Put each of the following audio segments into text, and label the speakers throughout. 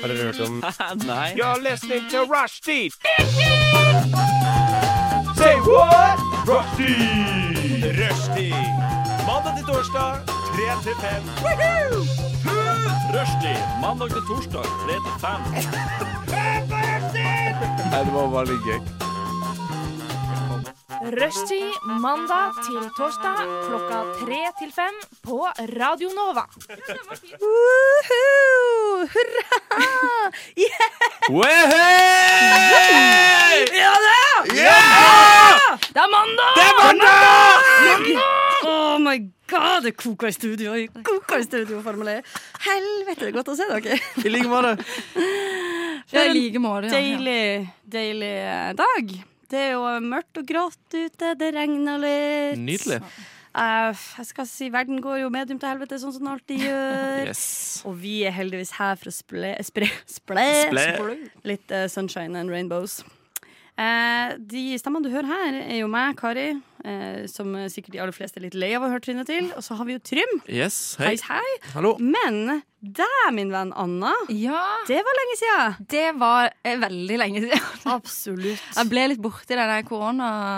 Speaker 1: Har dere hørt om
Speaker 2: Nei.
Speaker 3: You're listening to Rushdie. Say what? Rushdie. Rushdie. Mandag til torsdag, 3 til 5.
Speaker 2: Rushdie. Mandag til torsdag, 3 til 5.
Speaker 4: Rushtid mandag til torsdag klokka tre til fem på Radio Nova.
Speaker 5: Woohoo! Hurra! Yeah! Ja da!
Speaker 4: Det er mandag!
Speaker 5: Oh my god, det koker i studio. Det Koker i studio, formelig. Helvete, det er godt å se dere.
Speaker 1: I like måte.
Speaker 5: For en
Speaker 6: like måte.
Speaker 5: deilig, deilig eh, dag. Det er jo eh, mørkt og grått ute, det regner litt.
Speaker 1: Nydelig.
Speaker 5: Eh, jeg skal si, verden går jo medium til helvete, sånn som den alltid gjør.
Speaker 1: Yes.
Speaker 5: Og vi er heldigvis her for å spre, spre, spre,
Speaker 1: Sple.
Speaker 5: litt eh, sunshine and rainbows. Eh, de stemmene du hører her, er jo meg, Kari, eh, som sikkert de aller fleste er litt lei av å høre trynet til. Og så har vi jo Trym.
Speaker 1: Yes.
Speaker 5: Hei,
Speaker 1: Hei.
Speaker 5: hei.
Speaker 1: Hallo.
Speaker 5: Men deg, min venn Anna,
Speaker 6: Ja,
Speaker 5: det var lenge siden.
Speaker 6: det var eh, veldig lenge siden. Jeg
Speaker 5: Absolutt.
Speaker 6: ble litt borti den der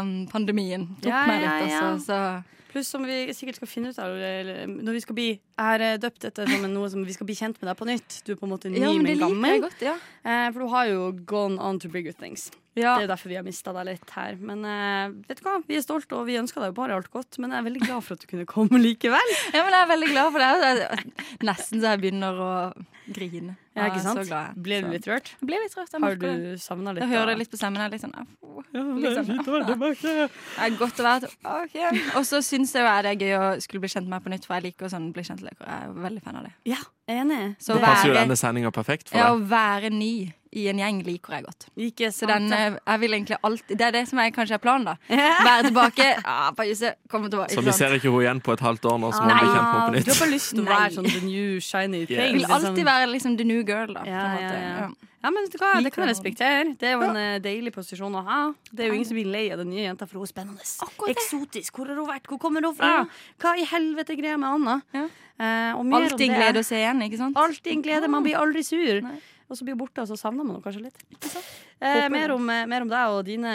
Speaker 6: koronapandemien. Tok
Speaker 5: Ja,
Speaker 6: meg
Speaker 5: ja,
Speaker 6: litt,
Speaker 5: ja.
Speaker 6: altså. Så.
Speaker 5: Pluss som vi sikkert skal finne ut av eller- når vi skal bli Jeg har eh, døpt dette som en- noe som vi skal bli kjent med deg på nytt. Du er på en måte ny,
Speaker 6: Ja, men det
Speaker 5: men
Speaker 6: liker jeg
Speaker 5: gammel.
Speaker 6: godt. Ja.
Speaker 5: Eh, for du har jo gone on to bigger things.
Speaker 6: Ja.
Speaker 5: Det er jo derfor vi har mista deg litt her. Men eh, vet du hva, vi er stolte, og vi ønsker deg jo bare alt godt. Men jeg er veldig glad for at du kunne komme likevel.
Speaker 6: ja, men jeg er veldig glad for det. Jeg- Nesten så jeg begynner å grine.
Speaker 5: Ja, ikke sant?
Speaker 6: Så glad. jeg er.
Speaker 5: Ble du
Speaker 6: Så-
Speaker 5: litt rørt?
Speaker 6: Jeg ble litt rørt. Jeg,
Speaker 5: Har
Speaker 6: merker
Speaker 5: du
Speaker 6: det.
Speaker 5: savna litt? sånn,
Speaker 6: jeg hører det
Speaker 5: av-
Speaker 6: litt på stemmen. Jeg er litt sånn, ah,
Speaker 5: det er
Speaker 6: liksom,
Speaker 5: fint å være
Speaker 6: ah, Det er godt å være tilbake. Og så syns jeg jo det er gøy å skulle bli kjent med på nytt, for jeg liker å sånn, bli kjent med dere. Jeg er veldig fan av det.
Speaker 5: Ja, enig.
Speaker 6: Så
Speaker 1: Det passer jo
Speaker 6: være,
Speaker 1: denne sendinga perfekt for
Speaker 6: ja,
Speaker 1: deg.
Speaker 6: å være ny i en gjeng liker jeg godt.
Speaker 5: Ikke
Speaker 6: Så den, eh, jeg vil egentlig alltid Det er det som jeg kanskje er planen, da.
Speaker 5: Sånn, Ja.
Speaker 6: Være tilbake. Ja, på huset. Komme tilbake.
Speaker 1: Så
Speaker 6: ikke
Speaker 1: vi
Speaker 6: sant?
Speaker 1: ser ikke henne igjen på et halvt år nå, så må vi bli kjent med henne på
Speaker 5: Du har
Speaker 1: nytt.
Speaker 5: bare lyst til å
Speaker 6: Nei.
Speaker 5: være sånn the new shiny
Speaker 1: Yeah.
Speaker 5: thing.
Speaker 6: Jeg vil alltid være liksom the new girl, da.
Speaker 5: Ja,
Speaker 6: på en
Speaker 5: ja,
Speaker 6: måte.
Speaker 5: ja.
Speaker 6: Ja.
Speaker 5: Ja, men vet du hva, Det kan jeg
Speaker 6: Liker
Speaker 5: respektere. Det er jo en eh, deilig posisjon å ha. Det er jo ingen som blir lei av den nye jenta, for hun er spennende.
Speaker 6: Akkurat det.
Speaker 5: Eksotisk. Hvor har hun vært? Hvor kommer hun fra? Hva i helvete er greia med Anna?
Speaker 6: Ja.
Speaker 5: Eh, og mer om
Speaker 6: Alltid en
Speaker 5: det.
Speaker 6: glede å se igjen, ikke sant?
Speaker 5: Alltid en glede. Man blir aldri sur.
Speaker 6: Nei.
Speaker 5: Og så blir hun borte, og så savner man henne kanskje litt. Eh, mer, om, eh, mer om deg og dine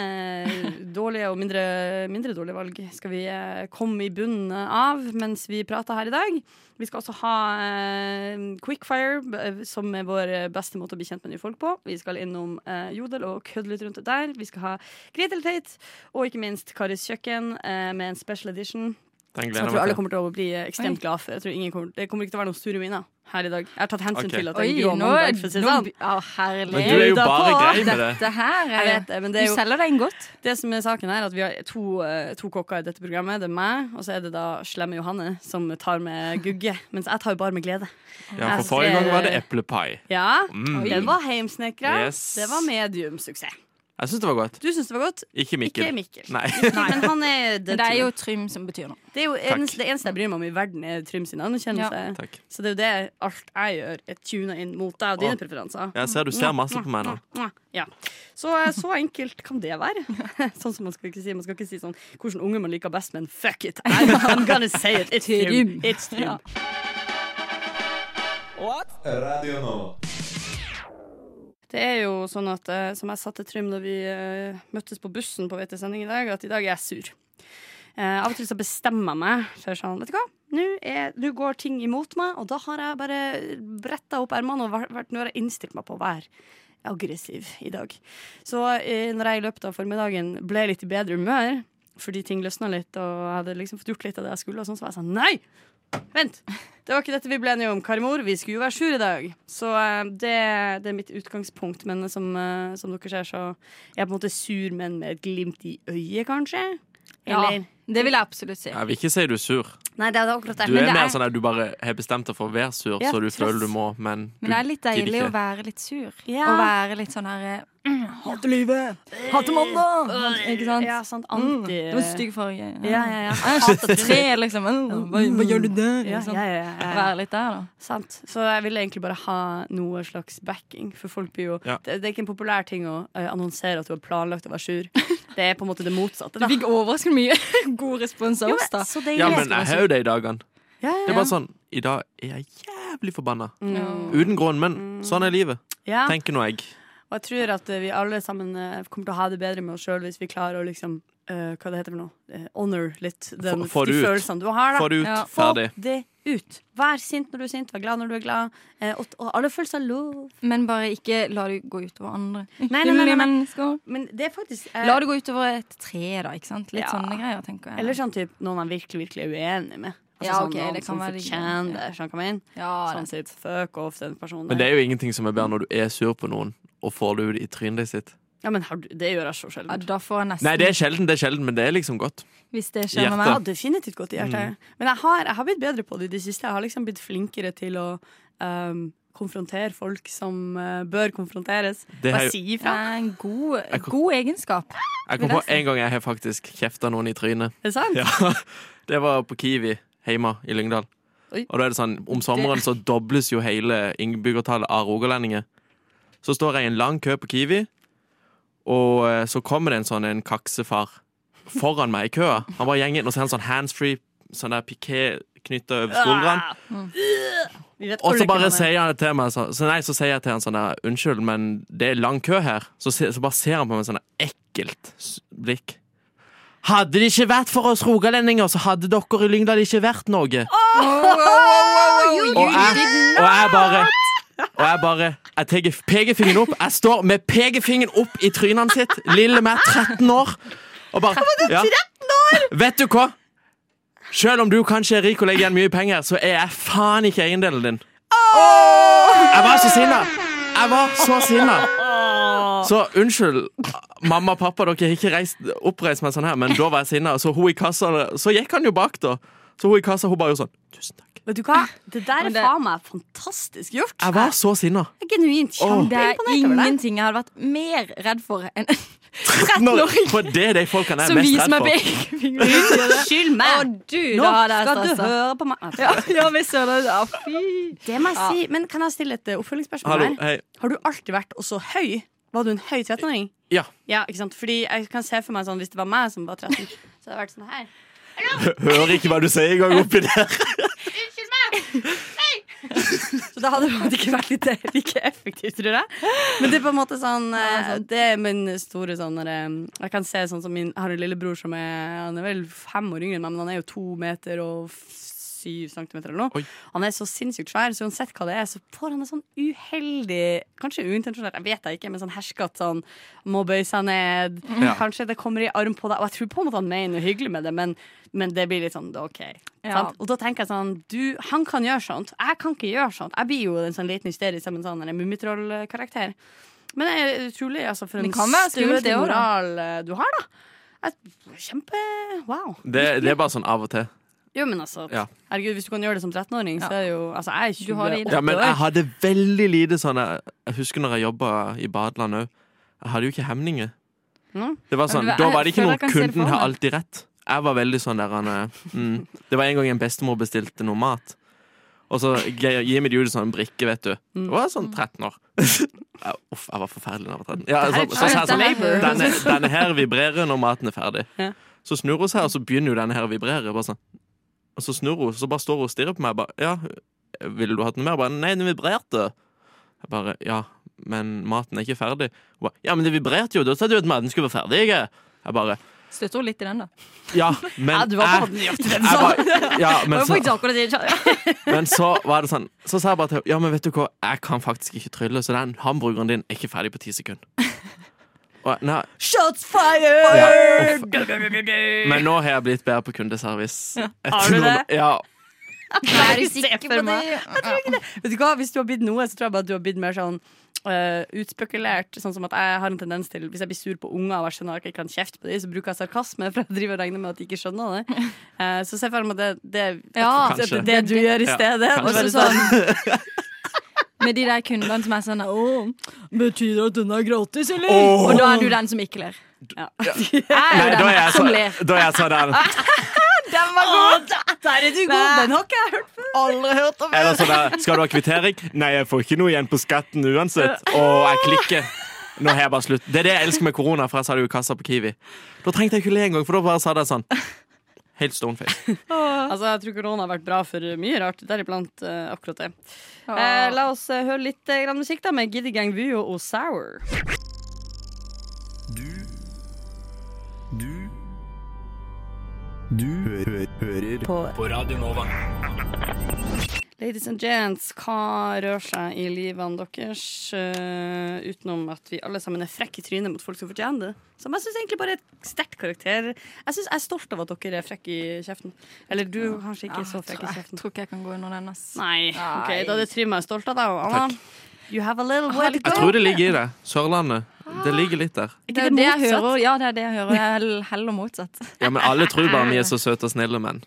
Speaker 5: eh, dårlige og mindre, mindre dårlige valg skal vi eh, komme i bunnen av mens vi prater her i dag. Vi skal også ha eh, Quickfire, b- som er vår beste måte å bli kjent med nye folk på. Vi skal innom eh, Jodel og kødde litt rundt det der. Vi skal ha Gretel Tate og ikke minst Karis kjøkken eh, med en special edition.
Speaker 1: Den
Speaker 5: Så jeg
Speaker 1: gleder
Speaker 5: tror alle
Speaker 1: jeg meg til.
Speaker 5: kommer til å bli eh, ekstremt glad for. Jeg tror ingen kommer, det kommer ikke til å være noen sure miner her i dag. Jeg har tatt hensyn
Speaker 1: Ok.
Speaker 5: til at det
Speaker 6: Oi,
Speaker 5: er en grå
Speaker 6: nå,
Speaker 5: mandag. For å si det
Speaker 6: nå
Speaker 5: sånn.
Speaker 6: by- Å, herlig.
Speaker 1: Men du er jo
Speaker 5: Bjuda
Speaker 1: bare
Speaker 5: på.
Speaker 1: grei med det.
Speaker 6: Dette her er,
Speaker 5: Jeg vet det, men det er jo
Speaker 6: Du selger deg inn godt.
Speaker 5: det som er saken her, at vi har to, eh, to kokker i dette programmet. Det er meg, og så er det da slemme Johanne som tar med gugge. Mens jeg tar jo bare med glede.
Speaker 1: Ja,
Speaker 5: Jeg
Speaker 1: for forrige gang var det
Speaker 5: ser-
Speaker 1: eplepai.
Speaker 5: Ja,
Speaker 1: Mm.
Speaker 5: Den var heimsnekra.
Speaker 1: Yes.
Speaker 5: Det var mediumsuksess.
Speaker 1: Jeg syns det var godt.
Speaker 5: Du syns det var godt?
Speaker 1: Ikke Mikkel.
Speaker 5: Ikke Mikkel.
Speaker 1: Nei.
Speaker 5: Men han er the
Speaker 6: Men det er jo
Speaker 5: truth.
Speaker 6: Trym som betyr noe.
Speaker 5: det, er jo
Speaker 1: Takk.
Speaker 5: eneste, det eneste jeg bryr meg om i verden, er Trym sin anerkjennelse.
Speaker 1: Takk.
Speaker 5: Så det er jo det alt jeg gjør, er tuna inn mot deg og dine
Speaker 1: Å.
Speaker 5: preferanser.
Speaker 1: Jeg ser du ser masse på meg nå.
Speaker 5: Ja. Så, eh, så enkelt kan det være. Sånn som Man skal ikke si Man skal ikke si sånn hvordan unge man liker best, men fuck it! I'm, I'm gonna say it. It's Trym. It's Trym.
Speaker 7: Radio Nova.
Speaker 5: Det er jo sånn at eh, som jeg sa til Trym da vi eh, møttes på bussen på vei til sending i dag, at i dag er jeg sur. Eh, av og til så bestemmer jeg meg for sånn, vet du hva, nå er- nå går ting imot meg, og da har jeg bare bretta opp ermene og vært, vært- nå har jeg innstilt meg på å være aggressiv i dag. Så eh, når jeg i løpet av formiddagen ble litt i bedre humør, fordi ting løsna litt, og jeg hadde liksom fått gjort litt av det jeg skulle, og sånn, så var jeg sånn nei! Vent! Det var ikke dette vi ble enige om, Karimor. Vi skulle jo være sur i dag. Så eh, det, det er mitt utgangspunkt. Men som, eh, som dere ser, så er jeg på en måte sur, men med et glimt i øyet, kanskje? Eller?
Speaker 6: Det vil jeg absolutt si.
Speaker 1: Jeg vil ikke si du er sur.
Speaker 5: Nei, det er akkurat det.
Speaker 1: Du
Speaker 6: Men
Speaker 1: er
Speaker 6: det
Speaker 1: mer
Speaker 6: er-
Speaker 1: sånn at du bare har bestemt deg for å være sur,
Speaker 5: Ja,
Speaker 1: så du
Speaker 5: trass.
Speaker 1: føler du må, men du
Speaker 6: Men det er litt
Speaker 1: gidder
Speaker 6: deilig
Speaker 1: ikke.
Speaker 6: å være litt sur.
Speaker 5: Ja.
Speaker 6: Å være litt sånn her Hater livet! Hater mandag! Ikke sant?
Speaker 5: Ja, sant.
Speaker 1: Mm,
Speaker 5: Anti...
Speaker 6: Mm, Det var stygg farge.
Speaker 5: Ja, ja, ja.
Speaker 6: Jeg hater tre, liksom. «Åh, Hva, hva gjør du der?
Speaker 5: Ja,
Speaker 6: Liksom.
Speaker 5: ja, ja, ja, ja.
Speaker 6: Være litt der, da.
Speaker 5: Sant. Så jeg ville egentlig bare ha noe slags backing. For folk blir jo
Speaker 1: Ja.
Speaker 5: det, det er ikke en populær ting å eh, annonsere at du har planlagt å være sur. Det er på en måte det motsatte. Da.
Speaker 6: Vi fikk overraskende mye god respons av
Speaker 5: Jo,
Speaker 6: oss, da.
Speaker 5: men, så deilig.
Speaker 1: Ja, men jeg har jo det i dagene.
Speaker 5: Ja, ja,
Speaker 1: Det er bare sånn I dag er jeg jævlig forbanna.
Speaker 6: Ja.
Speaker 1: Uten grunn, men sånn er livet.
Speaker 5: Ja.
Speaker 1: tenker nå jeg.
Speaker 5: Og jeg tror at eh, vi alle sammen eh, kommer til å ha det bedre med oss sjøl hvis vi klarer å liksom eh, Hva det heter for noe? Eh, honor litt den,
Speaker 1: Få- få
Speaker 5: de
Speaker 1: det ut.
Speaker 5: følelsene du har. Da.
Speaker 1: Få det ut.
Speaker 6: Ja.
Speaker 5: Få
Speaker 1: Ferdig.
Speaker 5: det ut. Vær sint når du er sint, vær glad når du er glad. eh, og, og alle følelser er lov.
Speaker 6: Men bare ikke la det gå utover andre.
Speaker 5: nei, nei, nei,
Speaker 6: Hyggelige
Speaker 5: nei.
Speaker 6: mennesker.
Speaker 5: Men det er faktisk eh,
Speaker 6: La det gå utover et tre, da. ikke sant? Litt
Speaker 5: Ja.
Speaker 6: sånne greier, tenker jeg.
Speaker 5: Eller sånn typ noen han virkelig, virkelig er uenig med. Altså,
Speaker 6: Ja,
Speaker 5: sånn
Speaker 6: ok,
Speaker 5: noen
Speaker 6: det
Speaker 5: som
Speaker 6: kan være-
Speaker 5: fortjener det.
Speaker 6: ja.
Speaker 5: Sånn, kom inn.
Speaker 6: ja,
Speaker 5: Sånn
Speaker 6: det.
Speaker 5: typ, fuck off den personen.
Speaker 1: Men det er jo ingenting som er bedre når du er sur på noen, og får det ut i trynet sitt.
Speaker 5: Ja, men har du, det gjør jeg så
Speaker 6: Ja,
Speaker 5: sjelden.
Speaker 6: da får jeg nesten
Speaker 1: Nei, det er sjelden, det er sjelden, men det er liksom godt.
Speaker 6: Hvis det skjer med
Speaker 5: Ja,
Speaker 6: meg.
Speaker 5: definitivt godt i
Speaker 1: Mm.
Speaker 5: hjertet. Men jeg har, jeg har blitt bedre på det i det siste. Jeg har liksom blitt flinkere til å ehm, konfrontere folk som eh, bør konfronteres.
Speaker 1: Det har
Speaker 5: Bare
Speaker 1: jo-
Speaker 5: si
Speaker 6: Det
Speaker 5: ifra.
Speaker 6: er en god,
Speaker 1: kom-
Speaker 6: god egenskap.
Speaker 1: Jeg kom på en gang jeg har faktisk kjefta noen i trynet.
Speaker 5: Er det sant?
Speaker 1: Ja. Det var på Kiwi hjemme i Lyngdal.
Speaker 5: Oi.
Speaker 1: Og da er det sånn, om sommeren så dobles jo hele innbyggertallet av rogalendinger. Så står jeg i en lang kø på Kiwi, og eh, så kommer det en sånn en kaksefar foran meg i køa. Han bare gjenger inn, og så har han sånn handsfree, sånn der piké knytta over skuldrene.
Speaker 5: Ah! Vi vet
Speaker 1: Og
Speaker 5: alle
Speaker 1: så bare
Speaker 5: hvem han er.
Speaker 1: sier han det til meg så, så Nei, så sier jeg til han sånn der Unnskyld, men det er lang kø her Så, se- så bare ser han på meg med sånn der ekkelt s- blikk Hadde det ikke vært for oss rogalendinger Så hadde dere i Lyngdal ikke vært noe og, jeg, og jeg bare Og jeg bare Jeg tar pegefingeren opp Jeg står med pegefingeren opp i trynene sitt Lille meg, 13 år Og bare ja. Vet du hva? Selv om du kanskje er rik og legger igjen mye penger Så er jeg faen ikke eiendelen din Jeg var så sinna Jeg var så sinna Så unnskyld Mamma og pappa, dere har ikke reist, oppreist meg sånn her Men da var jeg sinna Så hun i kassa Så gikk han jo bak da Så hun i kassa, hun bare jo sånn Tusen takk
Speaker 5: Vet du hva? Det der
Speaker 6: Men
Speaker 5: er
Speaker 6: det-
Speaker 5: faen meg fantastisk gjort.
Speaker 1: Jeg var så sinna
Speaker 5: Jeg er genuint
Speaker 6: Det er
Speaker 5: kjempeimponert over deg.
Speaker 6: ingenting jeg hadde vært mer redd for enn
Speaker 1: Når,
Speaker 6: 13-åring
Speaker 1: for det er de folkene jeg er
Speaker 6: som
Speaker 1: mest
Speaker 6: viser
Speaker 1: redd
Speaker 6: meg
Speaker 1: for.
Speaker 6: pekefingeren.
Speaker 5: Unnskyld
Speaker 6: Å,
Speaker 5: meg!
Speaker 6: du,
Speaker 5: Nå
Speaker 6: da hadde jeg
Speaker 5: skal du
Speaker 6: stressa.
Speaker 5: høre på meg.
Speaker 6: Ja, ja, vi ser det. Ja, fy.
Speaker 5: Det må jeg si. Men kan jeg stille et eh, oppfølgingsspørsmål?
Speaker 1: Hallo,
Speaker 5: her?
Speaker 1: hei.
Speaker 5: Har du alltid vært også høy? Var du en høy 13-åring?
Speaker 1: Ja.
Speaker 5: Ja, ikke sant? Fordi jeg kan se for meg sånn, Hvis det var meg som var 13, så hadde jeg vært sånn her.
Speaker 1: Hører ikke hva du sier engang oppi der.
Speaker 5: Så da hadde det på en måte ikke vært litt, eh, like effektivt, tror jeg. Men det er på en måte sånn eh, Det er min store sånn når jeg, jeg kan se sånn som min Jeg har en lillebror som er Han er vel fem år yngre enn meg, men han er jo to meter og f- syv centimeter eller noe.
Speaker 1: Oi.
Speaker 5: Han er så sinnssykt svær, så uansett hva det er, så får han en sånn uheldig Kanskje uintensjonelt, jeg vet jeg ikke, men sånn herskatt sånn Må bøye seg ned.
Speaker 1: Ja.
Speaker 5: Kanskje det kommer i arm på deg. Og jeg tror på en måte han mener noe hyggelig med det, men, men det blir litt sånn OK.
Speaker 6: Ja.
Speaker 5: Sant? Og da tenker jeg sånn du, Han kan gjøre sånt, jeg kan ikke gjøre sånt. Jeg blir jo en sånn liten hysterisk som en sånn en Mummitroll-karakter. Men det er utrolig altså, for en
Speaker 6: Det kan være skummelt,
Speaker 5: stødig
Speaker 6: det også, da.
Speaker 5: moral eh, du har, da. Jeg, kjempe wow.
Speaker 1: Det, det er bare sånn av og til.
Speaker 5: Jo, men altså,
Speaker 1: Ja.
Speaker 5: herregud, hvis du kan gjøre det som 13-åring, så
Speaker 6: Ja.
Speaker 5: er det jo Altså, jeg er
Speaker 6: Du har det i
Speaker 5: 28
Speaker 6: deg.
Speaker 1: Ja, men jeg
Speaker 5: år.
Speaker 1: hadde veldig lite sånn Jeg jeg husker når jeg jobba i badeland òg. Jeg hadde jo ikke hemninger.
Speaker 5: Mm.
Speaker 1: Det var sånn,
Speaker 6: Ja, men
Speaker 1: Da
Speaker 6: jeg
Speaker 1: var det ikke
Speaker 6: føler
Speaker 1: noe
Speaker 6: jeg kan se det
Speaker 1: 'kunden
Speaker 6: for
Speaker 1: har
Speaker 6: meg.
Speaker 1: alltid rett'. Jeg var veldig sånn der han, eh, mm. Det var en gang en bestemor bestilte noe mat. Og så ge- gir vi det jo sånn en brikke, vet du.
Speaker 6: Mm.
Speaker 1: Det var sånn 13 år. Ja, Uff, jeg var forferdelig da jeg var 13. Ja, så, så, så, så,
Speaker 6: Dette
Speaker 1: sånn,
Speaker 6: her høres-
Speaker 1: denne, denne her vibrerer når maten er ferdig.
Speaker 5: Ja.
Speaker 1: Så snur hun seg, og så begynner jo denne her å vibrere. Bare sånn. Og så snur hun, så bare står hun og stirrer på meg. Bare, ja, ville du hatt noe mer? Bare, nei, den vibrerte. Jeg bare, ja, men maten er ikke ferdig. Hun bare, ja, men det vibrerte jo, da sa du at maten skulle være ferdig. ikke?» Jeg bare,
Speaker 6: Støtter hun litt i den, da?
Speaker 1: ja, men
Speaker 5: Ja, du var på
Speaker 1: jeg-
Speaker 5: nøyaktig
Speaker 1: jeg
Speaker 5: den sånn.
Speaker 1: bare, ja, men,
Speaker 6: Det var
Speaker 1: så,
Speaker 6: faktisk akkurat det jeg sa.
Speaker 1: men så var det sånn Så sa jeg bare til henne Ja, men vet du hva, jeg kan faktisk ikke trylle Så den hamburgeren din er ikke ferdig på 10 sekunder Og, jeg, nei,
Speaker 5: Shots fired!
Speaker 1: ja, uff. Men nå har jeg blitt bedre på kundeservice. Etter
Speaker 5: Har du
Speaker 1: noen-
Speaker 5: det?
Speaker 1: Ja.
Speaker 6: Er du
Speaker 5: sikker
Speaker 6: sikker
Speaker 5: på
Speaker 6: på det?
Speaker 5: Vet du hva, Hvis du har blitt noe, så tror jeg bare at du har blitt mer sånn eh, utspekulert. Sånn som at jeg har en tendens til Hvis jeg blir sur på unger og jeg skjønner at jeg ikke kan kjefte på dem, så bruker jeg sarkasme, for jeg driver og regner med at de ikke skjønner det. Eh, så se for meg at det, det,
Speaker 6: Ja.
Speaker 5: at det,
Speaker 1: Kanskje.
Speaker 5: er det du gjør i
Speaker 1: Ja,
Speaker 5: stedet.
Speaker 1: kanskje.
Speaker 5: Og så
Speaker 6: Også
Speaker 5: sånn,
Speaker 6: sånn Med de der kundene som er sånn Å, betyr det at den er gratis, eller?
Speaker 1: Åh.
Speaker 6: Og da er du den som ikke ler.
Speaker 5: Ja.
Speaker 6: Jeg er
Speaker 1: Nei,
Speaker 6: jo
Speaker 1: da er jeg
Speaker 6: den som
Speaker 1: så-
Speaker 6: ler.
Speaker 1: da er jeg sånn der,
Speaker 5: Der er du god! Den har ikke jeg hørt før.
Speaker 1: Eller sånn der Skal du ha kvittering? Nei, jeg får ikke noe igjen på skatten uansett. Og jeg klikker. Nå har jeg bare slutt. Det er det jeg elsker med korona, for jeg sa det jo i kassa på Kiwi. Da trengte jeg ikke le engang, for da bare sa det sånn Helt stoneface.
Speaker 5: Altså, jeg tror korona har vært bra for mye rart, deriblant eh, akkurat det. Eh,
Speaker 6: Eh, la-
Speaker 5: la ooss eh, høre litt eh, grann musikk da med Giddy Gang View og Sour.
Speaker 8: Du Du Du hø hø hører på. Radio Nova.
Speaker 5: Ladies and gents, hva rører seg i livene deres? Eh, utenom at vi alle sammen er frekke i trynet mot folk som fortjener det. Som jeg syns egentlig bare er et sterkt karakter. Jeg synes jeg er stolt av at dere er frekke i kjeften. Eller du er kanskje ikke
Speaker 6: Ja,
Speaker 5: er så frekk i
Speaker 6: jeg,
Speaker 5: kjeften.
Speaker 6: tror ikke jeg kan gå under den. ass.
Speaker 5: Nei, ok,
Speaker 6: Nei.
Speaker 5: da er det Trym jeg er stolt av deg, og Anna. You have a little way to
Speaker 1: Jeg
Speaker 5: go.
Speaker 1: tror det ligger i det. Sørlandet. Det ligger litt der.
Speaker 5: Er
Speaker 6: Det
Speaker 5: ikke det
Speaker 6: er jo det jeg
Speaker 5: motsatt?
Speaker 6: hører. Ja, det er det jeg hører. Jeg er heller motsatt.
Speaker 1: Ja, men alle tror bare vi er så søte og snille menn.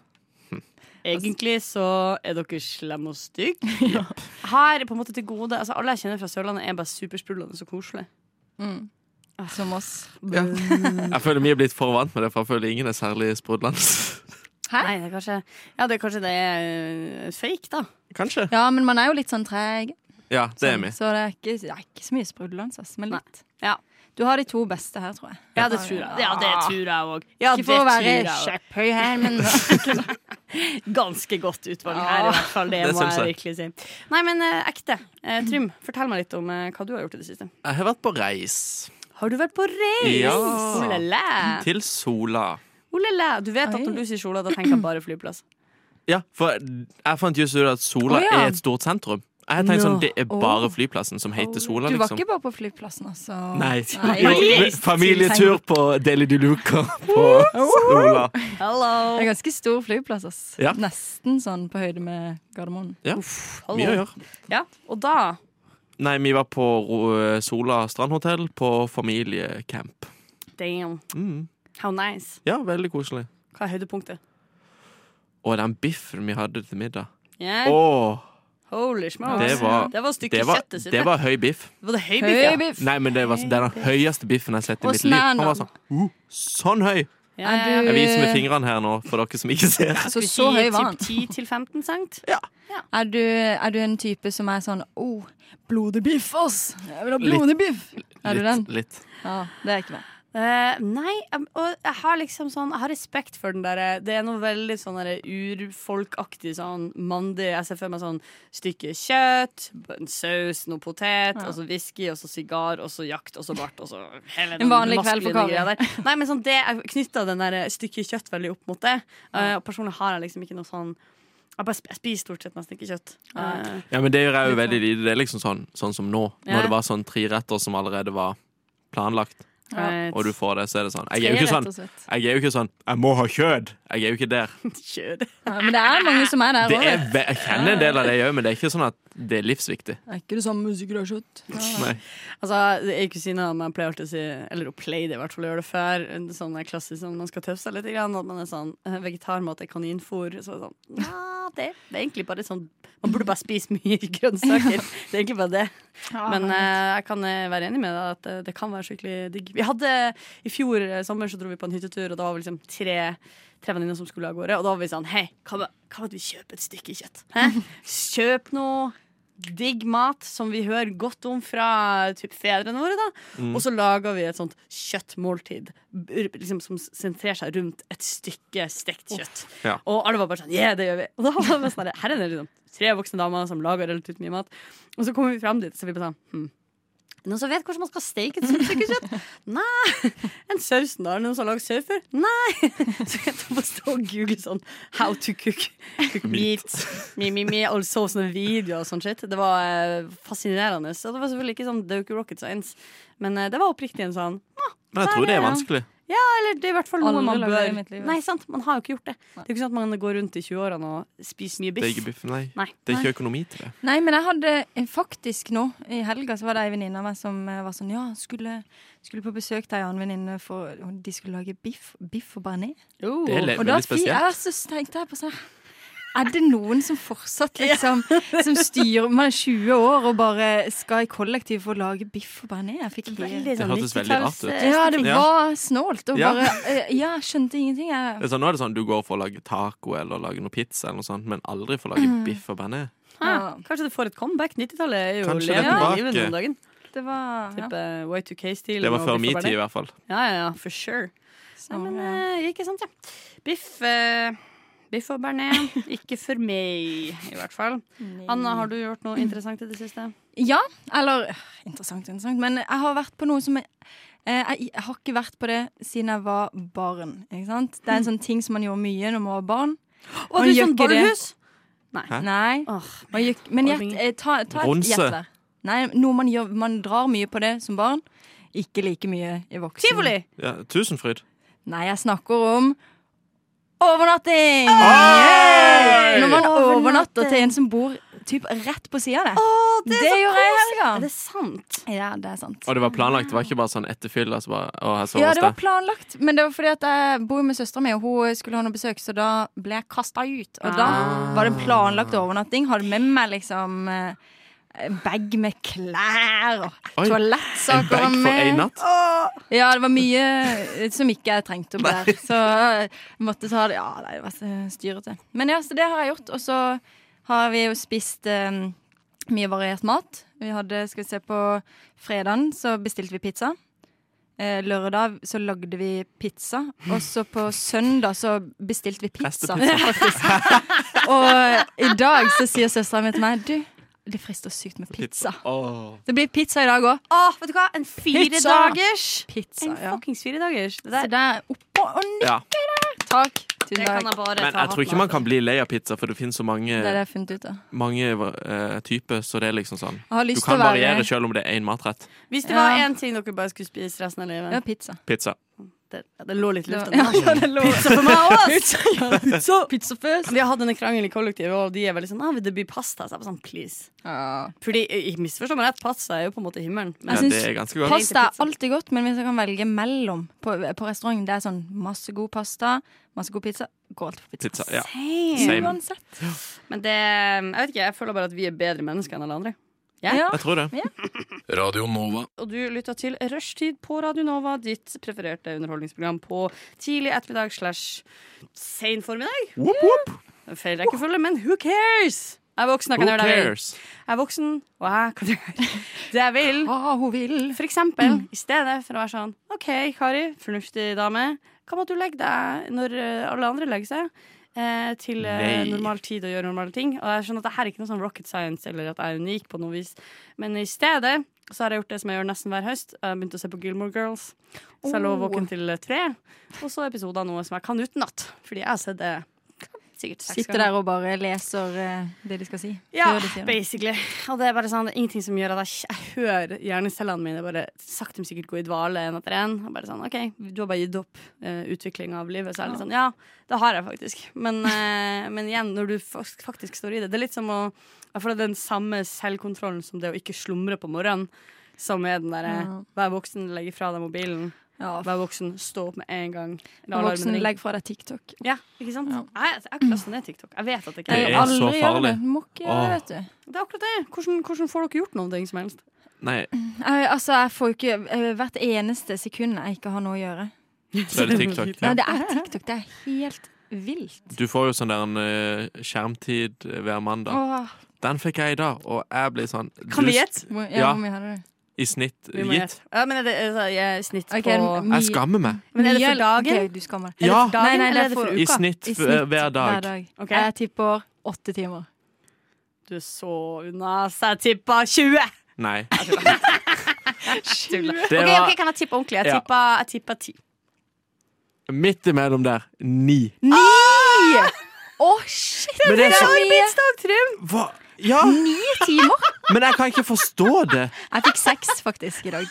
Speaker 5: Egentlig så er dere slemme og stygge. Her på en måte til gode altså Alle jeg kjenner fra Sørlandet, er bare supersprudlende og koselige.
Speaker 6: Mm. Som oss.
Speaker 1: Jeg føler vi er blitt for vant med det, for jeg føler ingen er særlig sprudlende.
Speaker 5: Nei, det er kanskje, ja, det er kanskje det er eh, fake, da.
Speaker 1: Kanskje.
Speaker 6: Ja, men man er jo litt sånn treg.
Speaker 1: Ja, det er vi.
Speaker 6: Så det er ikke, det er ikke så mye sprudlende, ass, men
Speaker 5: Nei.
Speaker 6: litt.
Speaker 5: Ja.
Speaker 6: Du har de to beste her, tror jeg.
Speaker 5: Ja, det tror jeg. Ah. Ja, det tror jeg òg. Ja,
Speaker 6: Ikke for å være
Speaker 5: òg.
Speaker 6: kjepphøy her, men
Speaker 5: Ganske godt utvalg her, i hvert fall. Ah. Det,
Speaker 1: Det
Speaker 5: må
Speaker 1: syns
Speaker 5: jeg
Speaker 1: jeg.
Speaker 5: virkelig si. Nei, men eh, ekte. Eh, Trym, fortell meg litt om eh, hva du har gjort i det siste.
Speaker 1: Jeg har vært på reis.
Speaker 5: Har du vært på reis?
Speaker 1: Ja.
Speaker 5: Olele.
Speaker 1: Til Sola.
Speaker 5: Olele. Du vet at
Speaker 6: Oi.
Speaker 5: når du sier Sola, da tenker jeg bare flyplass.
Speaker 1: Ja, for jeg fant just ut at Sola
Speaker 6: Å, ja.
Speaker 1: er et stort sentrum. Jeg har tenkt sånn,
Speaker 5: Nå.
Speaker 1: Det er bare flyplassen som heter Sola,
Speaker 6: du var
Speaker 1: liksom.
Speaker 6: ikke bare på flyplassen, altså.
Speaker 1: Nei.
Speaker 6: Nei.
Speaker 1: Jo, Familietur på Deli de Luca på Sola.
Speaker 6: Det
Speaker 5: Hello.
Speaker 6: er ganske stor flyplass, ass.
Speaker 1: Ja.
Speaker 6: Nesten sånn på høyde med Gardermoen.
Speaker 1: Ja, mye å gjøre.
Speaker 5: Ja, og da
Speaker 1: Nei, vi var på Ro- eh, Sola strandhotell på familiecamp.
Speaker 5: Damn.
Speaker 1: Mm.
Speaker 5: How nice.
Speaker 1: Ja, veldig koselig.
Speaker 5: Hva er høydepunktet?
Speaker 1: Og den biffen vi hadde til middag.
Speaker 6: Eh.
Speaker 5: Yeah.
Speaker 1: Åh,
Speaker 5: Holy smokes.
Speaker 1: Det var-
Speaker 5: det var stykket
Speaker 1: det, var,
Speaker 5: kjøttet sitt.
Speaker 1: det var høy biff.
Speaker 5: var det høy biff, ja.
Speaker 6: Høy biff!
Speaker 1: Nei, men det var det er den høyeste biffen jeg har sett i
Speaker 6: Og
Speaker 1: mitt liv. Han var
Speaker 6: snæren.
Speaker 1: sånn, uh, sånn høy!
Speaker 5: Ja,
Speaker 6: Er
Speaker 5: ja,
Speaker 6: du-
Speaker 5: ja.
Speaker 1: Jeg viser med fingrene her nå, for dere som ikke ser.
Speaker 6: Så så høy var han.
Speaker 5: Typ 10 til 15 cent.
Speaker 6: Er du, er du en type som er sånn oh, blodig biff, ass! Jeg vil ha blodig biff! Er du den?
Speaker 1: Litt, litt.
Speaker 6: Ja, det er ikke meg.
Speaker 5: Eh, nei, em, og jeg har liksom sånn Jeg har respekt for den derre Det er noe veldig sånn derre urfolkaktig sånn mandig Jeg ser for meg sånn stykke kjøtt, en saus, noe potet, og så whisky, og så sigar, og så jakt, og så bart, og så hele den
Speaker 6: vanlig kveld for
Speaker 5: maskuline
Speaker 6: Kari.
Speaker 5: greia der. Nei, men sånn det Jeg knytta den der stykket kjøtt veldig opp mot det. Eh, og personlig har jeg liksom ikke noe sånn Jeg bare sp- jeg spiser stort sett nesten ikke kjøtt. Eh,
Speaker 1: Ja, men det gjør jeg jo veldig lite. Det er liksom sånn, sånn som nå.
Speaker 5: Ja.
Speaker 1: Når det var sånn tre retter som allerede var planlagt,
Speaker 5: right.
Speaker 1: og du får det, så er det sånn. Jeg er jo ikke sånn.
Speaker 6: Rett og slett.
Speaker 1: Jeg er jo ikke sånn Jeg må ha kjød! Jeg er jo ikke der.
Speaker 5: Kjør.
Speaker 6: Ja, men det er mange som er der
Speaker 1: Det
Speaker 6: òg.
Speaker 1: er, ve- jeg kjenner en del av det jeg gjør, men det er ikke sånn at det er livsviktig.
Speaker 6: er ikke det samme musikk og kjøtt.
Speaker 1: Nei.
Speaker 5: Altså, Ei kusine av meg pleier alltid å si Eller hun pleide i hvert fall å gjøre det før. en Sånn der klassisk sånn man skal tøffe seg litt. Grann, at man er sånn eh, Vegetarmat er kaninfôr. Så er det sånn Nja, det, det er egentlig bare sånn Man burde bare spise mye grønnsaker. Det er egentlig bare det. Men eh, jeg kan eh, være enig med deg at eh, det kan være skikkelig digg. Vi hadde I fjor eh, sommer så dro vi på en hyttetur, og da var vi liksom tre Tre venninner som skulle av gårde. Og da var vi sånn Hei, hva med hva med at vi kjøper et stykke kjøtt? Hæ? Kjøp noe digg mat som vi hører godt om fra typ, fedrene våre. da Og så lager vi et sånt kjøttmåltid br- liksom, som s- sentrerer seg rundt et stykke stekt kjøtt.
Speaker 1: Ja.
Speaker 5: Og alle var bare sånn Ja, det gjør vi. Og da var det bare sånn der, Her er det liksom tre voksne damer som lager relativt mye mat. Og så kommer vi fram dit, så vi bare sånn hm. Er det Noen som vet hvordan man skal steke et sånt stykke kjøtt? Nei! En sausen, da? Er det noen som har lagd saus før? Nei! Så jeg tar på å stå og google sånn How to cook, cook meat. Mi, mi, mi, og så sånne videoer og sånn shit. Det var eh, fascinerende. Så det var selvfølgelig ikke sånn Det er jo ikke rocket science, men eh, det var oppriktig en sånn
Speaker 1: Men jeg tror det er vanskelig.
Speaker 5: Eller det er i hvert fall noe
Speaker 6: Aldri
Speaker 5: man
Speaker 6: laget det
Speaker 5: bør
Speaker 6: i mitt liv, altså. ja.
Speaker 5: Nei, sant, man har jo ikke gjort det. Det er jo ikke sånn at man går rundt i 20-årene og spiser mye
Speaker 1: Det er ikke
Speaker 5: biff.
Speaker 1: biff, nei.
Speaker 5: Nei.
Speaker 1: Det er ikke økonomi til det.
Speaker 6: Nei, men jeg hadde eh, faktisk nå i helga så var det ei venninne av meg som eh, var sånn Ja, skulle, skulle på besøk til ei annen venninne, for og de skulle lage biff, biff og bearnés.
Speaker 5: Oh.
Speaker 1: Det er le-
Speaker 6: Og da
Speaker 1: veldig
Speaker 6: fi-
Speaker 1: spesielt.
Speaker 6: ja, så tenkte jeg på sånn Er det noen som fortsatt liksom Som styrer Man er 20 år og bare skal i kollektiv for å lage biff og bearnés. Jeg fikk helt
Speaker 5: Veldig sånn
Speaker 1: hørtes veldig rart ut.
Speaker 5: 90-talls, eh,
Speaker 6: Ja, det
Speaker 1: Ja.
Speaker 6: var snålt. Og
Speaker 1: Ja.
Speaker 6: bare eh, Ja, jeg skjønte ingenting.
Speaker 1: Det
Speaker 6: Jeg,
Speaker 1: er sånn, nå er det sånn du går for å lage taco eller lage noe pizza, eller noe sånt, men aldri for å lage biff og bearnés.
Speaker 5: Hæ, Kanskje du får et comeback. 90-tallet er jo
Speaker 1: Kanskje det er
Speaker 5: levende i
Speaker 1: tilbake.
Speaker 5: livet om dagen.
Speaker 6: Det var ja.
Speaker 5: Type eh, Y2K-stil.
Speaker 1: Det var
Speaker 5: og
Speaker 1: før
Speaker 5: Biff og
Speaker 1: min
Speaker 5: Bernet.
Speaker 1: tid, i hvert fall.
Speaker 5: Ja, ja, ja, for sure. Nei, men
Speaker 6: Så,
Speaker 5: eh, ikke sant, ja. Biff, eh, biff og bearnés. Ikke for meg, i hvert fall. Anna, har du gjort noe interessant i det siste?
Speaker 6: Ja, eller øh, Interessant, interessant. Men jeg har vært på noe som jeg, eh, jeg, jeg har ikke vært på det siden jeg var barn. Ikke sant? Det er en sånn ting som man gjorde mye når man var barn.
Speaker 5: Mm. Å,
Speaker 6: Man
Speaker 5: du
Speaker 6: gjør
Speaker 5: sånn
Speaker 6: ikke det.
Speaker 5: ballhus?
Speaker 1: Hæ?
Speaker 6: Nei.
Speaker 5: Åh,
Speaker 6: Man gjør ikke- men gjett,
Speaker 5: Ordninger.
Speaker 6: eh, ta, ta et
Speaker 1: Bronse.
Speaker 6: gjett der. Nei, noe man gjør Man drar mye på det som barn. Ikke like mye i voksen.
Speaker 5: Tivoli!
Speaker 1: Ja, Tusenfryd.
Speaker 6: Nei, jeg snakker om overnatting!
Speaker 1: Hey!
Speaker 6: Når man
Speaker 5: Overnatting.
Speaker 6: overnatter til en som bor typ rett på sida av deg.
Speaker 5: det er
Speaker 6: det
Speaker 5: så
Speaker 6: gjorde jeg i
Speaker 5: Er
Speaker 6: helga.
Speaker 5: det sant?
Speaker 6: Ja, det er sant.
Speaker 1: Og det var planlagt, det var ikke bare sånn etter fyll. Altså bare, å, her sover
Speaker 6: Ja,
Speaker 1: oss
Speaker 6: det var
Speaker 1: det.
Speaker 6: planlagt, men det var fordi at jeg bor jo med søstera mi, og hun skulle ha noe besøk, så da ble jeg kasta ut. Og da
Speaker 1: Ah.
Speaker 6: var det planlagt overnatting. Hadde med meg liksom eh, bag med klær og
Speaker 1: Oi, En
Speaker 6: toalettsaker.
Speaker 1: bag for
Speaker 6: var med.
Speaker 1: én natt?
Speaker 6: Ja, det var mye eh, som ikke jeg trengte opp der. Så jeg måtte ta det Ja, nei, det var så styrete. Men ja, så det har jeg gjort. Og så har vi jo spist eh, mye variert mat. Vi hadde, skal vi se, på fredagen så bestilte vi pizza. Eh, lørdag så lagde vi pizza. Og så på søndag så bestilte vi pizza. faktisk. og eh, i dag så sier søstera mi til meg Du, det frister sykt med pizza.
Speaker 1: Åh.
Speaker 6: Det blir pizza i dag òg.
Speaker 5: Å, vet du hva? En Altså,
Speaker 6: Pizza.
Speaker 5: firedagers!
Speaker 6: Pizza,
Speaker 5: En
Speaker 6: ja.
Speaker 5: fuckings firedagers. Det
Speaker 6: Så
Speaker 5: der
Speaker 6: det er oppå og ned.
Speaker 1: Ja.
Speaker 6: Takk. Tusen
Speaker 5: det kan
Speaker 6: takk.
Speaker 5: jeg bare
Speaker 1: Men
Speaker 5: ta
Speaker 1: jeg tror ikke man kan bli lei av pizza, for det finnes så mange,
Speaker 6: Det er det jeg har funnet ut av.
Speaker 1: mange eh, typer. Så det er liksom sånn
Speaker 6: Jeg har
Speaker 1: Du
Speaker 6: lyst til
Speaker 1: kan
Speaker 6: å være
Speaker 1: variere selv om det er én matrett.
Speaker 5: Hvis det var
Speaker 6: Ja.
Speaker 5: én ting dere bare skulle spise resten av livet
Speaker 6: Ja, pizza.
Speaker 1: Pizza.
Speaker 5: det, det lå litt i
Speaker 6: Det
Speaker 5: lufta.
Speaker 6: var- ja, ja, det lå-
Speaker 5: Pizza for meg også, altså. ass!
Speaker 6: Pizza. Pizza først.
Speaker 5: Vi har hatt en krangel i kollektivet, og de er veldig sånn ah, vil 'Det blir pasta.' Så jeg var sånn, please.
Speaker 6: Ja.
Speaker 5: Fordi, jeg misforstår meg rett, pasta er jo på en måte himmelen.
Speaker 1: Ja,
Speaker 5: Men
Speaker 6: Jeg synes
Speaker 1: det er ganske godt.
Speaker 6: Pasta er alltid godt, men hvis jeg kan velge mellom på, på restauranten, det er sånn masse god pasta, masse god pizza, går alt for pizza.
Speaker 1: Pizza, ja.
Speaker 5: Same.
Speaker 1: Same.
Speaker 6: Uansett.
Speaker 5: Men det Jeg vet ikke, jeg føler bare at vi er bedre mennesker enn alle andre. Ja.
Speaker 6: Ja.
Speaker 1: Jeg tror det.
Speaker 8: Radio Nova.
Speaker 5: Og du lytter til Rushtid på Radio Nova, ditt prefererte underholdningsprogram på tidlig ettermiddag slash sein formiddag. Feil rekkefølge, men who cares? Jeg er voksen, jeg
Speaker 1: Who
Speaker 5: kan gjøre det jeg vil.
Speaker 1: cares?
Speaker 5: Jeg er voksen, og jeg kan gjøre det jeg vil.
Speaker 6: Hva hun vil.
Speaker 5: For eksempel,
Speaker 6: Mm.
Speaker 5: i stedet for å være sånn OK, Kari, fornuftig dame. Hva med at du legger deg når eh, alle andre legger seg? Eh, til eh,
Speaker 1: Nei.
Speaker 5: normal tid og gjør normale ting. Og jeg skjønner at det her er ikke noe sånn rocket science eller at jeg er unik på noe vis. Men i stedet så har jeg gjort det som jeg gjør nesten hver høst. Jeg har begynt å se på Gilmore Girls. Så jeg lå
Speaker 6: Oh.
Speaker 5: våken til tre. Og så episoder av noe som jeg kan utenat. Fordi jeg har sett det sikkert seks
Speaker 6: Sitter
Speaker 5: ganger.
Speaker 6: der og bare leser eh, det de skal si.
Speaker 5: Ja,
Speaker 6: Før de sier det.
Speaker 5: basically. Og det er bare sånn, det er ingenting som gjør at jeg, jeg hører hjernecellene mine bare sakte, men sikkert gå i dvale en etter en. Og bare sånn, OK, du har bare gitt opp uh, utvikling av livet. Så er det litt sånn, ja, det har jeg faktisk. Men, eh, men igjen, når du fak- faktisk står i det Det er litt som å Jeg føler det er den samme selvkontrollen som det å ikke slumre på morgenen. Som er den derre
Speaker 6: Ja.
Speaker 5: vær voksen, legg ifra deg mobilen.
Speaker 6: Ja,
Speaker 5: Vær voksen, stå opp med en gang. La alarmen
Speaker 6: voksen,
Speaker 5: ringe.
Speaker 6: legg fra deg TikTok.
Speaker 5: Ja, ikke sant?
Speaker 6: Ja.
Speaker 5: Nei, Jeg, jeg klaster ned TikTok. Jeg vet at det ikke
Speaker 1: Det
Speaker 5: er
Speaker 1: er så
Speaker 6: Aldri gjør
Speaker 1: farlig.
Speaker 6: det. Du Må ikke gjøre det, vet du.
Speaker 5: Det er akkurat det. Hvordan, hvordan får dere gjort noe som helst?
Speaker 1: Nei,
Speaker 6: Jeg, altså, jeg får jo ikke eh, hvert eneste sekund jeg ikke har noe å gjøre.
Speaker 1: så er det TikTok.
Speaker 6: Nei,
Speaker 1: Ja.
Speaker 6: det er TikTok. Det er helt vilt.
Speaker 1: Du får jo sånn der en eh, skjermtid eh, hver mandag.
Speaker 6: Åh,
Speaker 1: Den fikk jeg i dag, og jeg ble sånn
Speaker 5: Kan vi
Speaker 1: du-
Speaker 5: gjette?
Speaker 6: hvor, ja,
Speaker 1: Ja.
Speaker 6: hvor mye hadde du?
Speaker 1: I snitt
Speaker 5: Vi må
Speaker 1: gitt.
Speaker 5: gjette. Ja, men er det er det- er snitt
Speaker 6: Ok,
Speaker 5: på
Speaker 6: mye-
Speaker 1: Jeg skammer meg.
Speaker 5: Men er det for
Speaker 6: mye-
Speaker 5: dagen?
Speaker 6: Ok, du skammer deg.
Speaker 1: Ja!
Speaker 5: dagen,
Speaker 6: Nei, nei,
Speaker 5: eller
Speaker 6: det
Speaker 5: er det
Speaker 6: får-
Speaker 5: for
Speaker 1: I
Speaker 5: uka?
Speaker 1: snitt,
Speaker 6: I
Speaker 1: eh,
Speaker 6: snitt
Speaker 1: hver dag.
Speaker 5: Ok.
Speaker 6: Jeg tipper åtte timer.
Speaker 5: Du er så unna, så jeg tippa 20!
Speaker 1: Nei.
Speaker 5: Tuller.
Speaker 1: Det
Speaker 5: Ok,
Speaker 1: var
Speaker 5: ok, kan jeg tippe ordentlig? Jeg
Speaker 1: Ja.
Speaker 5: tippa, jeg tippa 10.
Speaker 1: midt imellom der. Ni.
Speaker 6: Ni! Å, shit!
Speaker 1: Men det er så
Speaker 6: arbeidsdag, Trym!
Speaker 1: Hva? Ja!
Speaker 6: Ni timer?
Speaker 1: Men jeg kan ikke forstå det.
Speaker 6: Jeg fikk seks faktisk i dag.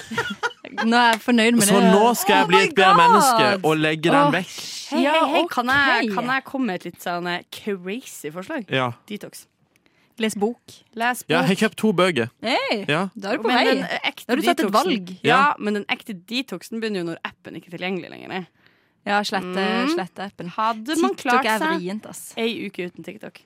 Speaker 6: Nå er jeg fornøyd med
Speaker 1: Så
Speaker 6: det.
Speaker 1: nå skal jeg bli et bedre menneske og legge
Speaker 6: Åh,
Speaker 1: den vekk.
Speaker 5: Hei,
Speaker 6: Ja,
Speaker 5: hei, hei.
Speaker 6: ok.
Speaker 5: Kan, jeg, kan jeg komme med et litt sånn eh, crazy forslag?
Speaker 1: Ja.
Speaker 5: Detox.
Speaker 6: Les bok.
Speaker 5: Les bok.
Speaker 1: ja, jeg har kjøpt to bøker.
Speaker 6: Hei,
Speaker 1: Ja.
Speaker 6: da er du på
Speaker 5: Men den
Speaker 6: vei.
Speaker 5: eh, ekte
Speaker 6: Da har du tatt et
Speaker 5: detoxen-
Speaker 6: valg.
Speaker 5: Ja.
Speaker 1: Ja.
Speaker 5: men den ekte detoxen begynner jo når appen ikke er tilgjengelig lenger.
Speaker 6: Ja, slette,
Speaker 5: Mm.
Speaker 6: slette appen.
Speaker 5: Hadde man
Speaker 6: TikTok
Speaker 5: klart
Speaker 6: er
Speaker 5: seg
Speaker 6: vrient, ass.
Speaker 5: ei uke uten TikTok?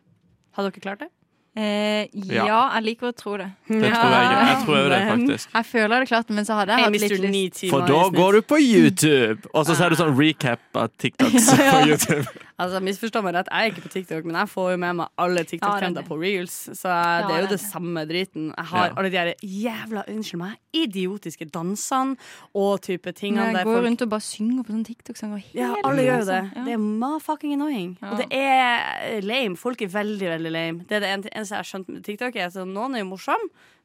Speaker 5: Hadde dere klart det?
Speaker 6: Eh, ja, jeg liker å tro det.
Speaker 1: Det tror jeg. Jeg tror jo det, faktisk.
Speaker 6: Jeg føler jeg hadde klart det, men så hadde jeg
Speaker 5: Hey,
Speaker 6: hatt litt
Speaker 5: Mr.
Speaker 6: lyst.
Speaker 5: Ni timer
Speaker 1: For da
Speaker 5: i snitt.
Speaker 1: går du på YouTube, og så ser du sånn recap av TikToks på YouTube.
Speaker 5: Altså, Misforstå meg rett, jeg er ikke på TikTok, men jeg får jo med meg alle
Speaker 6: det
Speaker 5: TikTok-trender
Speaker 6: er det.
Speaker 5: på reels. Så jeg, det er jo
Speaker 6: det er
Speaker 5: det samme driten. Jeg har
Speaker 1: Ja.
Speaker 5: alle de her jævla, unnskyld meg, idiotiske dansene og type tingene
Speaker 6: Jeg
Speaker 5: der
Speaker 6: går
Speaker 5: folk
Speaker 6: rundt og bare synger på sånn TikTok-sanger.
Speaker 5: ja, alle gjør jo
Speaker 6: sånn.
Speaker 5: det. Det er ma-fucking annoying. Og det er lame. Folk er veldig, veldig lame. Det er det en- eneste jeg har skjønt med TikTok, er at noen er jo morsom.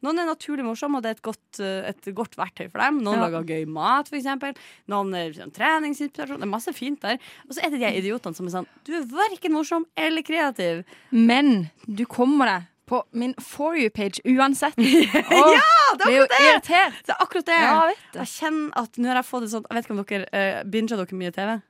Speaker 5: Noen er naturlig morsom, og det er et godt, eh, et godt verktøy for dem. Noen
Speaker 6: Ja.
Speaker 5: lager gøy mat, for eksempel. Noen er sånn, treningsinspirasjon. Det er masse fint der. Og så er det de idiotene som er sånn Du er verken morsom eller kreativ.
Speaker 6: Men du kommer deg på min For you-page uansett. ja, det er jo irritert.
Speaker 5: Det er akkurat det.
Speaker 6: Ja, jeg vet det.
Speaker 5: jeg kjenner at nå har jeg fått det sånn Jeg vet ikke om dere uh, binger dere mye TV?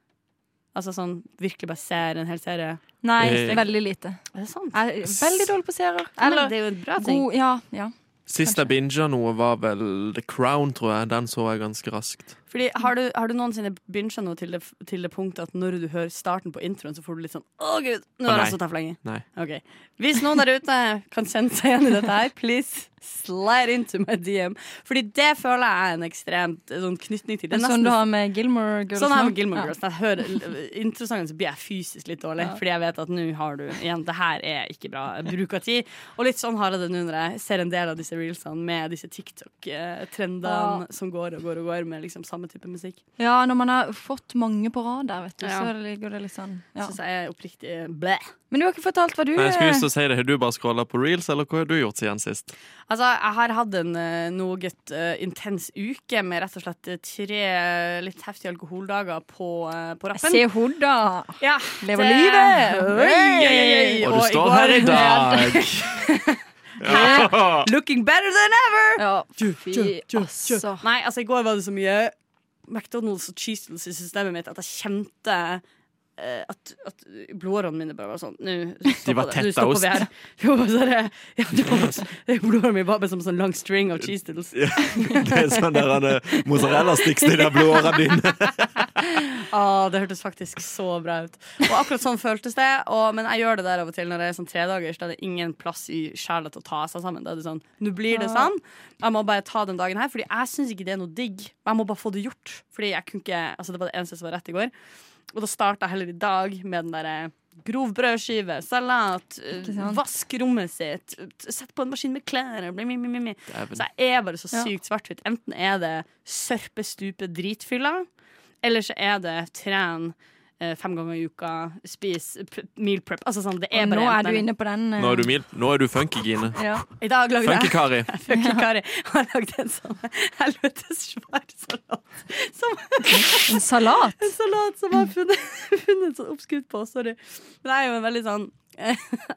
Speaker 5: Altså sånn virkelig bare ser en hel serie?
Speaker 6: Nei,
Speaker 1: Eh.
Speaker 6: veldig lite.
Speaker 5: Er det sant?
Speaker 6: Jeg er veldig dårlig på serier.
Speaker 5: Eller,
Speaker 6: Eller
Speaker 5: det er jo en bra ting.
Speaker 6: god Ja. ja.
Speaker 1: Sist jeg binga noe, var vel The Crown, tror jeg. Den så jeg ganske raskt.
Speaker 5: Fordi har du, har du noensinne binget noe til det, til det punktet at når du hører starten på introen, så får du litt sånn Å, gud, nå
Speaker 1: Å,
Speaker 5: har
Speaker 1: nei.
Speaker 5: jeg stått her for lenge.
Speaker 1: Nei.
Speaker 5: Ok. Hvis noen der ute kan kjenne seg igjen i dette her, please slide into my DM. Fordi det føler jeg er en ekstremt eh, sånn knytning til. Det er
Speaker 6: Sånn
Speaker 5: nesten
Speaker 6: du har med Gilmore Girls.
Speaker 5: Sånn er det
Speaker 6: nå.
Speaker 5: med Gilmore
Speaker 6: Ja.
Speaker 5: Girls. Når jeg hører l- introsangen, så blir jeg fysisk litt dårlig. Fordi jeg vet at nå har du igjen Det her er ikke bra bruk av tid. Og litt sånn har jeg det nå når jeg ser en del av disse reelsene med disse TikTok-trendene
Speaker 6: Ja.
Speaker 5: som går og går og går med liksom samme type musikk.
Speaker 6: Ja, når man har fått mange på rad der, vet du,
Speaker 5: Ja.
Speaker 6: så ligger det litt sånn. Ja.
Speaker 5: Synes jeg er oppriktig eh, blæ.
Speaker 6: Men du har ikke fortalt hva du
Speaker 1: Nei, jeg skulle
Speaker 6: eh,
Speaker 1: just si det. Har du bare scrolla på reels, eller hva har du gjort siden sist?
Speaker 5: Altså, jeg har hatt en eh, noe eh, intens uke med rett og slett eh, tre eh, litt heftige alkoholdager på, eh, på rappen.
Speaker 6: Se hun, da!
Speaker 5: Ja,
Speaker 6: Lever
Speaker 5: det- Oi, oi, oi.
Speaker 6: livet!
Speaker 1: Og du
Speaker 5: Og i
Speaker 1: står
Speaker 5: går-
Speaker 1: her i dag! Ja.
Speaker 5: Looking better than ever!
Speaker 6: Ja, fy, altså.
Speaker 5: Nei, altså, i går var det så mye McDonald's og cheesedeals i systemet mitt at jeg kjente eh, at, at blodårene mine bare var sånn Nå stopper
Speaker 1: var
Speaker 5: det.
Speaker 1: tett
Speaker 5: Nå
Speaker 1: av
Speaker 5: stopper
Speaker 1: ost.
Speaker 5: vi her. Jo, så er det, ja, det var, det- blodårene mine var bare som en sånn lang string av cheesedeals.
Speaker 1: Det er sånn der han, eh, mozzarella-sticks i de blodåra dine.
Speaker 5: Ah, det hørtes faktisk så bra ut. Og akkurat sånn føltes det. Og, men jeg gjør det der av og til når det er sånn tredagers. Da er det ingen plass i sjela til å ta seg sammen. Da er det sånn, nå blir det sånn. Jeg må bare ta den dagen her, Fordi jeg syns ikke det er noe digg. Jeg må bare få det gjort. Fordi jeg kunne ikke, altså Det var det eneste som var rett i går. Og da starta jeg heller i dag med den derre Grov brødskive, salat, eh,
Speaker 6: Ikke sant?
Speaker 5: vask rommet sitt, t- sett på en maskin med klær bli, mi, mi, mi, mi.
Speaker 1: Dæven.
Speaker 5: Så jeg er bare så
Speaker 6: Ja.
Speaker 5: sykt svart-hvitt. Enten er det sørpestupe dritfylla, eller så er det tren eh, fem ganger i uka, spis p- meal prep. Altså sånn, det er
Speaker 6: Og
Speaker 5: bare
Speaker 6: nå er
Speaker 5: enten
Speaker 6: du
Speaker 5: eller.
Speaker 6: inne på den. eh,
Speaker 1: Nå er du mild. Nå er du funky, Gine.
Speaker 6: Ja.
Speaker 5: I dag lagde jeg
Speaker 1: Funky-Kari.
Speaker 5: Funky Kari har lagd en sånn helvetes svær salat. Som,
Speaker 6: En salat?
Speaker 5: en salat som jeg har funnet, funnet sånn oppskrytt på. Sorry. Men jeg er jo en veldig sånn jeg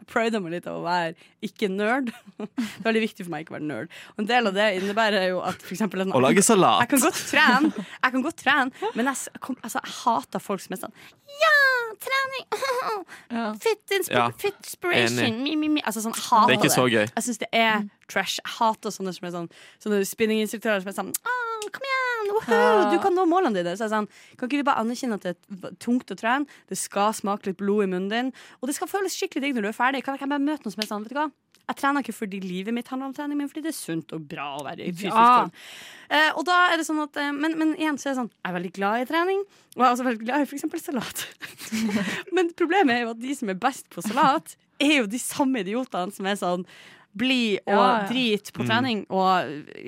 Speaker 5: prider meg litt av å være ikke nerd. Det er veldig viktig for meg ikke å være nerd. Og en del av det innebærer jo at for eksempel en
Speaker 1: Å lage
Speaker 5: Jeg
Speaker 1: salat.
Speaker 5: kan godt trene, jeg kan godt trene men jeg, s- kom, altså, jeg hater folk som er sånn Ja, trening!
Speaker 6: Ja.
Speaker 5: Fit, inspi
Speaker 1: Ja.
Speaker 5: fit inspiration!
Speaker 1: Enig.
Speaker 5: Mi, mi, mi. Altså, sånn, jeg hater
Speaker 1: Det er ikke så gøy.
Speaker 5: Jeg syns det er trash. Jeg hater sånne som er sånn Sånne spinninginstruktører som er sånn «Åh, Kom igjen! Woohoo, du kan nå målene dine! Så jeg er sånn, kan ikke vi bare anerkjenne at det er v- tungt å trene? Det skal smake litt blod i munnen din. Og det skal føles skikkelig digg når du er ferdig. Kan jeg bare møte noen som er sånn, vet du hva? Jeg trener ikke fordi livet mitt handler om trening, men fordi det er sunt og bra å være i fysisk
Speaker 6: Ja.
Speaker 5: form. Eh, og da er det sånn at eh, men, men igjen så er det sånn Jeg er veldig glad i trening, og jeg er også veldig glad i for eksempel salat. men problemet er jo at de som er best på salat, er jo de samme idiotene som er sånn bli og
Speaker 6: Ja, ja.
Speaker 5: drit på trening og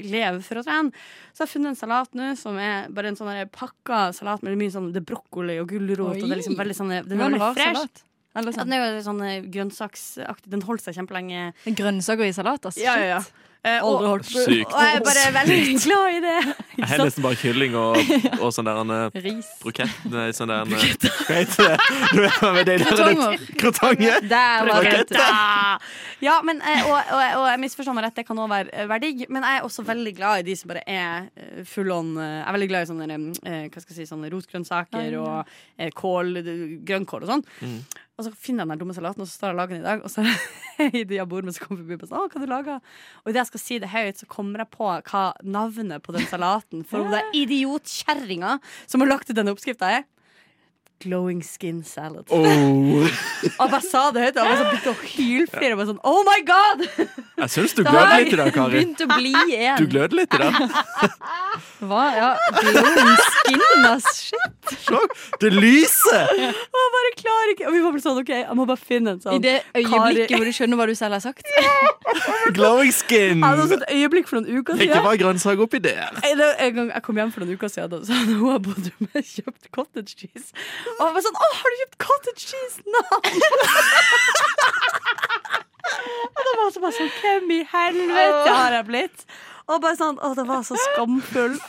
Speaker 5: leve for å trene. Så jeg har funnet en salat nå som er bare en sånn der pakka salat med mye sånn, det er brokkoli og gulrot. Og det er liksom
Speaker 6: Oi.
Speaker 5: veldig sånn, den
Speaker 6: Det
Speaker 5: er
Speaker 6: var en
Speaker 5: veldig
Speaker 6: rar
Speaker 5: fresh.
Speaker 6: salat. Eller
Speaker 5: Ja,
Speaker 6: sånn.
Speaker 5: den er jo sånn eh, grønnsaksaktig. Den holdt seg kjempelenge.
Speaker 6: Det er Grønnsaker i salat, altså.
Speaker 5: Ja, ja, ja. Eh, og,
Speaker 6: Aldri
Speaker 5: og
Speaker 6: hørt før.
Speaker 5: jeg
Speaker 1: Sykt.
Speaker 5: er bare veldig glad i det.
Speaker 1: Jeg har nesten bare kylling og, og sånn der en eh,
Speaker 6: Ris.
Speaker 1: brukett Nei, sånn der en eh, Hva heter det? Du vet hva med det der?
Speaker 6: Krotonger.
Speaker 1: Krotonger.
Speaker 6: Der var det.
Speaker 5: Da! Ja, men, eh, og, og, og jeg misforstår meg rett, det kan òg være eh, være digg, men jeg er også veldig glad i de som bare er eh, full on eh, Jeg er veldig glad i sånne, eh, hva skal jeg si, sånne rotgrønnsaker
Speaker 6: Ja, ja.
Speaker 5: og eh, kål, d- grønnkål og sånn. Og så finner jeg den der dumme salaten, og så står jeg og lager den i dag. Og så er det de jeg bor med, som kommer forbi og sier 'Å, hva du lager?' Og idet jeg skal si det høyt, så kommer jeg på hva navnet på den salaten for hun der idiotkjerringa som har lagt ut denne oppskrifta, er. Glowing skin salad.
Speaker 1: Oh.
Speaker 5: Og jeg bare sa det høyt, og jeg bare sånn begynte å hylflire. og bare Sånn, oh my god!
Speaker 1: Jeg syns du glød litt i dag, Kari.
Speaker 6: Begynt å bli
Speaker 1: Du
Speaker 6: en.
Speaker 1: glød litt i dag.
Speaker 6: Hva? Ja, blod, skin, ass. Shit.
Speaker 1: Det lyser!
Speaker 5: Jeg bare klarer ikke Og vi var bare sånn, OK, jeg må bare finne en
Speaker 6: I
Speaker 5: sånn.
Speaker 6: det øyeblikket
Speaker 5: Kari.
Speaker 6: hvor du skjønner hva du selv har sagt.
Speaker 1: Glowing skin!
Speaker 5: Jeg hadde også et øyeblikk for noen uker
Speaker 1: Ikke
Speaker 5: siden.
Speaker 1: bare grønnsak oppi der.
Speaker 5: Jeg, det var en gang jeg kom hjem for noen uker siden, så hadde hun bodd med kjøpt cottage cheese. Og jeg var sånn Å, har du kjøpt cottage cheese? Nei! og da var jeg så bare sånn Hvem i helvete har jeg blitt? Og bare sånn Å, det var så skamfull.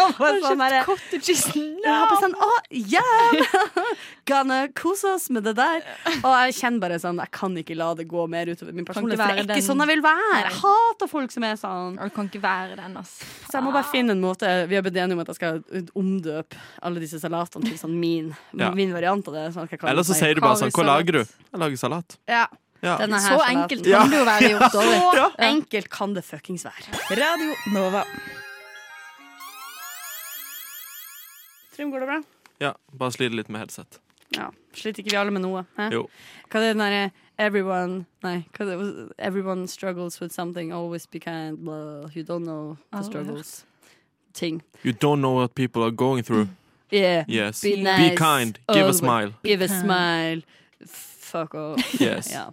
Speaker 5: Og bare sånn bare, Jeg har bare sånn Å, yeah! Gonna kose oss med det der. Og jeg kjenner bare sånn Jeg kan ikke la det gå mer utover min
Speaker 6: Kan
Speaker 5: personlighet. For
Speaker 6: ikke
Speaker 5: det
Speaker 6: være
Speaker 5: er ikke
Speaker 6: den-
Speaker 5: sånn jeg vil være. Jeg hater folk som er sånn.
Speaker 6: Og du kan ikke være den, altså.
Speaker 5: Så jeg må bare finne en måte Vi har blitt enige om at jeg skal omdøpe alle disse salatene til sånn min,
Speaker 1: Ja.
Speaker 5: min variant av det. Sånn at jeg
Speaker 1: Eller så sier du bare sånn Hva lager du? Jeg lager salat.
Speaker 5: ja.
Speaker 1: Ja.
Speaker 5: Denne her
Speaker 6: Så
Speaker 5: salaten.
Speaker 6: enkelt
Speaker 1: Ja.
Speaker 6: kan det jo være gjort over.
Speaker 5: Så
Speaker 1: Ja.
Speaker 5: enkelt kan det fuckings være.
Speaker 9: Radio Nova.
Speaker 5: Trym, går det bra?
Speaker 1: Ja, bare sliter litt med headset.
Speaker 5: Ja. Sliter ikke vi alle med noe? Hæ?
Speaker 1: Jo.
Speaker 5: Hva er det den derre Everyone Nei, hva er det, everyone struggles with something, always be kind, blah, you don't know the
Speaker 6: Aldri
Speaker 5: struggles. Ting.
Speaker 1: You don't know what people are going through.
Speaker 5: Yeah.
Speaker 1: Yes.
Speaker 5: Mm.
Speaker 1: Be,
Speaker 5: Be nice. Oh
Speaker 1: kind. Give a
Speaker 5: Always.
Speaker 1: smile.
Speaker 5: Give a smile. Fuck off.
Speaker 1: Yes.
Speaker 5: Ja.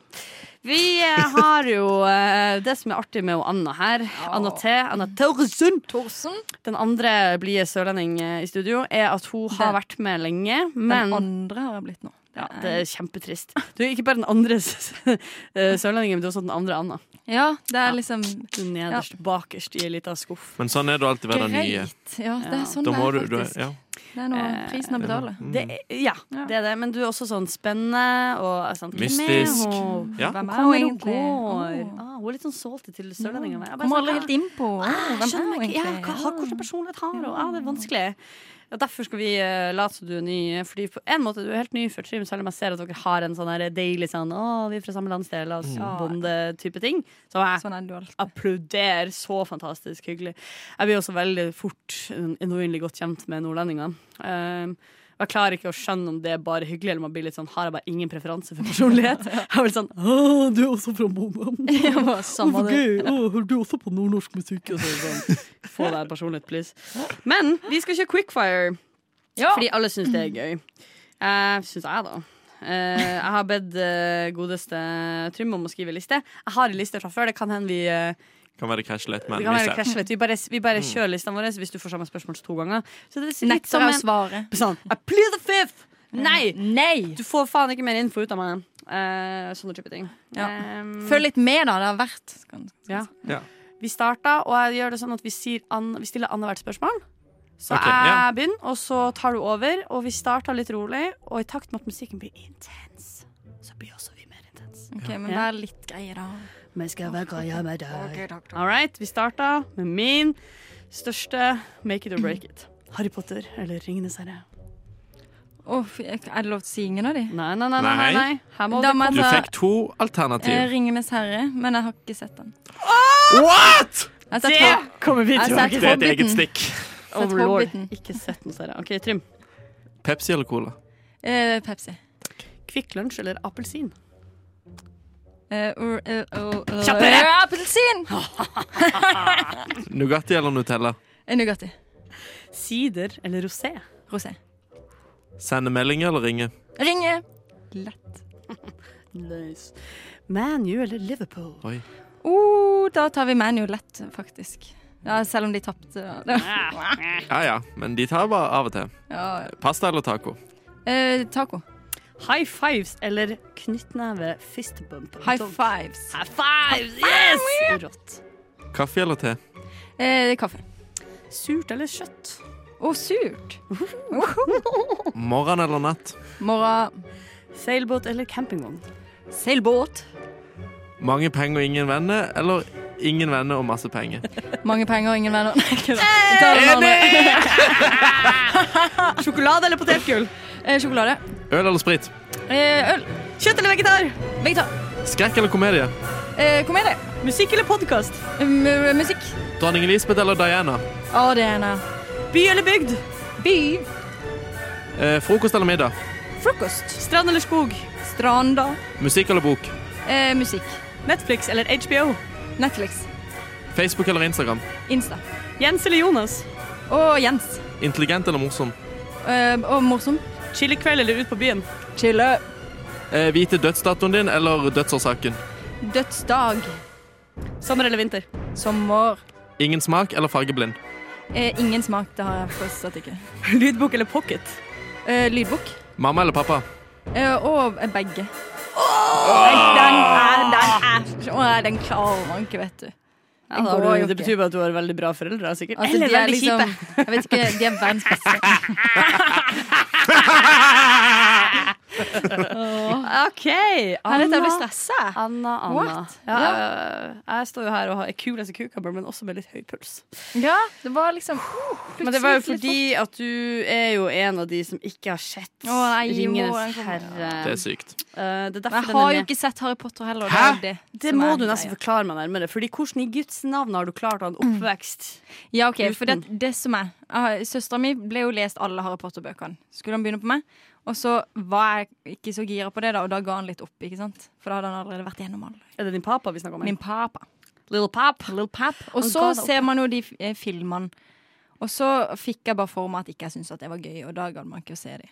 Speaker 5: Vi eh, har jo eh, det som er artig med hun Anna her. Anna T. Anna Tørresund.
Speaker 6: Thorsen.
Speaker 5: Den andre blide sørlending eh, i studio er at hun har
Speaker 6: Den-
Speaker 5: vært med lenge,
Speaker 6: Den
Speaker 5: men
Speaker 6: andre har jeg blitt nå. Eh,
Speaker 5: ja, det er kjempetrist. Du er ikke bare den andre s- eh, sørlendingen, men du er også den andre Anna.
Speaker 6: Ja, det er liksom
Speaker 5: Du er nederst bakerst i ei lita skuff.
Speaker 1: Men sånn er det alltid ved den nye.
Speaker 6: greit. Ja, Eh, det
Speaker 5: Ja.
Speaker 6: er sånn
Speaker 1: Da må du,
Speaker 6: det er,
Speaker 1: du
Speaker 6: faktisk.
Speaker 1: ja. sånn.
Speaker 6: Det er noe prisen å betale.
Speaker 1: Mm.
Speaker 5: Det er, ja,
Speaker 6: Ja.
Speaker 5: det er det. Men du er også sånn spennende og eh, sånn, hvem er
Speaker 1: Mystisk.
Speaker 5: hun?
Speaker 1: Ja.
Speaker 6: Hvem er
Speaker 5: Hvor
Speaker 6: hun
Speaker 5: er hun
Speaker 6: egentlig?
Speaker 5: går?
Speaker 6: Åh.
Speaker 5: Ah, hun er litt sånn salty til sørlendingene. Jeg bare
Speaker 6: Kommer
Speaker 5: sånn,
Speaker 6: aldri
Speaker 5: ah.
Speaker 6: helt inn på Åh,
Speaker 5: Jeg
Speaker 6: hvem er
Speaker 5: skjønner
Speaker 6: hun
Speaker 5: meg ikke. Ja, hva, har,
Speaker 6: egentlig.
Speaker 5: hvordan personlighet har hun? Ja, det er vanskelig. Ja, derfor skal vi eh, late som du er ny. eh, Fordi på en måte du er helt ny for Trym, selv om jeg ser at dere har en sånn her deilig sånn Å, vi er fra samme landsdel, la oss bonde-type ting. Så jeg
Speaker 6: Sånn er du alltid.
Speaker 5: applauderer. Så fantastisk hyggelig. Jeg blir også veldig fort en- enormt godt kjent med nordlendinger. Um, og jeg klarer ikke å skjønne om det er bare hyggelig, eller om jeg blir litt sånn Har jeg bare ingen preferanse for personlighet? Jeg blir sånn Å, du er også fra Bodø.
Speaker 6: Ja, bare samme det.
Speaker 5: Hører du også på nordnorsk musikk? sånn, Få deg personlighet, please. Men vi skal kjøre quickfire,
Speaker 6: Ja.
Speaker 5: fordi alle syns det er gøy. Uh, syns jeg, da. Eh, jeg har bedt eh, godeste Trym om å skrive liste. Jeg har en liste fra før. Det kan hende vi, eh,
Speaker 1: Kan være crash lett, men
Speaker 5: det kan være
Speaker 1: vi ser. Mm.
Speaker 5: krasjlet. Vi bare, vi bare kjører listene våre hvis du får samme spørsmål to ganger. Så det er litt
Speaker 6: Nekter
Speaker 5: som
Speaker 6: jeg å
Speaker 5: en
Speaker 6: svare.
Speaker 5: sånn, I plead the fifth! Nei!
Speaker 6: Nei!
Speaker 5: Du får faen ikke mer info ut av meg. Eh, sånne type ting.
Speaker 6: Ja.
Speaker 5: Eh,
Speaker 6: Følg litt med, da. Det har vært Skal-
Speaker 5: Ja.
Speaker 1: Ja.
Speaker 5: Vi starta, og jeg gjør det sånn at vi, sier an, vi stiller annethvert spørsmål. Så
Speaker 1: Ok,
Speaker 5: jeg
Speaker 1: ja.
Speaker 5: begynner, og så tar du over. Og vi starter litt rolig, og i takt med at musikken blir intens, så blir også vi mer intens.
Speaker 6: Ok, men vær litt greie, da.
Speaker 5: Vi skal være greia med deg.
Speaker 6: Ok, takk, takk.
Speaker 5: All right, vi starta med min største make it or break it. Harry Potter eller Ringenes herre?
Speaker 6: Åh, fy, jeg- er det lov til å si ingen av de?
Speaker 5: Nei, nei, nei. nei, nei,
Speaker 1: Nei.
Speaker 5: nei. Her må
Speaker 6: Da
Speaker 5: det
Speaker 6: må jeg
Speaker 1: Du
Speaker 5: komme
Speaker 6: ta-
Speaker 1: fikk to
Speaker 6: Eh,
Speaker 1: alternativ.
Speaker 6: Ringenes herre, men jeg har ikke sett den.
Speaker 1: What?!
Speaker 6: Jeg har sett
Speaker 5: Det
Speaker 6: Hob-
Speaker 5: kommer vi
Speaker 6: Jeg har
Speaker 5: tilbake
Speaker 6: sett
Speaker 5: til.
Speaker 1: Det er et
Speaker 6: Hobbiten.
Speaker 1: eget stikk.
Speaker 6: sett
Speaker 5: Overlord.
Speaker 6: Hobbiten.
Speaker 5: Ikke sett den serien. OK, Trym.
Speaker 1: Pepsi eller Cola?
Speaker 6: eh, Pepsi.
Speaker 5: Kvikk Lunsj eller appelsin?
Speaker 6: Eh, or- eh, oh, oh,
Speaker 5: Kjappere!
Speaker 6: eh, Appelsin!
Speaker 1: Nugatti eller Nutella?
Speaker 6: Eh, Nugatti.
Speaker 5: Sider eller rosé?
Speaker 6: Rosé.
Speaker 1: Sende meldinger eller ringe?
Speaker 6: Ringe. Lett.
Speaker 5: Nice. ManU eller Liverpool?
Speaker 1: Oi.
Speaker 6: Oh, da tar vi ManU lett, faktisk. Ja, selv om de tapte. da. Det var-
Speaker 1: Ja ja, men de tar bare av og til.
Speaker 6: Ja, ja.
Speaker 1: Pasta eller taco?
Speaker 6: Eh, taco.
Speaker 5: High fives eller knyttneve fist bump?
Speaker 6: High fives.
Speaker 5: High fives, yes! Rått.
Speaker 1: Kaffe eller te?
Speaker 6: Eh, kaffe.
Speaker 5: Surt eller kjøtt?
Speaker 6: Å, surt.
Speaker 1: Morgen eller natt?
Speaker 6: Morgen.
Speaker 5: Seilbåt eller campingvogn?
Speaker 6: Seilbåt.
Speaker 1: Mange penger og ingen venner, eller ingen venner og masse penger?
Speaker 6: Mange penger, ingen venner. Nei, ikke da. Vi tar den andre.
Speaker 5: Sjokolade eller potetgull?
Speaker 6: Eh, Sjokolade.
Speaker 1: Øl eller sprit?
Speaker 6: Eh, Øl.
Speaker 5: Kjøtt eller vegetar?
Speaker 6: Vegetar.
Speaker 1: Skrekk eller komedie?
Speaker 6: Eh, Komedie.
Speaker 5: Musikk eller podkast?
Speaker 6: M- eh, Musikk.
Speaker 1: Dronning Elisabeth eller Diana?
Speaker 6: Å, det er en
Speaker 5: By eller bygd?
Speaker 6: by.
Speaker 1: Eh, frokost eller middag?
Speaker 6: Frokost.
Speaker 5: Strand eller skog?
Speaker 6: Stranda.
Speaker 1: Musikk eller bok?
Speaker 6: Eh, Musikk.
Speaker 5: Netflix eller HBO?
Speaker 6: Netflix.
Speaker 1: Facebook eller Instagram?
Speaker 6: Insta.
Speaker 5: Jens eller Jonas?
Speaker 6: Og Jens.
Speaker 1: Intelligent eller morsom?
Speaker 6: Å, eh, og morsom.
Speaker 5: Chillekveld eller ut på byen?
Speaker 6: Chille.
Speaker 1: Eh, vite dødsdatoen din eller dødsårsaken.
Speaker 6: Dødsdag.
Speaker 5: Sommer eller vinter?
Speaker 6: Sommer.
Speaker 1: Ingen smak eller fargeblind.
Speaker 6: Eh, ingen smak, det har jeg fortsatt ikke.
Speaker 5: Lydbok eller pocket?
Speaker 6: Eh, lydbok.
Speaker 1: Mamma eller pappa.
Speaker 6: Eh, og begge. Nei, Den er, den er Å, nei, Den klarer man ikke, vet du.
Speaker 5: Ja,
Speaker 6: Den
Speaker 5: da, har
Speaker 6: går jo
Speaker 5: du, det
Speaker 6: ikke.
Speaker 5: betyr bare at du har veldig bra foreldre, sikkert.
Speaker 6: Altså,
Speaker 5: eller
Speaker 6: de er
Speaker 5: veldig
Speaker 6: liksom-
Speaker 5: kjipe.
Speaker 6: Jeg vet ikke, de er verdens beste.
Speaker 5: OK.
Speaker 6: Her vet jeg blir
Speaker 5: Anna,
Speaker 6: stressa.
Speaker 5: Anna, Anna.
Speaker 6: What?
Speaker 5: Ja, eh, jeg står jo her og har- er kul as a cucumber, men også med litt høy puls.
Speaker 6: Ja, det var liksom uh,
Speaker 5: Men det var jo
Speaker 6: plutselig
Speaker 5: fordi at du er jo en av de som ikke har sett
Speaker 6: Å, nei, jo, den
Speaker 5: Ringenes
Speaker 6: kommer.
Speaker 5: herre.
Speaker 1: Det er sykt.
Speaker 5: Eh, det er
Speaker 6: fort- Men
Speaker 5: derfor
Speaker 6: Jeg
Speaker 5: den
Speaker 6: har
Speaker 5: er
Speaker 6: jo
Speaker 5: med.
Speaker 6: ikke sett Harry Potter heller.
Speaker 1: Hæ?
Speaker 6: Det, er jo det
Speaker 5: Det
Speaker 6: som
Speaker 5: må
Speaker 6: er
Speaker 5: du nesten
Speaker 6: greia.
Speaker 5: forklare meg nærmere. Fordi hvordan i Guds navn har du klart å ha en oppvekst?
Speaker 6: Ja, ok, for det,
Speaker 5: Uten.
Speaker 6: det som er ah, Søstera mi ble jo lest alle Harry Potter-bøkene. Skulle han begynne på meg? Og så var jeg ikke så gira på det, da og da ga han litt opp. ikke sant? For da hadde han allerede vært gjennom alle.
Speaker 5: Er det din pappa vi snakker om? her?
Speaker 6: Min papa.
Speaker 5: Little pap. Oh
Speaker 6: Little Pap. Og
Speaker 5: Han
Speaker 6: så
Speaker 5: ga det opp.
Speaker 6: ser man jo de f- eh, filmene. Og så fikk jeg bare for meg at ikke jeg syntes at det var gøy, og da gadd man ikke å se de.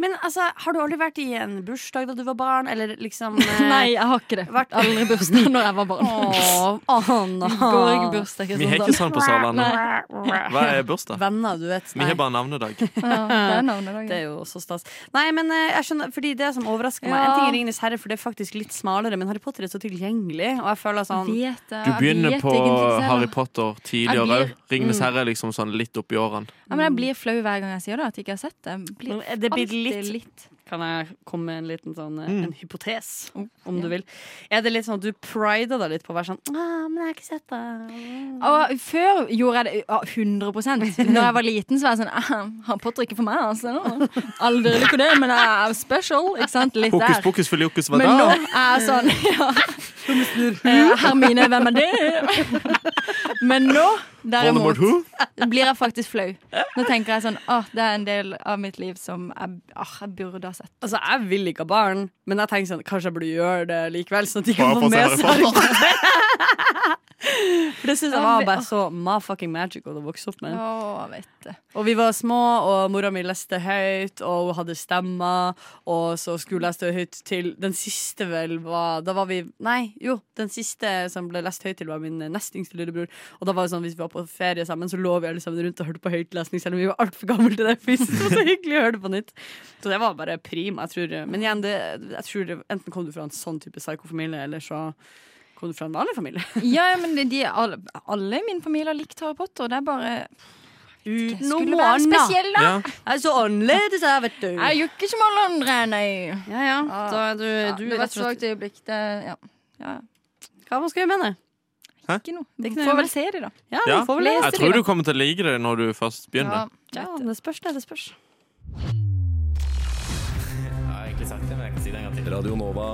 Speaker 5: Men altså, har du aldri vært i en bursdag da du var barn, eller liksom eh,
Speaker 6: Nei, jeg har ikke det.
Speaker 5: vært-
Speaker 6: aldri bursdag når jeg var barn.
Speaker 5: Åh, Anna.
Speaker 6: Går ikke bursdag,
Speaker 1: Vi har ikke sånn på Sørlandet. Hva er bursdag?
Speaker 5: Venner, du vet.
Speaker 1: Vi har bare navnedag.
Speaker 6: Ja, det er navnedagen.
Speaker 5: Det er jo så stas. Nei, men eh, jeg skjønner Fordi det som overrasker meg
Speaker 6: Ja.
Speaker 5: En ting er Ringenes herre, for det er faktisk litt smalere, men Harry Potter er så tilgjengelig, og jeg føler sånn
Speaker 6: Vet
Speaker 1: Du
Speaker 6: jeg, jeg
Speaker 1: begynner
Speaker 6: vet
Speaker 1: på
Speaker 6: egentlig ikke selv.
Speaker 1: Harry Potter
Speaker 6: Jeg
Speaker 1: tidligere òg.
Speaker 6: blir-
Speaker 1: Ringenes herre er liksom sånn litt oppi årene.
Speaker 6: Ja, men jeg blir flau hver gang jeg sier det, at jeg ikke har sett det. Jeg Blir
Speaker 5: Men det blir
Speaker 6: alltid
Speaker 5: litt- Kan jeg komme med en liten sånn eh, En hypotes, om
Speaker 6: ja.
Speaker 5: du vil? Er det litt sånn at du prider deg litt på å være sånn ah, men jeg har ikke sett det. Mm.
Speaker 6: Og før gjorde jeg det ja, 100 Når jeg var liten, så var jeg sånn «Ah, Harry Potter er ikke for meg, altså. Aldri lykke det, men jeg er special. Ikke sant? Litt
Speaker 1: Hokus
Speaker 6: der.
Speaker 1: pokus filiokus var
Speaker 6: Men nå
Speaker 1: da.
Speaker 6: er jeg sånn ja. Eh, Hermine, hvem er det? Men nå,
Speaker 1: Voldemort
Speaker 6: derimot,
Speaker 1: who?
Speaker 6: blir jeg faktisk flau. Nå tenker jeg sånn ah, Det er en del av mitt liv som jeg, ah, jeg burde ha sett.
Speaker 5: Altså, jeg vil ikke ha barn, men jeg tenker sånn Kanskje jeg burde gjøre det likevel, sånn at de kan
Speaker 1: Bare for å
Speaker 5: få
Speaker 1: se
Speaker 5: med
Speaker 1: Harry
Speaker 5: seg
Speaker 1: Potter.
Speaker 5: For det syns jeg var bare så ma fucking magical å vokse opp med.
Speaker 6: Å, vet du.
Speaker 5: Og vi var små, og mora mi leste høyt, og hun hadde stemmer. Og så skulle jeg stå høyt til Den siste vel var Da var vi Nei, jo. Den siste som ble lest høyt til, var min nest yngste lillebror. Og da var det sånn hvis vi var på ferie sammen, så lå vi alle sammen rundt og hørte på høytlesning, selv om vi var altfor gamle til det. for Vi syntes det var så hyggelig å høre det på nytt. Så det var bare prima. Jeg tror, men igjen, det, jeg tror det, enten kom du fra en sånn type psykofamilie, eller så kom du fra en vanlig familie.
Speaker 6: Ja, ja, men de, de, alle, alle i min familie har likt Harry Potter. Det er bare jeg Skulle
Speaker 5: noe
Speaker 6: være
Speaker 5: annet.
Speaker 6: spesiell, da.
Speaker 1: Ja.
Speaker 5: Jeg er så annerledes, jeg, vet du.
Speaker 6: Jeg gjør ikke som alle andre, nei.
Speaker 5: Ja, Ah. ja. Da er du,
Speaker 6: Ja,
Speaker 5: du
Speaker 6: det
Speaker 5: er rett
Speaker 6: var et
Speaker 5: og slett
Speaker 6: svakt øyeblikk. Det, ja. Ja,
Speaker 5: Hva man skal gjøre med det?
Speaker 6: ikke noe.
Speaker 5: Det er ikke noe
Speaker 6: Får
Speaker 5: med.
Speaker 6: vel se de, da.
Speaker 5: Ja,
Speaker 1: Ja.
Speaker 5: vi får vel
Speaker 6: Les
Speaker 5: lese
Speaker 1: Jeg
Speaker 5: det.
Speaker 1: tror du kommer til å like det når du først
Speaker 6: Ja,
Speaker 1: begynner.
Speaker 5: Ja,
Speaker 6: vet du.
Speaker 5: det spørs, det. det spørs.
Speaker 8: Radio Nova.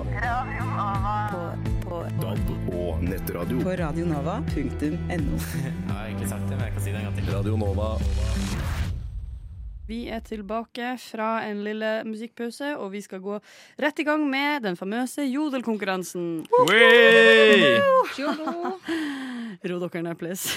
Speaker 8: DAB og nettradio.
Speaker 9: På radionova.no.
Speaker 8: Radio Nova.
Speaker 5: Vi er tilbake fra en lille musikkpause, og vi skal gå rett i gang med den famøse jodelkonkurransen.
Speaker 1: Wey!
Speaker 5: Ro dere ned, please.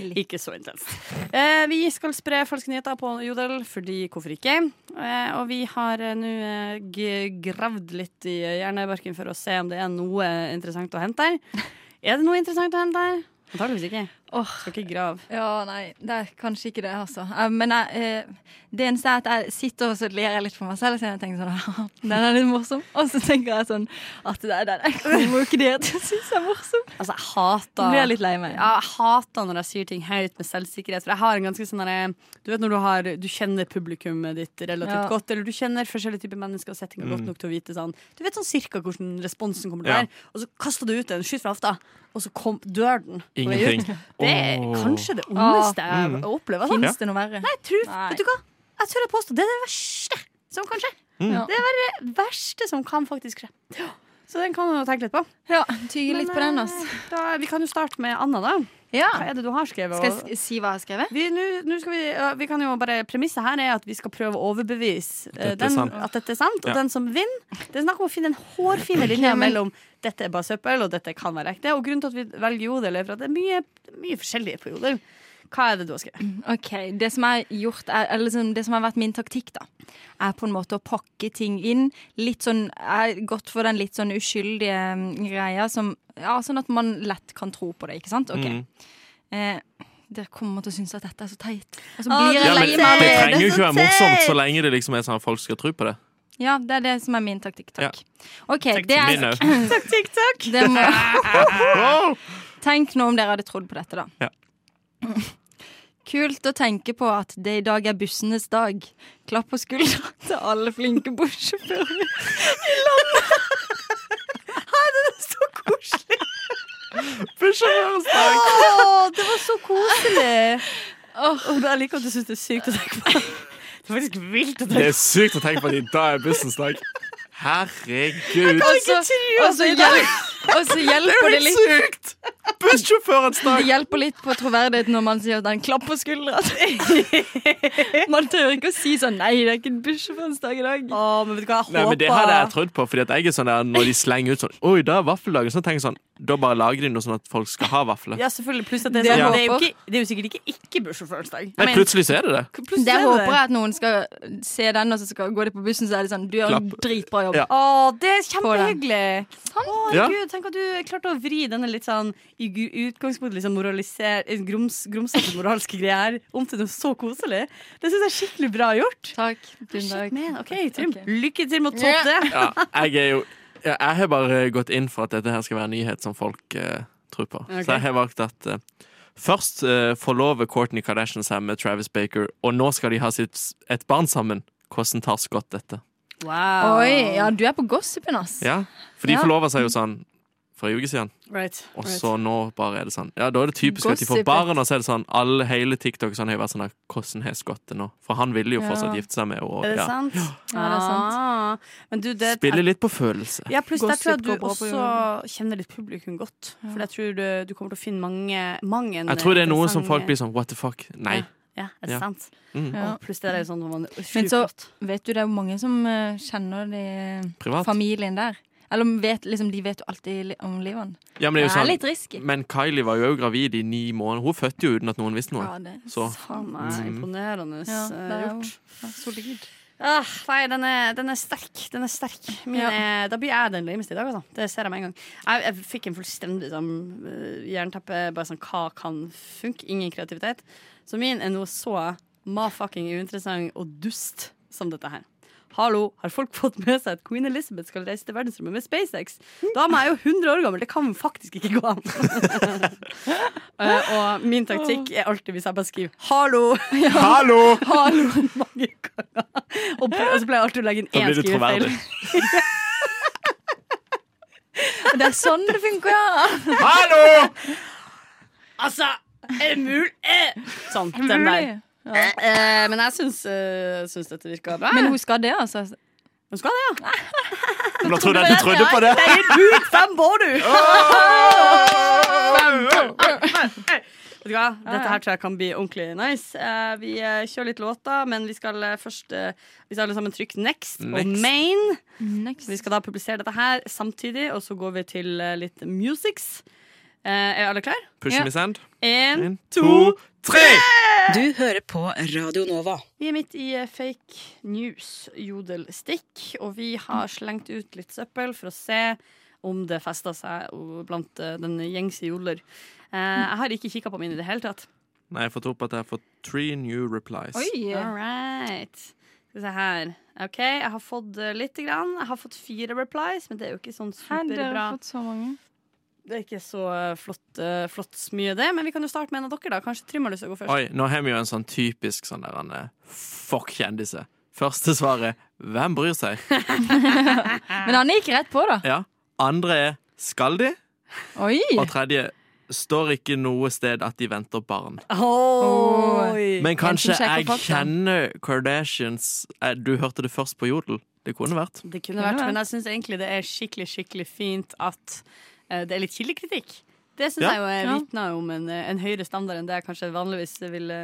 Speaker 6: Litt.
Speaker 5: ikke så intenst. Eh, vi skal spre falske nyheter på Jodel, fordi hvorfor ikke? Eh, og vi har eh, nå eh, g- gravd litt i eh, hjernebarken for å se om det er noe interessant å hente her. Er det noe interessant å hente her? Antakeligvis ikke.
Speaker 6: Åh.
Speaker 5: Skal ikke grave.
Speaker 6: Ja, nei, det er kanskje ikke det, altså. Eh, Men jeg, eh, det eneste er at jeg sitter og så ler jeg litt for meg selv, så jeg tenker sånn Den er litt morsom. Og så tenker jeg sånn at det der, der kommer jo ikke dere til å synes er morsom.
Speaker 5: Altså, jeg hater
Speaker 6: Da blir jeg litt lei meg.
Speaker 5: Ja, jeg hater når jeg sier ting høyt med selvsikkerhet. For jeg har en ganske sånn derre- Du vet når du har Du kjenner publikummet ditt relativt
Speaker 6: Ja.
Speaker 5: godt, eller du kjenner forskjellige typer mennesker og settinger godt nok til å vite sånn Du vet sånn cirka hvordan responsen kommer til å
Speaker 1: Mm. Ja.
Speaker 5: være, og så kaster du ut en skyt fra hofta, og så kom, dør den. på vei
Speaker 1: Ingenting.
Speaker 5: ut. Det er
Speaker 1: Åh. Mm.
Speaker 5: kanskje det ondeste jeg opplever. Sånn.
Speaker 1: Ja.
Speaker 6: Fins det noe verre?
Speaker 5: Jeg tror,
Speaker 6: Ah. Nei.
Speaker 5: vet du hva? Jeg tør jeg påstå det er det verste som kan skje.
Speaker 1: Mm.
Speaker 6: Ja.
Speaker 5: Det er det verste som kan faktisk skje. Så den kan man jo tenke litt på.
Speaker 6: Ja, tygge litt
Speaker 5: Men,
Speaker 6: på den,
Speaker 5: eh,
Speaker 6: altså.
Speaker 5: Da, vi kan jo starte med Anna, da.
Speaker 6: Ja.
Speaker 5: Hva er det du har skrevet?
Speaker 6: Skal jeg
Speaker 5: og-
Speaker 6: s- si hva jeg har skrevet?
Speaker 5: vi, nå- nå skal vi, ja, vi kan jo bare Premisset her er at vi skal prøve å overbevise eh,
Speaker 1: At dette er
Speaker 5: den,
Speaker 1: sant.
Speaker 5: at dette er sant.
Speaker 1: Ja.
Speaker 5: Og den som vinner Det er snakk om å finne en hårfin linje
Speaker 6: Ja, men-
Speaker 5: mellom dette er bare søppel, og dette kan være ekte. Og grunnen til at vi velger jodel, er for at det er mye, mye forskjellig på jodel. Hva er det du har skrevet?
Speaker 6: Ok, det som, jeg har gjort er, eller liksom, det som har vært min taktikk, da, er på en måte å pakke ting inn. Litt sånn, jeg har gått for den litt sånn uskyldige mm, greia, som, ja, sånn at man lett kan tro på det. ikke sant? Ok.
Speaker 1: Mm.
Speaker 6: Eh, dere kommer til å synes at dette er så teit. Og så
Speaker 5: Å,
Speaker 6: blir
Speaker 1: Ja,
Speaker 6: jeg
Speaker 5: det er
Speaker 1: men
Speaker 6: lei
Speaker 1: det
Speaker 5: lei meg.
Speaker 6: meg.
Speaker 1: trenger jo ikke være
Speaker 5: Det er så
Speaker 1: morsomt så
Speaker 5: teit.
Speaker 1: lenge det liksom er sånn at folk skal tro på det.
Speaker 6: Ja, det er det som er min taktikk. Takk. Ok, det
Speaker 1: Min
Speaker 6: er,
Speaker 1: òg.
Speaker 6: det må, tenk nå om dere hadde trodd på dette, da.
Speaker 1: Ja.
Speaker 6: Kult å tenke på at det i dag er bussenes dag. Klapp på skuldra til alle flinke bussjåfører i landet. Hæ, det er så koselig!
Speaker 5: det var så koselig! Jeg liker at du syns det er sykt å tenke på. Det er faktisk vilt å
Speaker 1: Det er sykt å tenke på at i dag er bussens dag. Herregud.
Speaker 6: Og så- og så hjel- og så hjelper det litt
Speaker 1: Sykt! Bussjåførens
Speaker 6: Det
Speaker 1: dag.
Speaker 6: hjelper litt på troverdigheten når man sier at den klapper skuldra. Man tør ikke å si sånn Nei, det er ikke bussjåførens dag i dag.
Speaker 5: Å, men vet du hva, jeg
Speaker 1: Nei,
Speaker 5: håper
Speaker 1: men Det hadde jeg trodd på. Fordi at jeg er sånn der, Når de slenger ut sånn Oi, da er vaffeldagen. Så tenker jeg sånn Da bare lager de noe sånn at folk skal ha vafler.
Speaker 5: Ja, selvfølgelig. Pluss at det,
Speaker 6: Det
Speaker 5: er sånn,
Speaker 6: jeg
Speaker 5: det, er jo
Speaker 6: håper.
Speaker 5: ikke, det er jo sikkert ikke ikke bussjåførens dag.
Speaker 1: Nei, plutselig så er det det.
Speaker 5: Plutselig
Speaker 6: Det
Speaker 5: er
Speaker 6: håper jeg at noen skal se den, og så skal gå de på bussen, så er det sånn Du gjør en
Speaker 1: Klapp.
Speaker 6: dritbra jobb.
Speaker 1: Ja.
Speaker 5: Å, det er
Speaker 6: På den.
Speaker 5: kjempehyggelig! Å,
Speaker 1: Ja.
Speaker 5: herregud, tenk at du klarte å vri denne litt sånn i gu- utgangspunktet liksom moralisere eh, grums, grumsete moralske greier om til noe så koselig. Det syns jeg er skikkelig bra gjort.
Speaker 6: Takk.
Speaker 5: Shit,
Speaker 6: Tusen
Speaker 5: man.
Speaker 6: takk.
Speaker 5: OK, Trym.
Speaker 6: Ok.
Speaker 5: Lykke til med å toppe det.
Speaker 1: Ja, jeg er jo ja, Jeg har bare gått inn for at dette her skal være en nyhet som folk eh, tror på.
Speaker 5: Ok.
Speaker 1: Så jeg har valgt at eh, først eh, forlover Kourtney Kardashian seg med Travis Baker, og nå skal de ha sitt, et barn sammen. Hvordan tar Scott dette?
Speaker 5: Wow.
Speaker 6: Oi, ja, du er på gossipen, ass.
Speaker 1: Ja, For de
Speaker 6: Ja.
Speaker 1: forlover seg jo sånn for ei uke siden,
Speaker 5: Right.
Speaker 1: og
Speaker 5: right.
Speaker 1: så nå bare er det sånn. Ja, Da er det typisk at de får
Speaker 6: Gossipet.
Speaker 1: barn, og så er det sånn alle hele TikTok sånn, har jo vært sånn Hvordan har Scott det nå? For han ville jo
Speaker 6: Ja.
Speaker 1: fortsatt gifte seg med og
Speaker 5: Er det
Speaker 1: ja,
Speaker 5: sant?
Speaker 6: Ja, det er sant.
Speaker 5: Ah, men du, det
Speaker 1: spille litt på følelse.
Speaker 5: Ja, pluss der tror jeg
Speaker 6: Gossip
Speaker 5: du
Speaker 6: går bra på
Speaker 5: også kjenner ditt publikum godt. For jeg tror du, du kommer til å finne mange, mange
Speaker 1: Jeg tror det er noe som
Speaker 5: interessante-
Speaker 1: folk blir sånn what the fuck? Nei.
Speaker 5: Ja, er det
Speaker 1: Ja.
Speaker 5: sant?
Speaker 1: Mm.
Speaker 6: Ja.
Speaker 5: Og pluss det der er jo sånn når man
Speaker 6: Men
Speaker 5: sjukt
Speaker 6: så
Speaker 5: godt.
Speaker 6: vet du det er jo mange som eh, kjenner de
Speaker 1: Privat.
Speaker 6: familien der. Eller vet, liksom, de vet jo alltid li- om livet.
Speaker 1: Ja, men det
Speaker 6: Det
Speaker 1: er jo
Speaker 6: er
Speaker 1: sånn
Speaker 6: litt risky.
Speaker 1: Men Kylie var jo også gravid i ni måneder. Hun fødte jo uten at noen visste noe.
Speaker 6: Ja, det er
Speaker 1: Så.
Speaker 5: Faen
Speaker 6: sant.
Speaker 5: meg
Speaker 1: Mm.
Speaker 5: imponerende
Speaker 6: Ja,
Speaker 5: eh,
Speaker 6: det er jo
Speaker 5: gjort.
Speaker 6: ja, solid.
Speaker 5: Ah, nei, den er, den er sterk. Den er sterk. Min
Speaker 6: Ja.
Speaker 5: er, da blir jeg den lameste i dag, altså. Det ser jeg med en gang. Jeg, jeg fikk en fullstendig sånn, eh, jernteppe. Bare sånn hva kan funke? Ingen kreativitet. Så min er noe så ma-fucking uinteressant og dust som dette her. Hallo, har folk fått med seg at Queen Elizabeth skal reise til verdensrommet med SpaceX? Dama er jo 100 år gammel, det kan faktisk ikke gå an. Eh, og min taktikk er alltid hvis jeg bare skriver 'hallo'.
Speaker 1: Hallo!
Speaker 5: Hallo mange ganger. Og, pl- og så pleier jeg alltid å legge inn
Speaker 1: Da
Speaker 5: én
Speaker 1: blir du
Speaker 5: skrivefeil.
Speaker 1: troverdig.
Speaker 6: Det er sånn det funker, ja!
Speaker 1: Hallo!
Speaker 5: Altså, er det mulig? Eh, Sånn, den der.
Speaker 6: Mulig.
Speaker 5: Eh, men jeg syns, eh, syns dette virka bra.
Speaker 6: Men hun skal det, altså.
Speaker 5: Hun skal det, ja.
Speaker 1: Men da trodde jeg at du trodde på det.
Speaker 5: Det er bud fem år, du! Vet du hva? Dette her tror jeg kan bli ordentlig nice. Eh, vi eh, kjører litt låter, men vi skal eh, først eh, Vi skal alle sammen trykke next,
Speaker 1: Next.
Speaker 5: og main.
Speaker 6: Next.
Speaker 5: Vi skal da publisere dette her samtidig, og så går vi til eh, litt musics. Eh, er alle klare?
Speaker 1: Push me send.
Speaker 5: Én,
Speaker 1: En, to, tre!
Speaker 9: Du hører på Radio Nova.
Speaker 5: Vi er midt i eh, fake news, jodelstikk, og vi har slengt ut litt søppel for å se om det fester seg o- blant eh, den gjengse jodler. Eh, jeg har ikke kikka på mine i det hele tatt.
Speaker 1: Nei, jeg får tro på at jeg får three new replies.
Speaker 5: All
Speaker 6: Oi!
Speaker 5: right. Skal vi se her. OK, jeg har fått eh, lite grann. Jeg har fått fire replies, men det er jo ikke sånn
Speaker 6: Her, dere
Speaker 5: superbra.
Speaker 6: har fått så mange.
Speaker 5: Det er ikke så eh, flott, eh, flott mye, det. Men vi kan jo starte med en av dere, da. Kanskje Trym har lyst til å gå først.
Speaker 1: Oi, nå har vi jo en sånn typisk sånn der Anne, Fuck kjendiser. Første svaret hvem bryr seg?
Speaker 6: Men han gikk rett på, da.
Speaker 1: Ja. Andre er skal de?
Speaker 6: Oi!
Speaker 1: Og tredje står ikke noe sted at de venter barn.
Speaker 5: Oi.
Speaker 1: Men kanskje
Speaker 6: En som sjekker
Speaker 1: jeg
Speaker 6: fakta.
Speaker 1: kjenner Kardashians eh, Du hørte det først på Jodel. Det kunne vært.
Speaker 5: Det kunne vært, men jeg syns egentlig det er skikkelig skikkelig fint at eh, det er litt kildekritikk. Det syns
Speaker 1: Ja.
Speaker 5: jeg jo er
Speaker 6: Ja.
Speaker 5: vitner om en, eh, en høyere standard enn det jeg kanskje vanligvis ville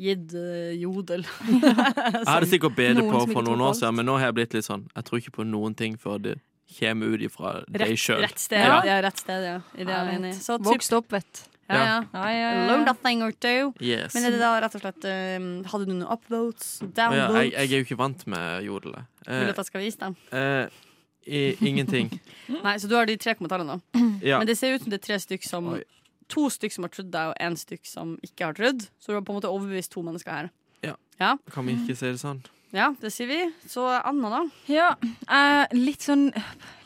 Speaker 5: gitt eh, jodel.
Speaker 1: Jeg hadde sikkert bedre
Speaker 6: noen
Speaker 1: på
Speaker 6: som ikke
Speaker 1: for noen
Speaker 6: tror på
Speaker 1: år siden, men nå har jeg blitt litt sånn Jeg tror ikke på noen ting før det kommer ut ifra deg
Speaker 5: Rett,
Speaker 1: sjøl.
Speaker 5: rett sted. Ja.
Speaker 1: Ja.
Speaker 5: rett sted, ja. I det er jeg enig i. Så typ,
Speaker 6: Vokst opp, vet
Speaker 5: Ja, ja.
Speaker 6: Ja, ja, ja.
Speaker 5: Learned a thing or two.
Speaker 1: Yes.
Speaker 5: Men er det da rett og slett eh, Hadde du noen upvotes?
Speaker 1: Å ja, jeg,
Speaker 5: Downvotes?
Speaker 1: jeg er jo ikke vant med jodelet.
Speaker 5: Vil du
Speaker 1: Eh,
Speaker 5: at jeg skal vise dem?
Speaker 1: eh, i, ingenting.
Speaker 5: Nei, Så du har de tre kommentarene, da.
Speaker 1: Mm. Ja.
Speaker 5: Men det ser ut som det er tre stykk som
Speaker 1: Oi.
Speaker 5: To stykk som har trudd deg, og én stykk som ikke har trudd. Så du har på en måte overbevist to mennesker her.
Speaker 1: Kan vi ikke si det sånn?
Speaker 5: Ja, det sier vi. Så Anna, da.
Speaker 6: Ja, jeg er litt sånn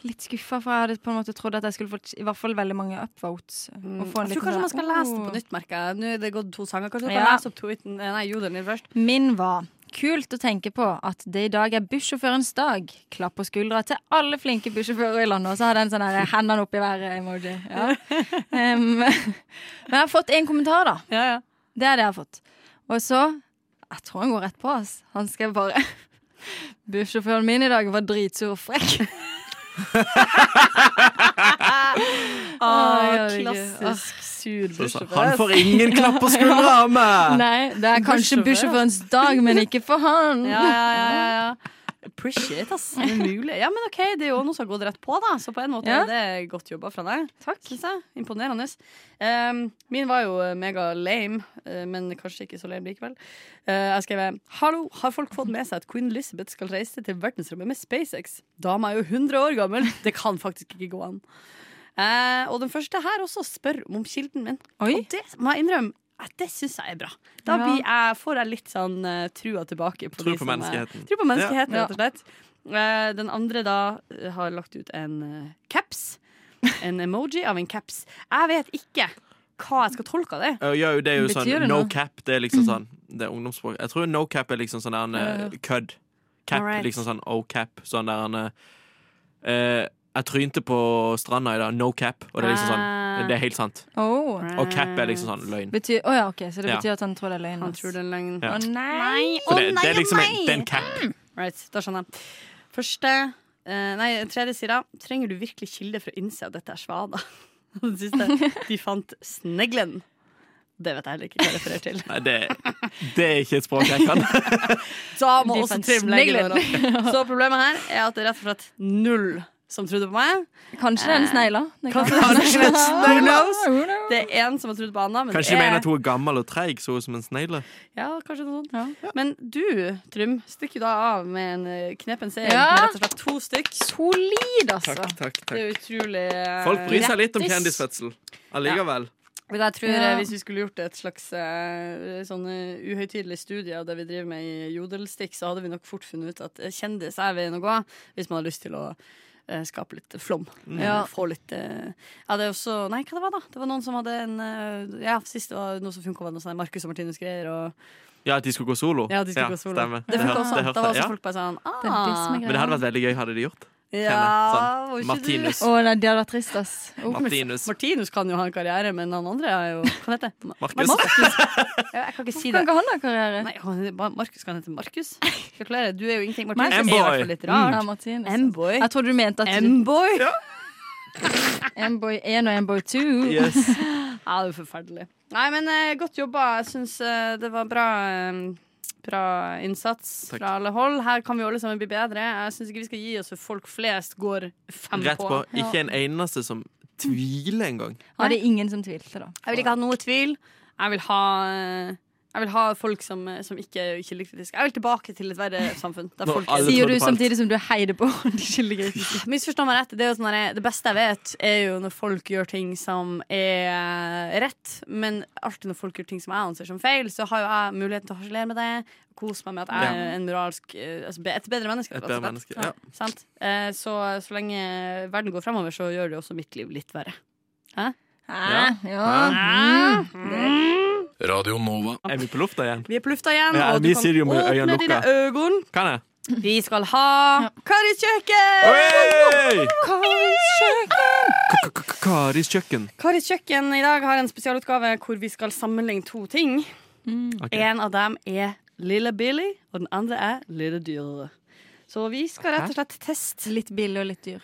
Speaker 6: Litt skuffa, for jeg hadde på en måte trodd at jeg skulle fått i hvert fall veldig mange upvotes.
Speaker 5: Jeg
Speaker 6: Og få
Speaker 5: tror
Speaker 6: en liten
Speaker 5: kanskje
Speaker 6: sånn,
Speaker 5: man skal lese det
Speaker 6: oh.
Speaker 5: på nytt, merker jeg. Nå er det gått to sanger. Kanskje du kan
Speaker 6: Ja.
Speaker 5: lese opp tweeten eh, Nei, jodelen din først.
Speaker 6: Min var Kult å tenke på at det i dag er bussjåførens dag. Klapp på skuldra til alle flinke bussjåfører i landet. Og så hadde jeg en sånn her hendene opp i været-emoji. Ja. Em, men jeg har fått en kommentar, da.
Speaker 5: Ja, ja.
Speaker 6: Det er det jeg har fått. Og så Jeg tror han går rett på oss. Han skrev bare Bussjåføren min i dag var dritsur og frekk. Å,
Speaker 5: Ah,
Speaker 6: herregud.
Speaker 5: klassisk sur
Speaker 1: Så, så.
Speaker 5: bussjåfør.
Speaker 1: Han får ingen klapp på skuldra av meg!
Speaker 6: Nei, det er kanskje
Speaker 5: Bussjåfør.
Speaker 6: bussjåførens dag, men ikke for han.
Speaker 5: Ja, ja, ja, ja, ja. Appreciate, ass. Det er mulig. Ja, men OK, det er jo noen som har gått rett på, da. Så på en måte
Speaker 6: Ja.
Speaker 5: er det godt jobba fra deg. Takk. Synes jeg. Imponerende. Um, min var jo eh, mega lame, eh, men kanskje ikke så lame likevel. Eh, jeg skrev Hallo, har folk fått med seg at Queen Elizabeth skal reise til verdensrommet med SpaceX? Dama er jo 100 år gammel. Det kan faktisk ikke gå an. Eh, og den første her også spør om kilden min.
Speaker 6: Oi.
Speaker 5: Og det må jeg innrømme at det syns jeg er bra. Da
Speaker 6: Ja.
Speaker 5: blir jeg, får jeg litt sånn eh, trua tilbake. På
Speaker 1: Tro på
Speaker 5: de som, eh,
Speaker 1: menneskeheten.
Speaker 5: Tro på menneskeheten,
Speaker 6: Ja.
Speaker 5: rett og slett. Eh, Den andre da eh, har lagt ut en eh, caps. En emoji av en caps. Jeg vet ikke hva jeg skal tolke av det.
Speaker 1: Eh,
Speaker 5: Mm.
Speaker 1: Ja, det er jo sånn
Speaker 6: Betyr det
Speaker 1: no
Speaker 6: noe?
Speaker 1: cap. Det er liksom sånn Det er ungdomsspråk. Jeg tror no cap er liksom sånn der en eh, kødd. Cap,
Speaker 5: Alright.
Speaker 1: liksom sånn oh cap. Sånn der en eh, eh, Jeg trynte på stranda i dag, no cap, og det er liksom
Speaker 5: Ah.
Speaker 1: sånn Det er helt sant.
Speaker 6: Oh.
Speaker 1: Og cap er liksom sånn løgn.
Speaker 6: Betyr, oh, ja, ok, Så det
Speaker 1: Ja.
Speaker 6: betyr at han tror det er løgn?
Speaker 5: Han
Speaker 6: ass.
Speaker 5: Eh, tror det er en løgn.
Speaker 1: Ja.
Speaker 6: Å nei!
Speaker 5: Nei,
Speaker 1: Så
Speaker 5: å
Speaker 1: det, det
Speaker 5: nei,
Speaker 1: er
Speaker 5: å
Speaker 1: liksom en,
Speaker 5: nei!
Speaker 1: det er en cap.
Speaker 5: Right, da skjønner jeg. Første eh, Nei, tredje sier da Trenger du virkelig kilde for å innse at dette er svada? Og Den siste. De fant sneglen. Det vet jeg heller ikke hva jeg refererer til.
Speaker 1: Nei, det, det er ikke et språk jeg kan.
Speaker 5: Da må
Speaker 6: De
Speaker 5: også
Speaker 6: fant
Speaker 5: Trym legge
Speaker 6: sneglen.
Speaker 5: det over. Så problemet her er at det er rett og slett null som trodde på meg.
Speaker 6: Kanskje det er en snegla. Det kan-
Speaker 1: Kanskje et
Speaker 5: Who
Speaker 1: snegle.
Speaker 5: knows? Det er én som har trodd på Anna. Men
Speaker 1: Kanskje de
Speaker 5: det
Speaker 1: mener
Speaker 5: er...
Speaker 1: at hun er gammel og treig, så hun er som en snegle.
Speaker 5: Ja, kanskje noe sånt.
Speaker 6: Ja.
Speaker 5: Men du, Trym, stikker jo da av med en eh, knepen seier
Speaker 6: Ja.
Speaker 5: med rett og slett to stykk.
Speaker 6: Solid, altså.
Speaker 1: takk,
Speaker 5: Det er utrolig eh,
Speaker 1: Folk bryr seg litt om
Speaker 5: grattis.
Speaker 1: kjendisfødsel allikevel.
Speaker 5: Men jeg tror
Speaker 6: Ja.
Speaker 5: eh, Hvis vi skulle gjort et slags eh, sånn eh, uhøytidelig studie av det vi driver med i Jodelstikk, så hadde vi nok fort funnet ut at eh, kjendis er veien å gå hvis man har lyst til å eh, skape litt flom.
Speaker 6: Ja.
Speaker 5: Eh, Få litt eh, Ja, det er også Nei, hva det var da? Det var noen som hadde en eh, Ja, sist det var noe som funka, var noe sånn Marcus og Martinus-greier. og
Speaker 1: Ja, at de skulle gå solo.
Speaker 5: Ja, de skulle gå solo.
Speaker 1: stemmer.
Speaker 5: Det
Speaker 1: hør-
Speaker 5: funka også.
Speaker 1: hørte
Speaker 5: Da var
Speaker 1: jeg,
Speaker 5: også
Speaker 1: ja.
Speaker 5: folk bare sånn
Speaker 6: Det er det som
Speaker 5: ah,
Speaker 6: er greia.
Speaker 1: Men det hadde vært veldig gøy hadde de gjort.
Speaker 5: Ja,
Speaker 1: Kjenne, sånn,
Speaker 5: var ikke
Speaker 1: Martinus.
Speaker 5: du-
Speaker 6: Å nei, det hadde vært trist, ass. Oh.
Speaker 1: Martinus.
Speaker 5: Martinus kan jo ha en karriere, men han andre er jo Hva heter det?
Speaker 1: Markus.
Speaker 5: Ja, jeg kan ikke si
Speaker 6: Kan
Speaker 5: det.
Speaker 6: ikke han ha karriere?
Speaker 5: Nei, han heter bare Markus kan hete Markus. Gratulerer. Du er jo ingenting.
Speaker 6: Markus.
Speaker 5: Martinus
Speaker 1: M-boy. Mm.
Speaker 5: er i hvert fall litt
Speaker 6: Ja,
Speaker 5: rar.
Speaker 6: Martinus.
Speaker 5: M-boy.
Speaker 6: Jeg trodde du mente at du-
Speaker 5: M-boy! Ja.
Speaker 6: M-boy 1 og M-boy 2.
Speaker 1: Yes.
Speaker 5: det er forferdelig. Nei, men eh, godt jobba. Jeg syns eh, det var bra. eh, Bra innsats
Speaker 1: Takk.
Speaker 5: fra alle hold. Her kan vi alle sammen bli bedre. Jeg syns ikke vi skal gi oss, for folk flest går fem
Speaker 1: Rett på.
Speaker 5: på.
Speaker 1: Ikke en eneste som tviler engang.
Speaker 6: Ja, det er ingen som tvilte, da.
Speaker 5: Jeg vil ikke ha noe tvil. Jeg vil ha eh, Jeg vil ha folk som, eh, som ikke er kildekritiske. Jeg vil tilbake til et verre samfunn. Der
Speaker 1: Når
Speaker 5: folk
Speaker 1: alle
Speaker 6: Sier
Speaker 1: trodde på
Speaker 6: du
Speaker 1: alt.
Speaker 6: samtidig som du heider på de skyldige?
Speaker 5: Misforstå meg rett. Det, er jo sånn der, det beste jeg vet, er jo når folk gjør ting som er eh, rett. Men alltid når folk gjør ting som jeg anser som feil, så har jo jeg muligheten til å harselere med det. Kose meg med at jeg er en moralsk eh, altså, be- Et bedre menneske.
Speaker 1: Et
Speaker 5: rett og
Speaker 1: bedre
Speaker 5: slett.
Speaker 1: menneske. Ja.
Speaker 5: Sant? Eh, Så, så lenge verden går fremover, så gjør det også mitt liv litt verre.
Speaker 1: Ja.
Speaker 6: ja.
Speaker 8: Radio Nova.
Speaker 6: Ah.
Speaker 1: Er vi på lufta igjen?
Speaker 5: Ah, Vi er på lufta igjen,
Speaker 1: Ja,
Speaker 5: og du
Speaker 1: vi
Speaker 5: kan
Speaker 1: sier jo med
Speaker 5: åpne
Speaker 1: øynene
Speaker 5: dine
Speaker 1: lukka.
Speaker 5: øyne.
Speaker 1: Kan jeg?
Speaker 5: Vi skal ha Karis kjøkken!
Speaker 1: Oi!
Speaker 5: Karis kjøkken!
Speaker 1: K- k- k- Karis kjøkken.
Speaker 5: Karis kjøkken i dag har en spesialutgave hvor vi skal sammenligne to ting.
Speaker 1: Ok.
Speaker 5: En av dem er Lille Billy, og den andre er Lille Dyr. Så vi skal rett og slett teste
Speaker 6: Litt billig og litt dyr.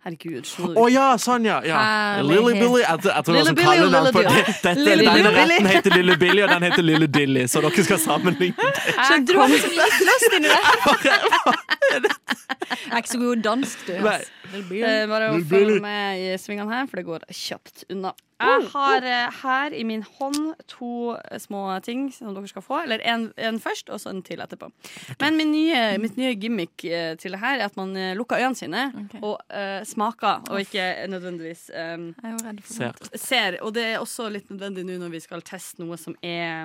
Speaker 5: Herregud, skjønner
Speaker 1: Å
Speaker 5: du?
Speaker 1: ja, sånn ja! ja.
Speaker 6: Herlighet.
Speaker 1: Lille Billy. Jeg, jeg tror det var
Speaker 5: Lille
Speaker 1: sånn
Speaker 5: Billy og
Speaker 1: kallenavn på
Speaker 5: Lille
Speaker 1: det.
Speaker 5: Dilly.
Speaker 1: Dette,
Speaker 5: Lille
Speaker 1: denne
Speaker 5: Billy.
Speaker 1: retten heter Lille Billy, og den heter Lille Dilly, så dere skal sammenligne.
Speaker 5: Jeg kom,
Speaker 1: Bare-
Speaker 6: Jeg er ikke så god i dansk, du.
Speaker 1: Nei.
Speaker 6: ass.
Speaker 5: Eh, Bare å følge med i svingene her, for det går kjapt unna. Jeg har eh, her i min hånd to eh, små ting som dere skal få. Eller en, en først, og så en til etterpå. Men min nye, mitt nye gimmick eh, til det her er at man eh, lukker øynene sine
Speaker 6: Ok.
Speaker 5: og eh, smaker, og ikke nødvendigvis eh,
Speaker 6: Jeg er jo redd for
Speaker 1: Ser.
Speaker 6: det.
Speaker 5: ser. Og det er også litt nødvendig nå når vi skal teste noe som er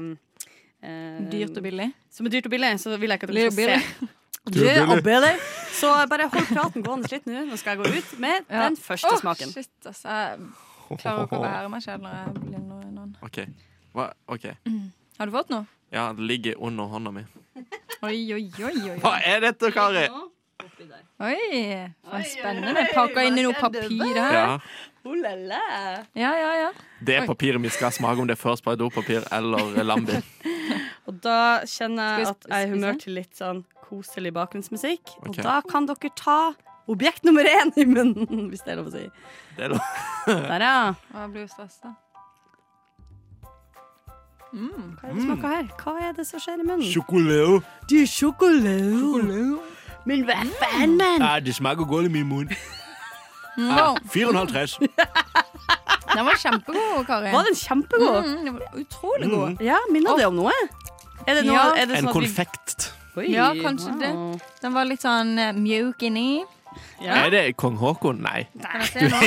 Speaker 5: eh,
Speaker 6: Dyrt og billig.
Speaker 5: Som er dyrt og billig, så vil jeg ikke at dere
Speaker 6: Dyrt og
Speaker 5: skal
Speaker 6: billig.
Speaker 5: se. Dyrt og billig. Så bare hold praten gående litt nå. Nå skal jeg gå ut med
Speaker 6: Ja.
Speaker 5: den første
Speaker 6: Åh,
Speaker 5: smaken.
Speaker 6: Shit, altså. Jeg klarer ikke å bære meg selv når jeg blir noe innan.
Speaker 1: OK. Hva? ok.
Speaker 6: Har du fått noe?
Speaker 1: Ja, det ligger under hånda mi.
Speaker 6: Oi, oi, oi. oi.
Speaker 1: Hva er dette, Kari?
Speaker 6: Oi, for spennende. Pakka inn i noe papir her.
Speaker 1: Ja.
Speaker 6: Ja, ja, ja.
Speaker 1: Det papiret vi skal smake, om det er First by dopapir eller Lambi.
Speaker 5: Og da kjenner jeg
Speaker 6: Skal
Speaker 5: at
Speaker 6: vi sp-
Speaker 5: jeg er i humør
Speaker 6: spise?
Speaker 5: til litt sånn koselig bakgrunnsmusikk. Og
Speaker 1: Ok.
Speaker 5: da kan dere ta objekt nummer én i munnen, hvis det er lov å si.
Speaker 1: Det er lov.
Speaker 5: Der, ja.
Speaker 6: Og jeg blir jo stressa.
Speaker 5: Hva er det du smaker her? Hva er det som skjer i munnen?
Speaker 1: Sjokolade.
Speaker 5: Du, sjokolade. Men hva faen,
Speaker 1: Mm.
Speaker 5: mann?
Speaker 10: Ja, det smaker godt i min munn.
Speaker 5: Mm.
Speaker 6: Wow,
Speaker 10: 4,5.
Speaker 6: den var kjempegod, Kari.
Speaker 5: Var den kjempegod?
Speaker 6: Mm, den var utrolig god.
Speaker 5: Ja, minner det om noe? Er det noe
Speaker 6: Ja.
Speaker 5: er det
Speaker 1: En
Speaker 5: sånn at vi-
Speaker 1: konfekt.
Speaker 5: Oi,
Speaker 6: Ja, kanskje det. Den var litt sånn eh, mjuk inni.
Speaker 5: Ja.
Speaker 1: Er det kong Haakon? Nei.
Speaker 6: Kan jeg se nå?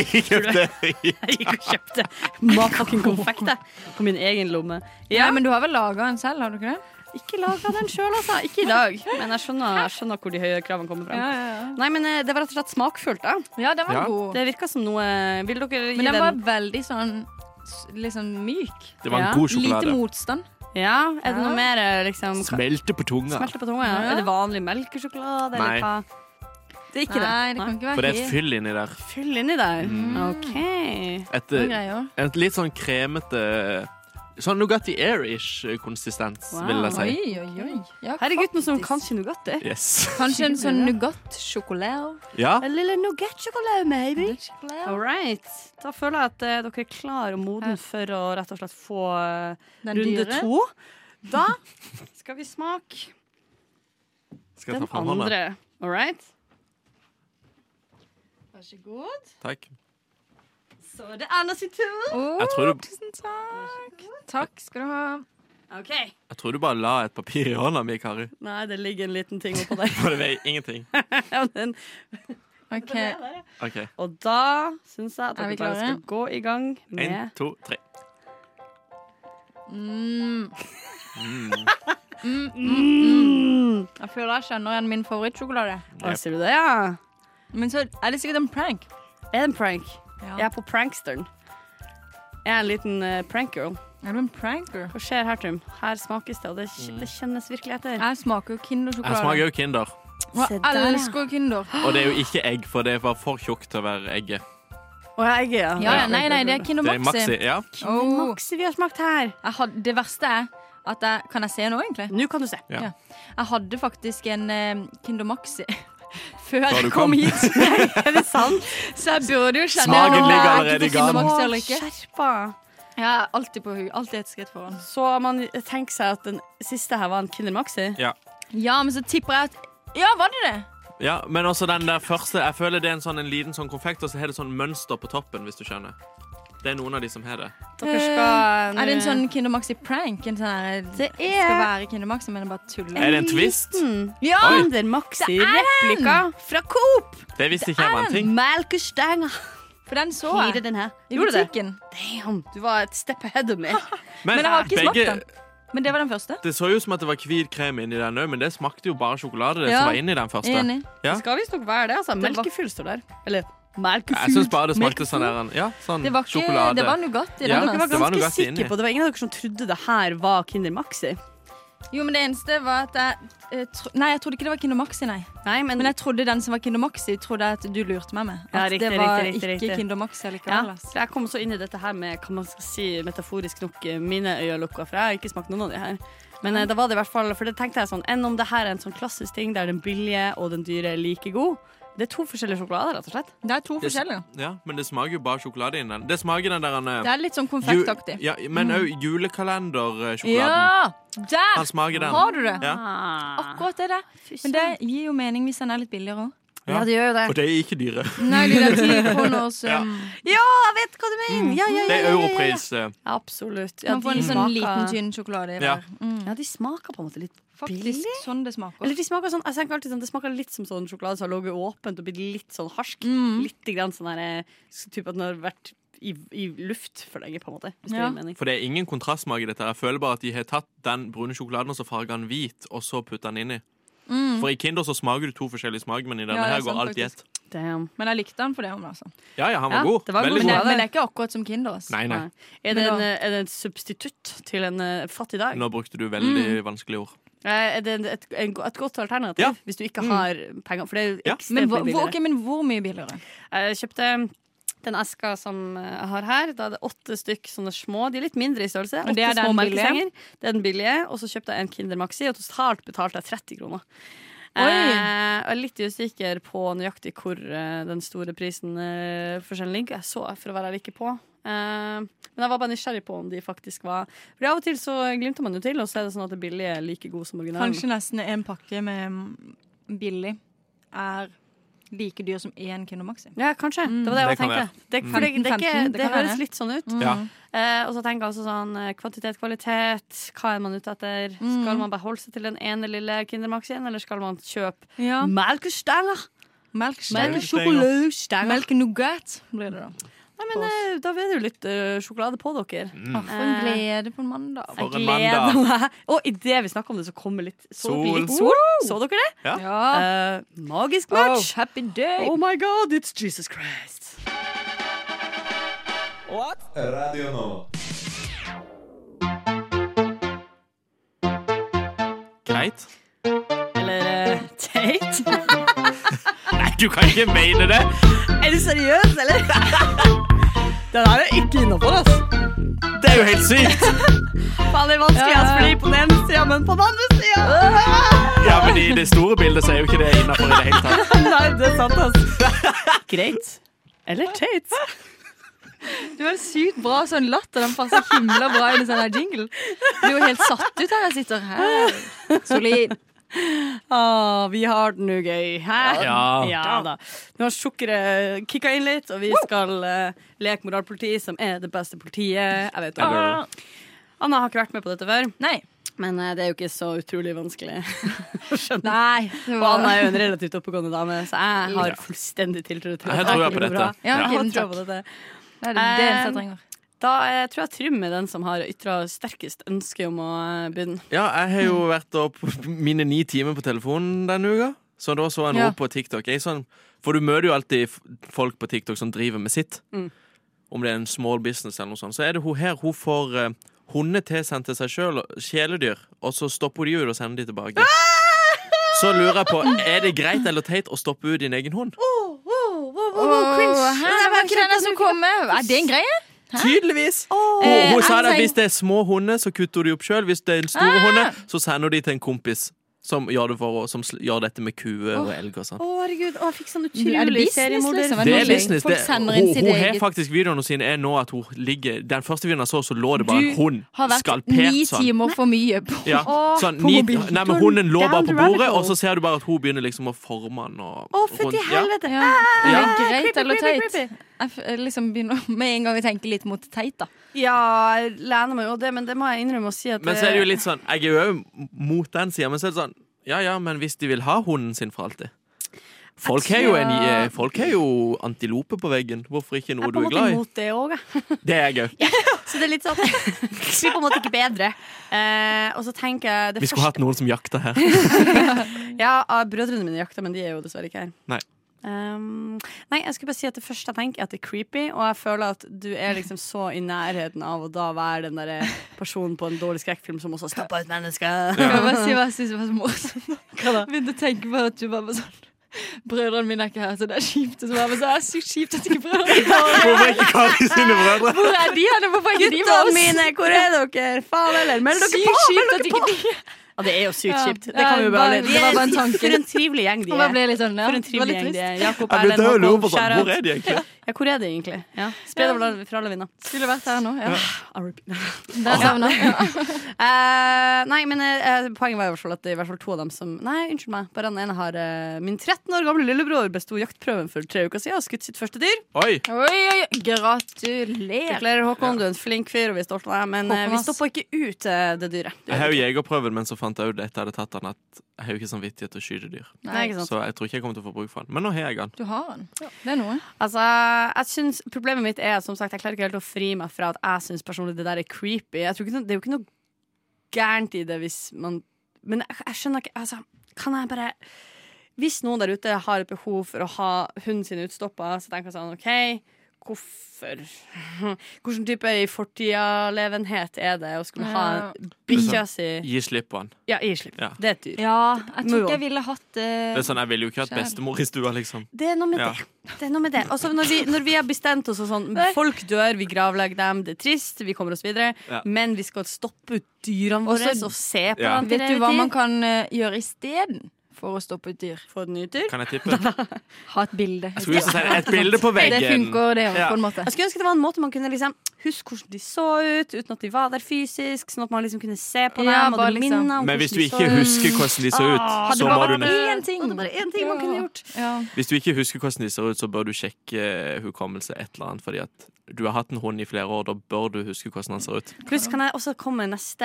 Speaker 5: Jeg gikk og kjøpte matfucking konfekt jeg, på min egen lomme. Ja,
Speaker 6: Nei, men du har vel laga den selv, har du ikke det?
Speaker 5: Ikke laga den sjøl, altså. Ikke i dag. Men jeg skjønner, jeg skjønner hvor de høye kravene kommer fram.
Speaker 6: ja, ja.
Speaker 5: Nei, men eh, Det var rett og slett smakfullt. da
Speaker 6: Ja, den var
Speaker 1: Ja.
Speaker 6: god.
Speaker 5: Det virka som noe eh, Vil dere gi
Speaker 6: Men den
Speaker 5: den
Speaker 6: var veldig sånn s- litt sånn myk.
Speaker 1: Sånn Det var
Speaker 5: Ja.
Speaker 1: en god
Speaker 6: Lite
Speaker 1: sjokolade.
Speaker 6: motstand.
Speaker 5: Ja, Er det noe mer eh, liksom ka-
Speaker 1: Smelte på tunga.
Speaker 5: Smelte på tunga? Ja.
Speaker 6: Ja.
Speaker 5: Er det vanlig melkesjokolade,
Speaker 1: Nei.
Speaker 5: eller hva? Det er ikke det?
Speaker 6: Nei, det kan ikke
Speaker 1: For
Speaker 6: være
Speaker 1: det er et
Speaker 6: helt
Speaker 1: fyll inni der.
Speaker 5: Fyll inni der. OK.
Speaker 1: Et,
Speaker 6: noen greier.
Speaker 1: et litt sånn kremete Sånn Nugatti Air-ish eh, konsistens,
Speaker 5: Wow.
Speaker 1: vil jeg si.
Speaker 6: Oi, oi, oi. Ja,
Speaker 5: Her er gutten som
Speaker 6: faktisk.
Speaker 5: kan ikke Nugatti.
Speaker 1: Yes.
Speaker 6: Kanskje en sånn nougat-sjokolade.
Speaker 1: Ja.
Speaker 5: En lille nougat-sjokolade, maybe.
Speaker 6: Nougat-sjokolade.
Speaker 5: All right. Da føler jeg at eh, dere er klar og moden
Speaker 6: Ja.
Speaker 5: for å rett og slett få eh,
Speaker 6: Den
Speaker 5: runde
Speaker 6: dyre.
Speaker 5: to. Da skal vi smake
Speaker 1: Skal jeg ta
Speaker 5: den
Speaker 1: fram hånda?
Speaker 5: andre. All right?
Speaker 6: Vær så god.
Speaker 1: Takk.
Speaker 5: Så det er Anna sin tur.
Speaker 6: Å,
Speaker 1: Jeg tror du,
Speaker 6: tusen takk. Takk skal du ha.
Speaker 5: OK.
Speaker 1: jeg tror du bare la et papir i hånda mi, Kari.
Speaker 5: Nei, det ligger en liten ting oppå der.
Speaker 1: For det veier ingenting.
Speaker 5: Ja, men-
Speaker 6: OK.
Speaker 1: OK.
Speaker 5: Og da syns jeg at
Speaker 6: Er vi
Speaker 5: dere bare
Speaker 6: klare?
Speaker 5: skal gå i gang
Speaker 1: Én,
Speaker 5: med
Speaker 1: to, tre.
Speaker 6: Mm.
Speaker 5: mm.
Speaker 6: Jeg føler jeg skjønner igjen min favorittsjokolade.
Speaker 5: Å, Ser du det, ja?
Speaker 6: Men så er det sikkert en prank.
Speaker 5: Er det en prank? Jeg
Speaker 6: Ja.
Speaker 5: er på pranksteren. Jeg er en liten eh, prankgirl.
Speaker 6: Er du en pranker?
Speaker 5: Hva skjer her, Trym? Her smakes det, og det, kj- det kjennes virkelig etter.
Speaker 1: Jeg
Speaker 6: Jeg smaker jo
Speaker 1: smaker
Speaker 6: Kindersjokolade.
Speaker 1: jo Kinder.
Speaker 6: Og
Speaker 5: Se
Speaker 6: jeg
Speaker 5: der, ja.
Speaker 6: elsker jo Kinder.
Speaker 1: Og det er jo ikke egg, for det var for tjukt til å være egget.
Speaker 5: Å, jeg er ja.
Speaker 6: Ja, ja, nei, nei, det er Kinder
Speaker 1: Det er Maxi.
Speaker 6: Maxi.
Speaker 1: Ja.
Speaker 6: Åh.
Speaker 5: Maxi vi har smakt her.
Speaker 6: Jeg had- det verste er at jeg Kan jeg se nå, egentlig?
Speaker 5: Nå kan du se.
Speaker 6: Jeg hadde faktisk en eh, Kinder Maxi før
Speaker 1: du
Speaker 6: jeg
Speaker 1: kom.
Speaker 6: kom hit,
Speaker 5: Er det sant?
Speaker 6: så jeg burde jo kjenne
Speaker 1: Smaken
Speaker 6: om jeg
Speaker 1: ligger
Speaker 6: er
Speaker 1: allerede i
Speaker 6: til Kinder
Speaker 1: gang.
Speaker 6: Maxi eller ikke.
Speaker 5: Skjerpa.
Speaker 6: Jeg er alltid på hug. Alltid et skritt foran.
Speaker 5: Så man tenker seg at den siste her var en Kinder Maxi.
Speaker 6: Ja, men så tipper jeg at Ja, var det det?
Speaker 1: ja, Men også den der første. Jeg føler det er en, sånn, en liten sånn konfekt, og så har det sånn mønster på toppen, hvis du skjønner. Det er noen av de som har det.
Speaker 5: Dere skal
Speaker 6: Eh,
Speaker 5: eh,
Speaker 6: Er det en sånn Kinder Maxi-prank? En sånn her,
Speaker 5: Det
Speaker 6: Skal
Speaker 5: er Eh,
Speaker 6: være Kinder Maxi, men det er bare tuller.
Speaker 1: Er det en twist?
Speaker 5: Mm.
Speaker 6: Ja!
Speaker 5: Kinder Maxi-replika fra Coop.
Speaker 1: Det visste ikke jeg var en ting.
Speaker 5: Melkestenger.
Speaker 6: For den så
Speaker 5: Gir
Speaker 6: jeg
Speaker 5: den her.
Speaker 6: i
Speaker 5: Gjorde du det?
Speaker 6: butikken.
Speaker 5: Damn, du var et step ahead of me.
Speaker 6: Men jeg har ikke smakt den. Men det var den første.
Speaker 1: Det så jo ut som at det var hvit krem inni den òg, men det smakte jo bare sjokolade. det
Speaker 6: Ja.
Speaker 1: som var inni den første.
Speaker 6: Enig.
Speaker 1: Ja.
Speaker 5: Det skal visstnok være det. altså. Melkefull står der. Eller melkefull.
Speaker 1: Jeg syns bare det smakte sånn der, ja, sånn
Speaker 6: Det var, ikke,
Speaker 1: sjokolade.
Speaker 6: det var Nougat i
Speaker 1: Ja.
Speaker 6: den.
Speaker 5: Dere var
Speaker 1: Det var noe
Speaker 5: ganske
Speaker 1: godt inni.
Speaker 5: sikre på Det var ingen av dere som trodde det her var Kinder Maxi.
Speaker 6: altså. Jo, men det eneste var at jeg eh, tro, Nei, jeg trodde ikke det var Kinder Maxi, nei.
Speaker 5: Nei, men,
Speaker 6: Men jeg trodde den som var Kinder Maxi, trodde jeg at du lurte meg med. At
Speaker 5: Ja, riktig,
Speaker 6: det var
Speaker 5: riktig, riktig,
Speaker 6: ikke
Speaker 5: riktig.
Speaker 6: Kinder Maxi altså.
Speaker 5: ja,
Speaker 6: likevel. ass.
Speaker 5: for jeg kom så inn i dette her med kan man skal si, metaforisk nok eh, mine øyne lukka, for jeg har ikke smakt noen av de her. Men eh, da var det i hvert fall, for det tenkte jeg sånn, enn om det her er en sånn klassisk ting der den billige og den dyre er like god. Det er to forskjellige sjokolader, rett og slett.
Speaker 6: Det er to
Speaker 1: Det-
Speaker 6: forskjellige.
Speaker 1: Ja, men det smaker jo bare sjokolade inni den. Det smaker den der han, eh,
Speaker 6: Det er litt sånn
Speaker 1: ju-
Speaker 6: konfektaktig.
Speaker 1: Ja, men eh, òg julekalendersjokoladen.
Speaker 6: Ja!
Speaker 1: Han
Speaker 6: Der
Speaker 1: smaker den.
Speaker 6: har du det!
Speaker 1: Ja.
Speaker 5: Ah.
Speaker 6: Akkurat det der. Men det gir jo mening hvis den er litt billigere òg. Ja, det gjør jo det.
Speaker 1: Og de er ikke dyre.
Speaker 6: Nei, de der ti kroners
Speaker 1: Ja.
Speaker 6: um, Ja, jeg vet hva du mener! Ja,
Speaker 1: Det
Speaker 6: ja, ja,
Speaker 1: er
Speaker 6: ja, ja, ja.
Speaker 1: europris. eh,
Speaker 5: Mm. Absolutt.
Speaker 6: Man får en sånn liten,
Speaker 5: smaker,
Speaker 6: tynn sjokolade i
Speaker 1: Ja.
Speaker 6: der. Mm.
Speaker 5: ja, de smaker på en måte litt
Speaker 6: Faktisk
Speaker 5: billig.
Speaker 6: sånn det smaker.
Speaker 5: Eller de smaker sånn, jeg tenker alltid sånn, Det smaker litt som sånn sjokolade som har ligget åpent og blitt litt sånn harsk.
Speaker 6: Mm.
Speaker 5: Litt grann sånn der, eh, s- typ at den har vært i, i luft for lenge, på en måte. Hvis det
Speaker 6: Ja.
Speaker 5: gir mening.
Speaker 1: For det er ingen kontrastsmak i dette. her. Jeg føler bare at de har tatt den brune sjokoladen og så farga den hvit, og så putta den inni.
Speaker 6: Mm.
Speaker 1: For i Kinder så smaker du to forskjellige smak, men i denne
Speaker 6: Ja, det
Speaker 1: her
Speaker 6: er
Speaker 1: går
Speaker 6: sant,
Speaker 1: alt i ett.
Speaker 5: Damn.
Speaker 6: Men jeg likte den for det. hun, Altså.
Speaker 1: Ja, ja, han var
Speaker 5: Ja,
Speaker 1: god.
Speaker 5: det var
Speaker 1: Veldig
Speaker 5: god.
Speaker 6: Men, det,
Speaker 5: Ja, det-
Speaker 6: men det er ikke akkurat som Kinder. Altså.
Speaker 1: Nei, nei.
Speaker 5: Er det,
Speaker 6: Men
Speaker 5: en,
Speaker 6: da-
Speaker 5: eh, er det en substitutt til en eh, fattig dag?
Speaker 1: Nå brukte du
Speaker 6: Mm.
Speaker 1: veldig vanskelige ord.
Speaker 5: Eh, Er det en- et, en, go- et godt alternativ
Speaker 1: Ja.
Speaker 5: hvis du ikke har penger? For det er jo
Speaker 1: Ja.
Speaker 5: ekstremt
Speaker 6: Mm. Men,
Speaker 5: mye
Speaker 6: hvor, hvor,
Speaker 5: billigere.
Speaker 6: ok, men hvor mye billigere?
Speaker 5: Jeg kjøpte den eska som jeg har her. Da er det åtte stykk sånne små. De er litt mindre i størrelse.
Speaker 6: Og det
Speaker 5: Åtte
Speaker 6: er
Speaker 5: små
Speaker 6: den billige?
Speaker 5: melkestenger. Det er den billige. Og så kjøpte jeg en Kinder Maxi, og totalt betalte jeg 30 kroner.
Speaker 6: Oi.
Speaker 5: Eh, og jeg er litt usikker på nøyaktig hvor eh, den store prisen eh, forskjellen ligger. Jeg så for å være like på. Eh, men jeg var bare nysgjerrig på om de faktisk var For Av og til så glimter man jo til, og så er det sånn at det billige er like god som originalen.
Speaker 6: Kanskje nesten en pakke med mm, billig er like dyr som én Kinder Maxi.
Speaker 5: Ja, kanskje. Det var det jeg
Speaker 1: Det kan
Speaker 5: tenkte. Det,
Speaker 6: Mm.
Speaker 5: for det, det, er ikke,
Speaker 6: 15, det
Speaker 5: det
Speaker 6: kan
Speaker 5: høres
Speaker 6: hende.
Speaker 5: litt sånn
Speaker 6: Mm.
Speaker 5: ut.
Speaker 1: Ja.
Speaker 5: Eh, og så tenker jeg også sånn eh, kvantitet, kvalitet. Hva er man ute etter? Skal man beholde seg til den ene lille Kindermaxien, eller skal man kjøpe
Speaker 6: Ja.
Speaker 5: melkestenger?
Speaker 6: Melkstenger.
Speaker 5: Melkesjokoladestenger.
Speaker 6: Melk nougat blir det, da.
Speaker 5: Nei, men eh, da er det jo litt eh, sjokolade på dere.
Speaker 6: Å, for en glede på en mandag.
Speaker 1: Mm, For en
Speaker 5: Jeg gleder
Speaker 1: mandag.
Speaker 5: meg. Og idet vi snakker om det, så kommer litt så det blir litt
Speaker 1: Sol.
Speaker 5: sol. Så dere det?
Speaker 6: Ja.
Speaker 5: Eh, magisk match.
Speaker 6: happy day!
Speaker 5: Oh my god, it's Jesus Christ.
Speaker 7: Radio Nova.
Speaker 1: Greit.
Speaker 5: Eller eh, Tate.
Speaker 1: Nei, du kan ikke mene det!
Speaker 5: Er du seriøs, eller? Den her er ikke innafor, altså.
Speaker 1: Det er jo helt sykt!
Speaker 5: Faen, det er vanskelig,
Speaker 6: Ja.
Speaker 5: ass, fordi på den ene sida, men på den andre sida
Speaker 1: Ja, men i det store bildet så er jo ikke det innafor i det hele tatt.
Speaker 5: Nei, det er sant, ass. Greit. Eller Tate.
Speaker 6: Du har en sykt bra sånn latter. Den passer himla bra inn i sånn her jingle. Du er jo helt satt ut her jeg sitter. her. Solid.
Speaker 5: Ah, vi har det nå gøy. Hæ?
Speaker 1: Ja.
Speaker 5: da. Nå har sukkeret kicka inn litt, og vi skal eh, leke moralpoliti, som er det beste politiet. Jeg vet det.
Speaker 1: Eller-
Speaker 5: Anna har ikke vært med på dette før,
Speaker 6: Nei.
Speaker 5: men eh, det er jo ikke så utrolig vanskelig. Skjønner.
Speaker 6: Nei. det
Speaker 5: Og
Speaker 6: var-
Speaker 5: Anna er jo en relativt oppegående dame, så jeg har fullstendig tiltro til
Speaker 1: Jeg
Speaker 5: at
Speaker 1: tror
Speaker 5: det
Speaker 1: jeg på
Speaker 5: kommer til å gå bra.
Speaker 1: dette.
Speaker 6: Ja, ok,
Speaker 5: Jeg har
Speaker 6: men
Speaker 5: tro
Speaker 6: takk.
Speaker 5: på dette.
Speaker 6: Det er det eneste jeg trenger.
Speaker 5: Da eh, tror jeg Trym er den som har ytra sterkest ønske om å eh, begynne.
Speaker 1: Ja, jeg har jo vært opp mine ni timer på telefonen denne uka, så da så jeg noe
Speaker 6: Ja.
Speaker 1: på TikTok. Jeg sånn, for du møter jo alltid f- folk på TikTok som driver med sitt.
Speaker 5: Mm.
Speaker 1: Om det er en small business eller noe sånt. Så er det hun her, hun får eh, hunder tilsendt til seg sjøl, kjæledyr, og så stopper de ut og sender de tilbake. Så lurer jeg på, er det greit eller teit å stoppe ut din egen hund?
Speaker 6: Åh, hæ? Det var ikke denne som kom med. Er det en greie?
Speaker 1: Tydeligvis!
Speaker 6: Eh,
Speaker 1: Og hun sa
Speaker 6: jeg Ah!
Speaker 1: det at
Speaker 6: tenk-
Speaker 1: hvis det er små hunder, så kutter hun de opp sjøl. Hvis det er en store hunder, så sender de til en kompis som gjør, det for, som sl- gjør dette med kuer og elg og sånn.
Speaker 5: Å, herregud. Å, jeg fikk sånn
Speaker 6: Er det
Speaker 5: utrolig
Speaker 6: business,
Speaker 5: seriemorder.
Speaker 6: liksom?
Speaker 1: Det
Speaker 6: Nå
Speaker 1: er
Speaker 6: legger
Speaker 1: business.
Speaker 6: folk
Speaker 1: Det, hun
Speaker 6: sender inn sitt
Speaker 1: hun har
Speaker 6: eget.
Speaker 1: faktisk videoene sine er nå at hun ligger Den første videoen jeg så, så lå det bare en hund
Speaker 6: har vært ni
Speaker 1: skalpert sånn.
Speaker 6: timer for mye på
Speaker 1: Ja,
Speaker 5: Åh,
Speaker 1: sånn
Speaker 5: på
Speaker 1: ni,
Speaker 5: mobilen.
Speaker 1: nei, men Hunden lå
Speaker 5: Down
Speaker 1: bare
Speaker 5: the
Speaker 1: på
Speaker 5: rabbit
Speaker 1: bordet, og
Speaker 5: hole.
Speaker 1: så ser du bare at hun begynner liksom å forme den. Og,
Speaker 5: Å, fytti
Speaker 1: ja.
Speaker 5: helvete.
Speaker 6: Ja. Er det
Speaker 1: Ja.
Speaker 6: greit
Speaker 5: Creepy,
Speaker 6: eller
Speaker 5: creepy,
Speaker 6: teit?
Speaker 5: creepy.
Speaker 6: Jeg f- liksom begynner med en gang å tenke litt mot teit, da.
Speaker 5: Ja, jeg lener meg jo det, men det må jeg innrømme å si at
Speaker 1: Men så er det jo litt sånn Jeg er jo òg mot den sida, men så er det sånn Ja ja, men hvis de vil ha hunden sin for alltid Folk har jo, en, eh, folk har jo antilope på veggen. Hvorfor ikke
Speaker 5: jeg
Speaker 1: noe
Speaker 5: er
Speaker 1: du
Speaker 5: på en
Speaker 1: er
Speaker 5: måte
Speaker 1: glad i?
Speaker 5: imot det òg, jeg.
Speaker 1: Det er jeg òg.
Speaker 5: Så det er litt sånn Vi er på en måte ikke bedre. Eh, og så tenker jeg det
Speaker 1: Vi skulle hatt
Speaker 5: første-
Speaker 1: noen som jakta her.
Speaker 5: Ja, ah, brødrene mine jakter, men de er jo dessverre ikke her.
Speaker 1: Nei.
Speaker 5: Ehm, nei, jeg skulle bare si at Det første jeg tenker, er at det er creepy. Og jeg føler at du er liksom så i nærheten av å da være den der personen på en dårlig skrekkfilm som også stopper ut mennesker.
Speaker 6: Kan jeg bare si hva jeg synes var så morsomt? Jeg Begynte å tenke på at du bare var sånn Brødrene mine er ikke her, så det er kjipt. Og så bare, så er det sykt kjipt at ikke brødrene
Speaker 1: Hvorfor er ikke Kari sine brødre?
Speaker 6: Hvor er de hen? Hvorfor er ikke de med
Speaker 5: Guttene
Speaker 6: oss?
Speaker 5: mine, hvor er dere? Faen heller, meld dere
Speaker 6: Sykt
Speaker 5: på!
Speaker 6: kjipt at ikke de
Speaker 5: Ja, det er jo sykt
Speaker 6: Ja.
Speaker 5: kjipt. Det kan vi jo
Speaker 6: Ja,
Speaker 5: bare
Speaker 6: bare- det var bare en tanke.
Speaker 5: For en trivelig gjeng de
Speaker 6: Og bare
Speaker 5: er.
Speaker 6: ble litt sånn, ja.
Speaker 5: For en
Speaker 6: Det var
Speaker 5: trivelig
Speaker 6: litt
Speaker 5: gjeng de
Speaker 6: trist.
Speaker 5: er. Jakob
Speaker 1: Jeg ble
Speaker 5: Erlend
Speaker 1: død og
Speaker 5: Håkon,
Speaker 1: på sånn.
Speaker 5: shout out.
Speaker 1: Hvor er de egentlig?
Speaker 5: Ja, hvor er det egentlig? Ja. Spre det fra- fra alle vinder.
Speaker 6: Skulle vært her nå. Ja.
Speaker 5: Der savna Eh, nei, men eh, poenget var i hvert fall at det er i hvert fall to av dem som Nei, unnskyld meg. Bare den ene har eh, Min 13 år gamle lillebror besto jaktprøven for tre uker siden og skutt sitt første dyr.
Speaker 1: Oi!
Speaker 6: Oi, oi, gratulerer.
Speaker 5: Gratulerer, Håkon. Du er en flink fyr, og vi er stolte av deg. Men eh,
Speaker 6: Håkon,
Speaker 5: vi
Speaker 6: ass.
Speaker 5: stoppa ikke ut eh, det dyret.
Speaker 1: Jeg har jo jegerprøven, men så fant jeg ut etter jeg hadde tatt den at jeg har jo ikke samvittighet til å skyte dyr.
Speaker 5: Nei, ikke sant?
Speaker 1: Så jeg tror ikke jeg kommer til å få bruk for den. Men nå har jeg den.
Speaker 6: Du har den. Det er noe.
Speaker 5: Altså, jeg synes, Problemet mitt er som sagt, jeg klarer ikke helt å fri meg fra at jeg syns personlig det der er creepy. Jeg tror ikke, noe- det er jo ikke noe gærent i det hvis man Men jeg, jeg skjønner ikke altså, Kan jeg bare Hvis noen der ute har et behov for å ha hunden sin utstoppa, så tenker jeg sånn OK, hvorfor Hvilken type fortida-levenhet er det å skulle ha bikkja si
Speaker 1: Gi slipp på den.
Speaker 5: Ja, gi slipp.
Speaker 1: sånn- Ja.
Speaker 5: Det er et dyr.
Speaker 6: Ja, jeg
Speaker 5: Move
Speaker 6: tror
Speaker 5: on.
Speaker 6: ikke jeg ville hatt
Speaker 1: Det er
Speaker 6: uh,
Speaker 1: sånn, Jeg ville jo ikke hatt
Speaker 6: Skjær.
Speaker 1: bestemor i stua, liksom.
Speaker 5: Det er noe med
Speaker 1: Ja.
Speaker 5: det. det, er noe med det. Altså, når, vi, når vi har bestemt oss og sånn
Speaker 6: Nei.
Speaker 5: Folk dør, vi gravlegger dem, det er trist, vi kommer oss videre.
Speaker 1: Ja.
Speaker 5: Men vi skal stoppe ut dyrene våre
Speaker 6: Også-
Speaker 5: og se på
Speaker 1: Ja.
Speaker 5: dem til
Speaker 6: Vet du hva
Speaker 5: evig
Speaker 6: man
Speaker 5: tid.
Speaker 6: kan eh, gjøre isteden for å stoppe ut dyr?
Speaker 5: Få et nytt dyr?
Speaker 1: Kan jeg tippe?
Speaker 6: Ha et bilde.
Speaker 1: Jeg skulle jo si et bilde på
Speaker 6: Det
Speaker 1: veggen.
Speaker 6: funker, det òg,
Speaker 1: Ja.
Speaker 6: på en måte.
Speaker 5: Jeg skulle ønske det var en måte man kunne liksom huske hvordan de så ut, uten at de var der fysisk. Sånn at man liksom kunne se på dem.
Speaker 6: Ja,
Speaker 5: og
Speaker 6: bare
Speaker 5: det
Speaker 6: liksom-
Speaker 5: minnet om
Speaker 1: Men
Speaker 5: hvordan
Speaker 1: hvis du
Speaker 5: de så
Speaker 1: ikke
Speaker 5: ut.
Speaker 1: husker hvordan de ser ut,
Speaker 5: Ah, Hadde
Speaker 1: så
Speaker 5: bare
Speaker 1: må du
Speaker 5: vært
Speaker 1: ned.
Speaker 5: én ting, hadde bare én ting man kunne gjort.
Speaker 6: Ja.
Speaker 1: Hvis du ikke husker hvordan de ser ut, så bør du sjekke eh, hukommelse et eller annet, fordi at du har hatt en hund i flere år, da bør du huske hvordan han ser ut.
Speaker 5: Pluss kan jeg også komme med neste,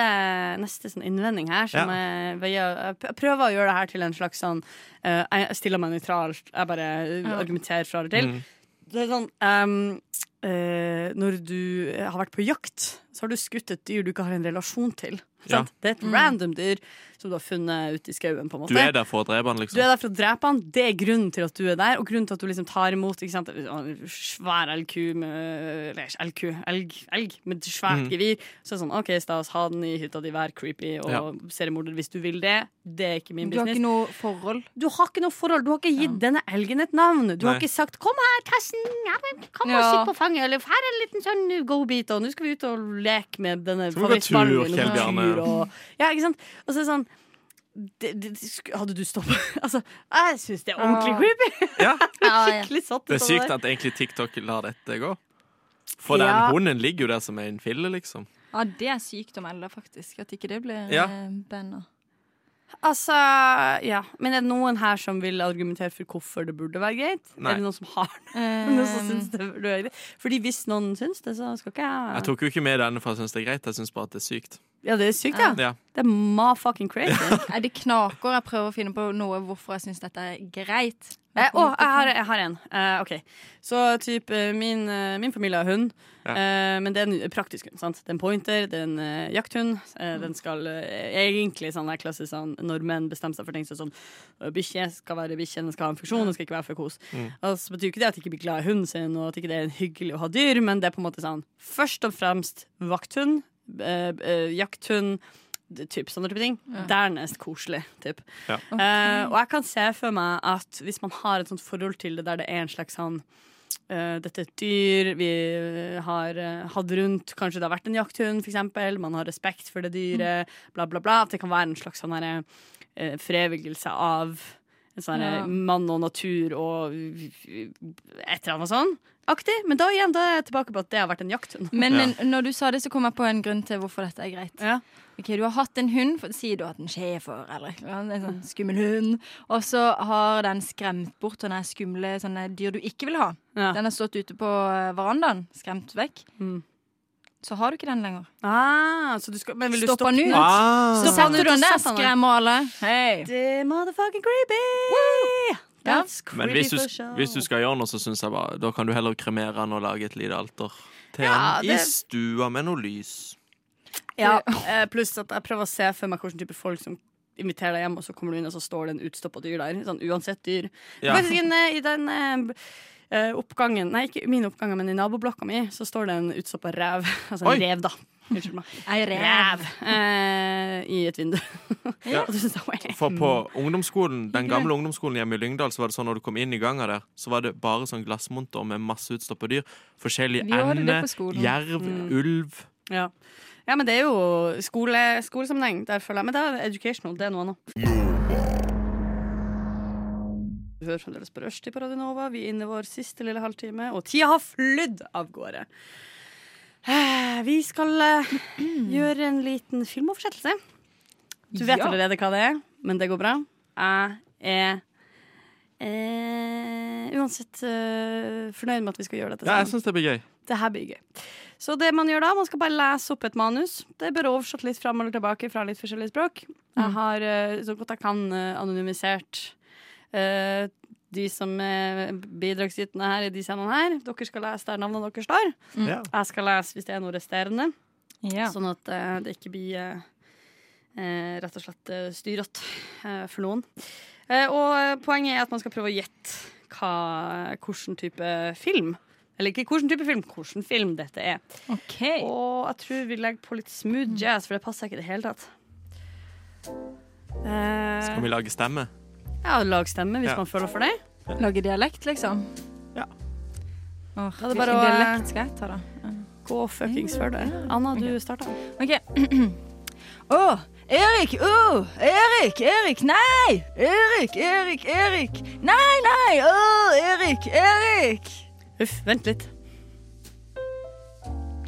Speaker 5: neste sånn innvending her. Som
Speaker 1: Ja.
Speaker 5: jeg, veier- jeg p- prøver å gjøre det her til en slags sånn eh, Jeg stiller meg nøytralt. Jeg bare
Speaker 6: Ja.
Speaker 5: argumenterer fra og til.
Speaker 1: Mm.
Speaker 5: Det er sånn ehm, eh, Når du har vært på jakt, så har du skutt et dyr du ikke har en relasjon til.
Speaker 1: Ja. Mm.
Speaker 5: Sant? Det er et random dyr som du har funnet ute i skauen. på en måte
Speaker 1: Du er der for å drepe han,
Speaker 5: du er
Speaker 1: liksom.
Speaker 5: der for å drepe han, det er grunnen til at du er der, og grunnen til at du liksom tar imot ikke sant? en svær elgku med eller ikke elgku, elg, elg med svært
Speaker 1: Mm.
Speaker 5: gevir. Så er det sånn, OK, stas, ha den i hytta di, vær creepy og
Speaker 1: Ja.
Speaker 5: seriemorder hvis du vil det. Det er ikke min
Speaker 6: Du har
Speaker 5: business.
Speaker 6: ikke noe forhold.
Speaker 5: Du har ikke noe forhold, du har ikke gitt denne elgen et navn. Du har
Speaker 1: Nei.
Speaker 5: ikke sagt 'kom her, Tessen, ja, men kom og
Speaker 6: Ja.
Speaker 5: sitt på fanget', eller 'her er en liten sånn go-bit', og 'nå skal vi ut og leke med denne
Speaker 1: Skal vi gå tur,
Speaker 5: favorittballen din',
Speaker 1: Kjell
Speaker 5: og gå
Speaker 1: Bjarne?
Speaker 5: tur, og Ja, ikke sant? Og så er det sånn det, det, det sku- hadde du stoppa Altså, jeg syns det er ordentlig
Speaker 6: Ah.
Speaker 5: creepy.
Speaker 1: Ja.
Speaker 5: Skikkelig satt
Speaker 1: Det er
Speaker 5: ut av
Speaker 1: sykt
Speaker 5: der.
Speaker 1: at egentlig TikTok lar dette gå. For den
Speaker 5: Ja.
Speaker 1: hunden ligger jo der som en fille, liksom.
Speaker 6: Ja, det er sykt å melde, faktisk. At ikke det blir
Speaker 1: Ja.
Speaker 6: ja. banna.
Speaker 5: Altså, ja. Men er det noen her som vil argumentere for hvorfor det burde være greit?
Speaker 1: Nei. Mm.
Speaker 5: Er det noen som har noe som syns
Speaker 6: Um,
Speaker 5: det burde være greit? Fordi hvis noen syns det, så skal ikke jeg
Speaker 1: Jeg tok jo ikke med denne for jeg syns det er greit, jeg syns bare at det er sykt.
Speaker 5: Ja, det er sykt, ja.
Speaker 1: Ja.
Speaker 5: Det er ma fucking crazy.
Speaker 6: nei, det knaker. Jeg prøver å finne på noe hvorfor jeg syns dette er greit.
Speaker 5: Eh, å, jeg, har, jeg har en. Eh, ok. Så typ, eh, min, eh, min familie har hund,
Speaker 1: Ja.
Speaker 5: eh, men det er en praktisk hund. sant? Det er en pointer, det er en eh, jakthund. Eh, den skal eh, egentlig sånn der klassisk sånn når menn bestemmer seg for ting så er det sånn eh, Bikkje skal være bikkje, den skal ha en funksjon, den skal ikke være for kos. Altså, det betyr jo ikke det at de ikke blir glad i hunden sin, og at ikke det er hyggelig å ha dyr, men det er på en måte sånn først og fremst vakthund, eh, eh, jakthund, det- typ, sånne type ting. Dernest koselig, typ. Eh, og jeg kan se for meg at hvis man har et sånt forhold til det der det er en slags sånn eh, dette er et dyr vi har eh, hatt rundt Kanskje det har vært en jakthund, f.eks. Man har respekt for det dyret, bla, bla, bla. At det kan være en slags sånn herre eh, forevigelse av en sånn herre
Speaker 6: Ja.
Speaker 5: mann og natur og et eller annet sånn aktig. Men da igjen, da er jeg tilbake på at det har vært en jakthund.
Speaker 6: Men,
Speaker 1: Ja.
Speaker 6: men når du sa det, så kom jeg på en grunn til hvorfor dette er greit.
Speaker 5: Ja.
Speaker 6: Ok, Du har hatt en hund, for, si du har hatt en schæfer eller et eller annet, en sånn
Speaker 5: Mm.
Speaker 6: skummel hund, og så har den skremt bort sånne skumle sånne dyr du ikke vil ha.
Speaker 5: Ja.
Speaker 6: Den har stått ute på eh, verandaen, skremt vekk.
Speaker 5: Mm.
Speaker 6: Så har du ikke den lenger.
Speaker 5: Ah, så du skal, men vil du
Speaker 6: Stopp
Speaker 5: stoppe
Speaker 6: han
Speaker 5: den
Speaker 6: ut?
Speaker 5: ut?
Speaker 1: Ah.
Speaker 6: Så
Speaker 5: Stopp han
Speaker 6: setter
Speaker 5: ut
Speaker 6: du
Speaker 5: og
Speaker 6: den der,
Speaker 5: setter han der.
Speaker 6: skremmer alle. Hei!
Speaker 5: Det er motherfucking creepy!
Speaker 6: Ja.
Speaker 5: That's
Speaker 1: Men
Speaker 5: creepy
Speaker 1: hvis du,
Speaker 5: for sure.
Speaker 1: hvis du skal gjøre noe, så syns jeg bare Da kan du heller kremere han og lage et lite alter til
Speaker 5: Ja,
Speaker 1: han i
Speaker 5: det-
Speaker 1: stua med noe lys.
Speaker 5: Ja, eh, pluss at jeg prøver å se for meg hvilken type folk som inviterer deg hjem, og så kommer du inn, og så står det en utstoppa dyr der. Sånn uansett dyr. Det
Speaker 1: Ja.
Speaker 5: er Faktisk en, eh, I den eh, b- eh, oppgangen, nei, ikke min oppgang, men i naboblokka mi, så står det en utstoppa rev. Altså
Speaker 1: Oi.
Speaker 5: en rev, da. Unnskyld meg.
Speaker 6: Ei rev.
Speaker 5: Rev eh, i et vindu.
Speaker 1: Ja.
Speaker 5: og du synes det var
Speaker 1: For på
Speaker 6: Mm.
Speaker 1: ungdomsskolen, den gamle ungdomsskolen hjemme i Lyngdal, så var det sånn når du kom inn i gangen der, så var det bare sånn glassmonter med masse utstoppa dyr. Forskjellige
Speaker 6: Vi hadde det
Speaker 1: ender,
Speaker 6: på skolen. Mm.
Speaker 1: jerv, ulv.
Speaker 5: ja. ja, men det er jo skole, skolesammenheng, der føler jeg. Men det er educational, det er noe annet. Du hører fremdeles på Rushtid på Radio Nova. Vi er inne i vår siste lille halvtime, og tida har flydd av gårde. Eh, Vi skal eh, gjøre en liten filmoversettelse. Du vet
Speaker 6: Ja.
Speaker 5: allerede hva det er, men det går bra. Jeg er eh, uansett eh, fornøyd med at vi skal gjøre dette.
Speaker 1: Ja, jeg
Speaker 5: sammen.
Speaker 1: syns det blir gøy.
Speaker 5: Det her blir gøy. Så det man gjør da, man skal bare lese opp et manus. Det er bare oversatt litt fram eller tilbake fra litt forskjellige språk. Jeg har eh, så godt jeg kan eh, anonymisert eh, de som er bidragsytende her i de scenene her. Dere skal lese der navnene deres står.
Speaker 1: Ja.
Speaker 5: Jeg skal lese hvis det er noe resterende,
Speaker 6: Ja.
Speaker 5: sånn at eh, det ikke blir eh, eh, rett og slett uh, styrete eh, for noen. Eh, og eh, poenget er at man skal prøve å gjette hva- hvilken type film eller ikke hvilken type film, hvilken film dette er. Mm.
Speaker 6: OK.
Speaker 5: Og jeg tror vi legger på litt smooth jazz, for det passer ikke i det hele tatt.
Speaker 1: Skal
Speaker 5: Eh,
Speaker 1: vi lage stemme?
Speaker 5: ja, lag stemme hvis
Speaker 1: Ja.
Speaker 5: man føler for det.
Speaker 6: Lage dialekt, liksom?
Speaker 1: Ja.
Speaker 5: Da er
Speaker 6: Åh,
Speaker 5: det
Speaker 6: hvilken
Speaker 5: bare å- eh,
Speaker 6: dialekt skal jeg ta, da?
Speaker 5: Gå fuckings for det. Anna, du starta.
Speaker 6: OK. Å, Erik! Å, Erik! Erik, nei! Erik, Erik, Erik! Nei, nei! Å, Erik, Erik!
Speaker 5: Uff, vent litt.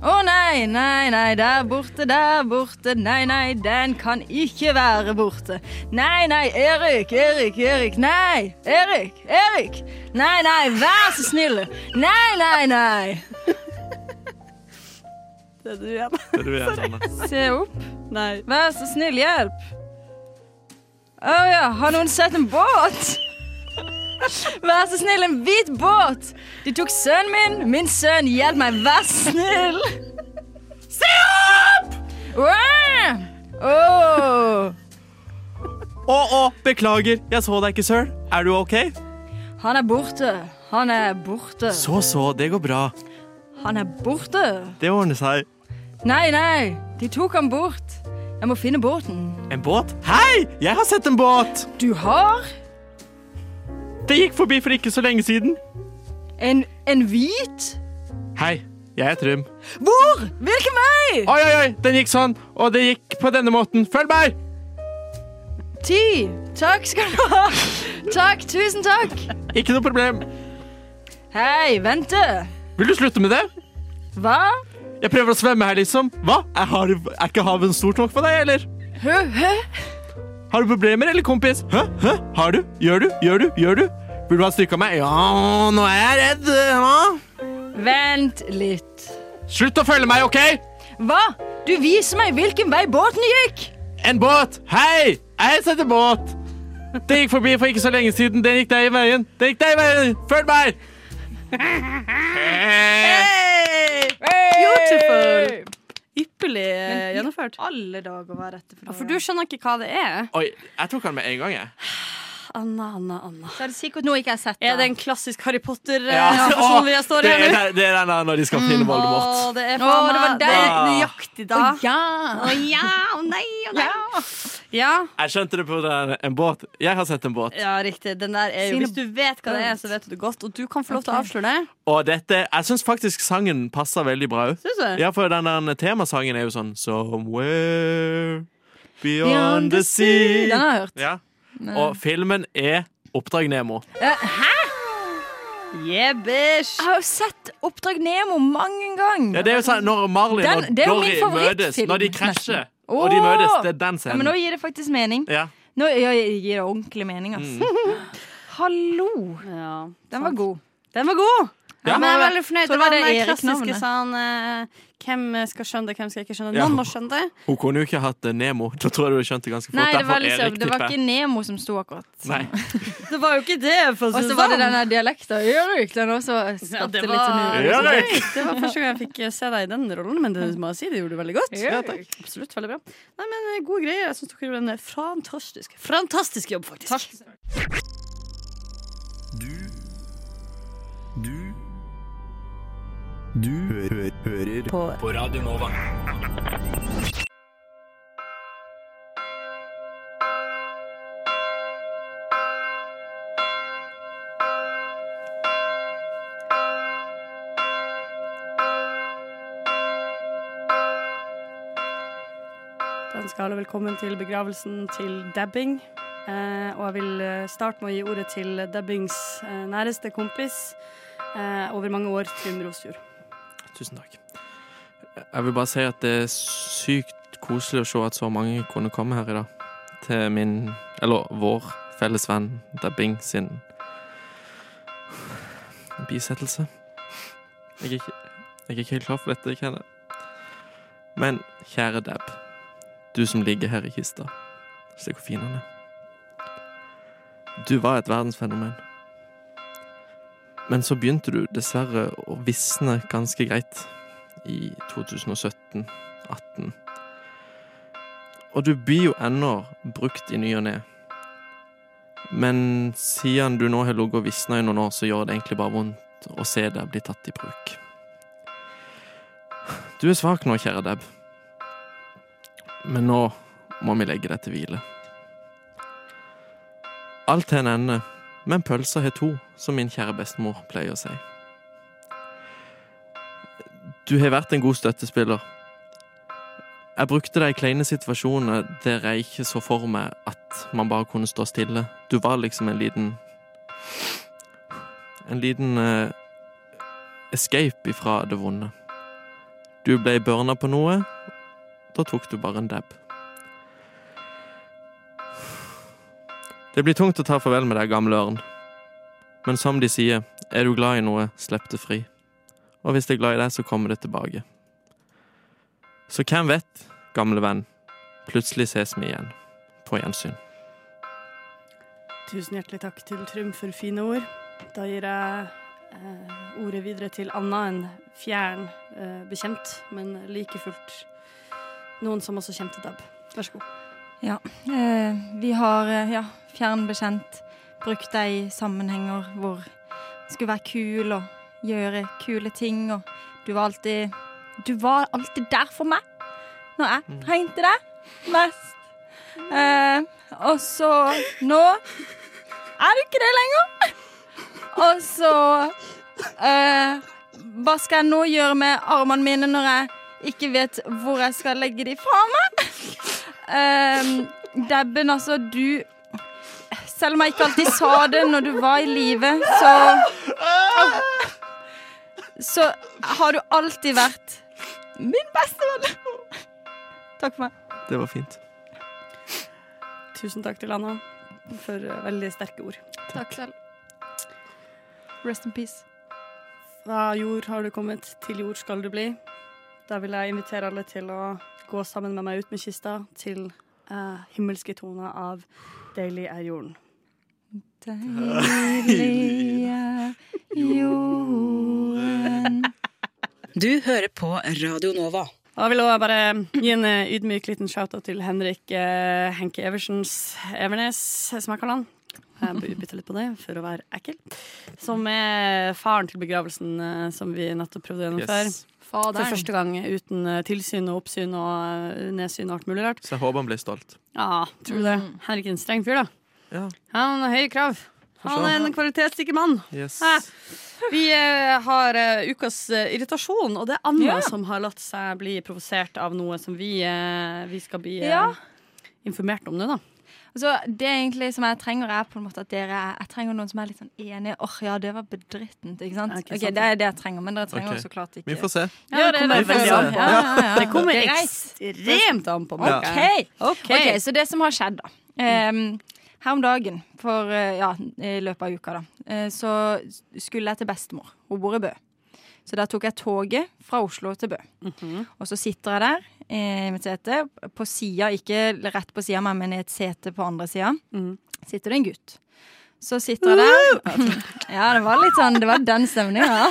Speaker 6: Å nei, nei, nei, der borte, der borte. Nei, nei, den kan ikke være borte. Nei, nei, Erik, Erik, Erik. Nei, Erik, Erik. Nei, nei, vær så snill. Nei, nei, nei.
Speaker 5: Det er du igjen.
Speaker 1: Det du gjør, Sanne.
Speaker 6: Se opp.
Speaker 5: Nei.
Speaker 6: Vær så snill, hjelp. Å ja, har noen sett en båt? Vær så snill, en hvit båt! De tok sønnen min. Min sønn, hjelp meg, vær så snill! Se opp! Wow! Åh.
Speaker 1: Å, å, beklager, jeg så deg ikke, sir. Er du OK?
Speaker 6: Han er borte. Han er borte.
Speaker 1: Så, så, det går bra.
Speaker 6: Han er borte.
Speaker 1: Det ordner seg.
Speaker 6: Nei, nei, de tok han bort. Jeg må finne båten.
Speaker 1: En båt? Hei, jeg har sett en båt!
Speaker 6: Du har
Speaker 1: Det gikk forbi for ikke så lenge siden.
Speaker 6: en, en hvit?
Speaker 1: Hei, jeg er Trym.
Speaker 6: Hvor? Hvilken vei?
Speaker 1: Oi, oi, oi, den gikk sånn, og det gikk på denne måten. Følg meg!
Speaker 6: Ti. Takk skal du ha. Takk, tusen takk.
Speaker 1: Ikke noe problem.
Speaker 6: Hei, vente.
Speaker 1: Vil du slutte med det?
Speaker 6: Hva?
Speaker 1: Jeg prøver å svømme her, liksom. Hva? Er, har, er ikke havet stort nok for deg, eller?
Speaker 6: Hø, hø.
Speaker 1: Har du problemer, eller, kompis? Hæ? Hæ? Har du? Gjør du? Gjør du? Gjør du? Vil du ha et stykke av meg? Ja, nå er jeg redd. Ja.
Speaker 6: Vent litt.
Speaker 1: Slutt å følge meg, OK?
Speaker 6: Hva? Du viser meg hvilken vei båten gikk.
Speaker 1: En båt! Hei! Jeg setter båt! Det gikk forbi for ikke så lenge siden. Den gikk deg i veien. Den gikk deg i veien. Følg meg!
Speaker 5: Beautiful. Ypperlig eh, gjennomført.
Speaker 6: Alle dager var dette for
Speaker 5: Ja, for du skjønner ikke hva det er?
Speaker 1: Oi, jeg tok han med en gang, jeg.
Speaker 5: Anna, Anna, Anna.
Speaker 6: Så er det sikkert noe jeg ikke har sett.
Speaker 5: Er det en klassisk Harry eh, Potter-person jeg står
Speaker 1: det,
Speaker 5: i
Speaker 1: er,
Speaker 5: her nå?
Speaker 1: den- det er den der når de skal finne Voldemort.
Speaker 5: Å, det er
Speaker 6: Å,
Speaker 5: faen
Speaker 6: det var
Speaker 5: meg-
Speaker 6: deg.
Speaker 5: det er nøyaktig da.
Speaker 6: ja.
Speaker 5: Å ja, å nei, å nei. Ja.
Speaker 1: Jeg skjønte det på den, en båt. Jeg har sett en båt.
Speaker 5: ja, riktig. Den der er jo
Speaker 6: Sine
Speaker 5: Hvis du vet hva det er, så vet du det godt. Og du kan få lov til å avsløre det.
Speaker 1: Og dette, jeg syns faktisk sangen passer veldig bra òg.
Speaker 5: Syns du?
Speaker 1: Ja, for den der temasangen er jo sånn Somewhere beyond the sea.
Speaker 6: Den har jeg hørt.
Speaker 1: Ja. Og filmen er Oppdrag Nemo.
Speaker 5: Yeah, bitch!
Speaker 6: Jeg har jo sett Oppdrag Nemo mange ganger.
Speaker 1: Ja, det er jo sånn når Marlin
Speaker 6: Den-
Speaker 1: og
Speaker 6: det er jo min
Speaker 1: Dory
Speaker 6: favorittfilm,
Speaker 1: møtes, når de krasjer
Speaker 6: nesten.
Speaker 1: og de
Speaker 6: Åh!
Speaker 1: møtes, det er den
Speaker 6: Ja, men
Speaker 1: scenen.
Speaker 6: nå gir det faktisk mening.
Speaker 1: Ja,
Speaker 6: Nå ja, gir det ordentlig mening, ass. Hallo.
Speaker 5: Ja,
Speaker 1: Mm,
Speaker 6: Den var god.
Speaker 5: Den var god!
Speaker 1: Ja.
Speaker 5: Men jeg er veldig fornøyd. Det
Speaker 6: Tror
Speaker 5: var
Speaker 6: det
Speaker 5: den
Speaker 6: var
Speaker 5: der
Speaker 6: Erik
Speaker 5: klassiske
Speaker 6: navnet.
Speaker 5: sånn eh, Hvem skal skjønne det, hvem skal ikke skjønne det?
Speaker 1: Ja.
Speaker 5: Noen må skjønne det.
Speaker 1: Hun kunne jo ikke hatt eh, Nemo. Da tror jeg du skjønte ganske fort.
Speaker 6: Nei, det var,
Speaker 1: Derfor Erik,
Speaker 6: liksom, det var
Speaker 1: tipper
Speaker 6: ikke
Speaker 1: jeg.
Speaker 6: Nemo som sto akkurat.
Speaker 1: Nei.
Speaker 5: Det var jo ikke det. For
Speaker 6: Og så var det denne dialekten Erik, den også
Speaker 5: Ja,
Speaker 6: skapte
Speaker 5: det,
Speaker 6: litt
Speaker 5: var,
Speaker 6: sånn
Speaker 1: Ja, Erik!
Speaker 5: det var første gang jeg fikk eh, se deg i den rollen, men det må jeg si, det gjorde du veldig godt.
Speaker 6: Ja, takk.
Speaker 5: Absolutt, veldig bra. Nei, men eh, Gode greier. Jeg syns dere gjorde en eh, fantastisk, fantastisk jobb, faktisk.
Speaker 8: Du Du Du hø hø hører på. på Radio Nova.
Speaker 5: Den skal alle velkommen til begravelsen til dabbing. Eh, og jeg vil eh, starte med å gi ordet til dubbings eh, næreste kompis eh, over mange år, Trym Rosfjord.
Speaker 1: Tusen takk. Jeg vil bare si at det er sykt koselig å se at så mange kunne komme her i dag. Til min, eller vår felles venn Dabbing sin bisettelse. Jeg er, ikke, jeg er ikke helt klar for dette, jeg heller. Men kjære Dab, du som ligger her i kista. Se hvor fin han er. Du var et verdensfenomen. Men så begynte du dessverre å visne ganske greit i 2017-18. Og du blir jo ennå brukt i ny og ne. Men siden du nå har ligget og visna i noen år, så gjør det egentlig bare vondt å se deg bli tatt i bruk. Du er svak nå, kjære Deb. Men nå må vi legge deg til hvile. Alt har en ende, men pølser har to, som min kjære bestemor pleier å si. Du har vært en god støttespiller. Jeg brukte de kleine situasjonene der jeg ikke så for meg at man bare kunne stå stille. Du var liksom en liten En liten eh, escape ifra det vonde. Du ble børna på noe. Da tok du bare en dab. Det blir tungt å ta farvel med deg, gamle ørn. Men som de sier, er du glad i noe, slipp det fri. Og hvis det er glad i deg, så kommer det tilbake. Så hvem vet, gamle venn, plutselig ses vi igjen. På gjensyn.
Speaker 5: Tusen hjertelig takk til Trym for fine ord. Da gir jeg eh, ordet videre til Anna, en fjern eh, bekjent, men like fullt noen som også kjente Dab. Vær så god.
Speaker 6: Ja. Eh, vi har eh, ja, fjern bekjent brukt deg i sammenhenger hvor du skulle være kul og gjøre kule ting, og du var alltid Du var alltid der for meg når jeg trengte deg mest. Eh, og så nå er du ikke det lenger. Og så eh, Hva skal jeg nå gjøre med armene mine når jeg ikke vet hvor jeg skal legge de fra meg? Eh, Dabben, altså, du Selv om jeg ikke alltid sa det når du var i live, så Så har du alltid vært min beste venn. Takk for meg.
Speaker 1: Det var fint.
Speaker 5: Tusen takk til Anna for eh, veldig sterke ord.
Speaker 6: Takk selv. Rest in peace.
Speaker 5: Da jord har du kommet, til jord skal du bli. Da vil jeg invitere alle til å gå sammen med meg ut med kista til eh, himmelske toner av Deilig er jorden.
Speaker 6: Deilige jorden
Speaker 9: Du hører på Radio Nova.
Speaker 5: Og Jeg vil også bare gi en eh, ydmyk liten shout-out til Henrik eh, Henke Eversens Evernes, som jeg kaller han. Jeg by- bytter litt på det for å være ekkel. Som er faren til begravelsen eh, som vi nettopp prøvde å gjennomføre.
Speaker 1: Yes.
Speaker 5: For første gang uten eh, tilsyn og oppsyn og eh, nedsyn og alt mulig rart.
Speaker 1: Så jeg håper han blir stolt.
Speaker 5: Ja, tror du det? Henrik er en streng fyr, da.
Speaker 1: Ja.
Speaker 5: Han har høye krav. Han er en kvalitetssikker mann.
Speaker 1: Yes.
Speaker 5: Hæ? Vi eh, har eh, ukas eh, irritasjon, og det er Anna som har latt seg bli provosert av noe som vi, eh, vi skal bli eh,
Speaker 6: Ja.
Speaker 5: informert om nå, da.
Speaker 6: Altså, det er egentlig som jeg trenger, er på en måte at dere Jeg trenger noen som er litt sånn enige. Åh, ja, det var bedrittent. Ikke sant?
Speaker 5: Ja, ikke
Speaker 6: Ok,
Speaker 5: sant.
Speaker 6: Det er det jeg trenger, men dere trenger
Speaker 1: Ok.
Speaker 6: så klart ikke
Speaker 1: Vi får se.
Speaker 5: Ja, det kommer
Speaker 1: det veldig an på.
Speaker 6: Ja, ja, ja.
Speaker 5: Det kommer
Speaker 6: Greit.
Speaker 5: ekstremt an på
Speaker 1: Ja.
Speaker 5: meg.
Speaker 6: Ok.
Speaker 5: Ok.
Speaker 6: ok, så det som har skjedd da Ehm, Her om dagen, for, eh, ja, i løpet av uka da eh, Så skulle jeg til bestemor, hun bor i Bø Så der tok jeg toget fra Oslo til Bø
Speaker 5: Mhm.
Speaker 6: Og så sitter jeg der eh, i mitt sete På siden, ikke rett på siden av meg, men i et sete på andre siden
Speaker 5: Mhm.
Speaker 6: Sitter det en gutt Så sitter jeg der Ja, det var litt sånn, det var den stemningen ja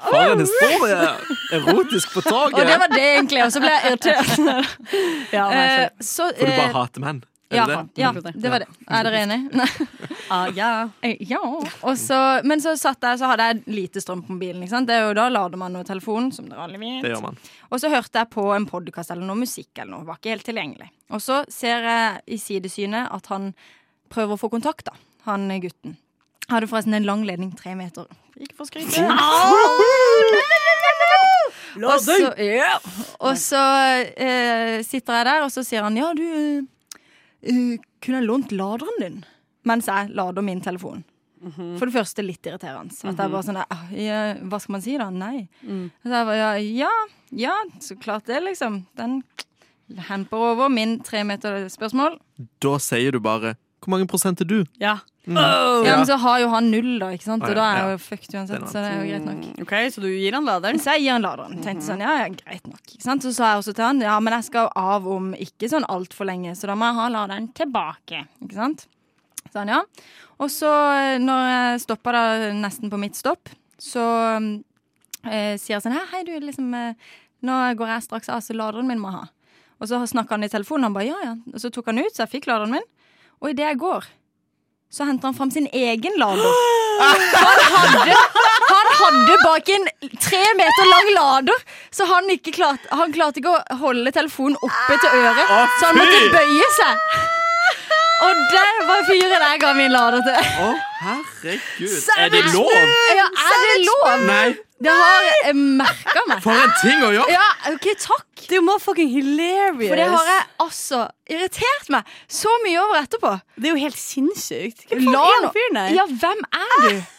Speaker 1: For en historie! Erotisk på
Speaker 6: Og det
Speaker 1: toget!
Speaker 6: var det egentlig, og så ble jeg irritert
Speaker 5: Ja, nei,
Speaker 6: Eh,
Speaker 5: sant.
Speaker 6: så,
Speaker 1: For du
Speaker 6: eh,
Speaker 1: bare hater menn. Er det
Speaker 6: ja,
Speaker 1: det?
Speaker 6: ja, det var det Er dere enige? Nei
Speaker 5: Ah, ja.
Speaker 6: Eh, Ja. Og så, men så satt jeg, så hadde jeg lite strøm på mobilen. Ikke sant? Det er jo da lader man jo telefonen, som dere alle vet.
Speaker 1: Det gjør man.
Speaker 6: Og så hørte jeg på en podkast eller noe musikk eller noe. Var ikke helt tilgjengelig. Og så ser jeg i sidesynet at han prøver å få kontakt, da. Han eh, gutten. Hadde forresten en lang ledning, tre meter. Ikke for å skryte. Og så, ja. og så eh, sitter jeg der, og så sier han ja, du eh, «Eh, Kunne jeg lånt laderen din? Mens jeg lader min telefon. For det første litt irriterende. At jeg bare sånn der, «Ah, ja, Hva skal man si, da? Nei. Så jeg bare, ja, ja, ja, så klart det, liksom. Den hemper over min tre meter spørsmål.
Speaker 1: Da sier du bare 'Hvor mange prosent er du?'
Speaker 5: Ja.
Speaker 6: Ja, men så har jo han null, da, ikke sant?
Speaker 1: Ah, Oh. ja,
Speaker 6: og da er jeg
Speaker 1: ja.
Speaker 6: jo fucked uansett.
Speaker 1: Den er
Speaker 6: Så det er jo greit nok.
Speaker 5: OK, så du gir han laderen?
Speaker 6: Så jeg gir han laderen. Tenkte sånn, ja, ja, greit nok. Ikke sant? Så sa jeg også til han, ja, men jeg skal av om ikke sånn altfor lenge, så da må jeg ha laderen tilbake. Ikke sant? Så han, ja. Og så, eh, når jeg stoppa da nesten på mitt stopp, så eh, sier jeg sånn, hei, hei, du, liksom, eh, nå går jeg straks av, så laderen min må jeg ha. Og så snakka han i telefonen, han bare ja, ja. Og så tok han ut, så jeg fikk laderen min. Og idet jeg går, så henter han fram sin egen lader. Han hadde, han hadde bak en tre meter lang lader, så han, ikke klarte, han klarte ikke å holde telefonen oppe til øret. Så han måtte bøye seg. Og det var fyren jeg ga min lader til.
Speaker 1: Å, herregud. Er det lov?
Speaker 6: Ja, er det lov?
Speaker 1: Nei,
Speaker 6: Det har merka meg.
Speaker 1: for en ting å gjøre!
Speaker 6: Ja, OK, takk.
Speaker 5: Det er jo motherfucking hilarious.
Speaker 6: For det har jeg altså irritert meg så mye over etterpå.
Speaker 5: Det er jo helt sinnssykt. Hvem faen
Speaker 6: La
Speaker 5: er
Speaker 6: nå-
Speaker 5: han fyren der?
Speaker 6: Ja, hvem er du?
Speaker 5: Ah,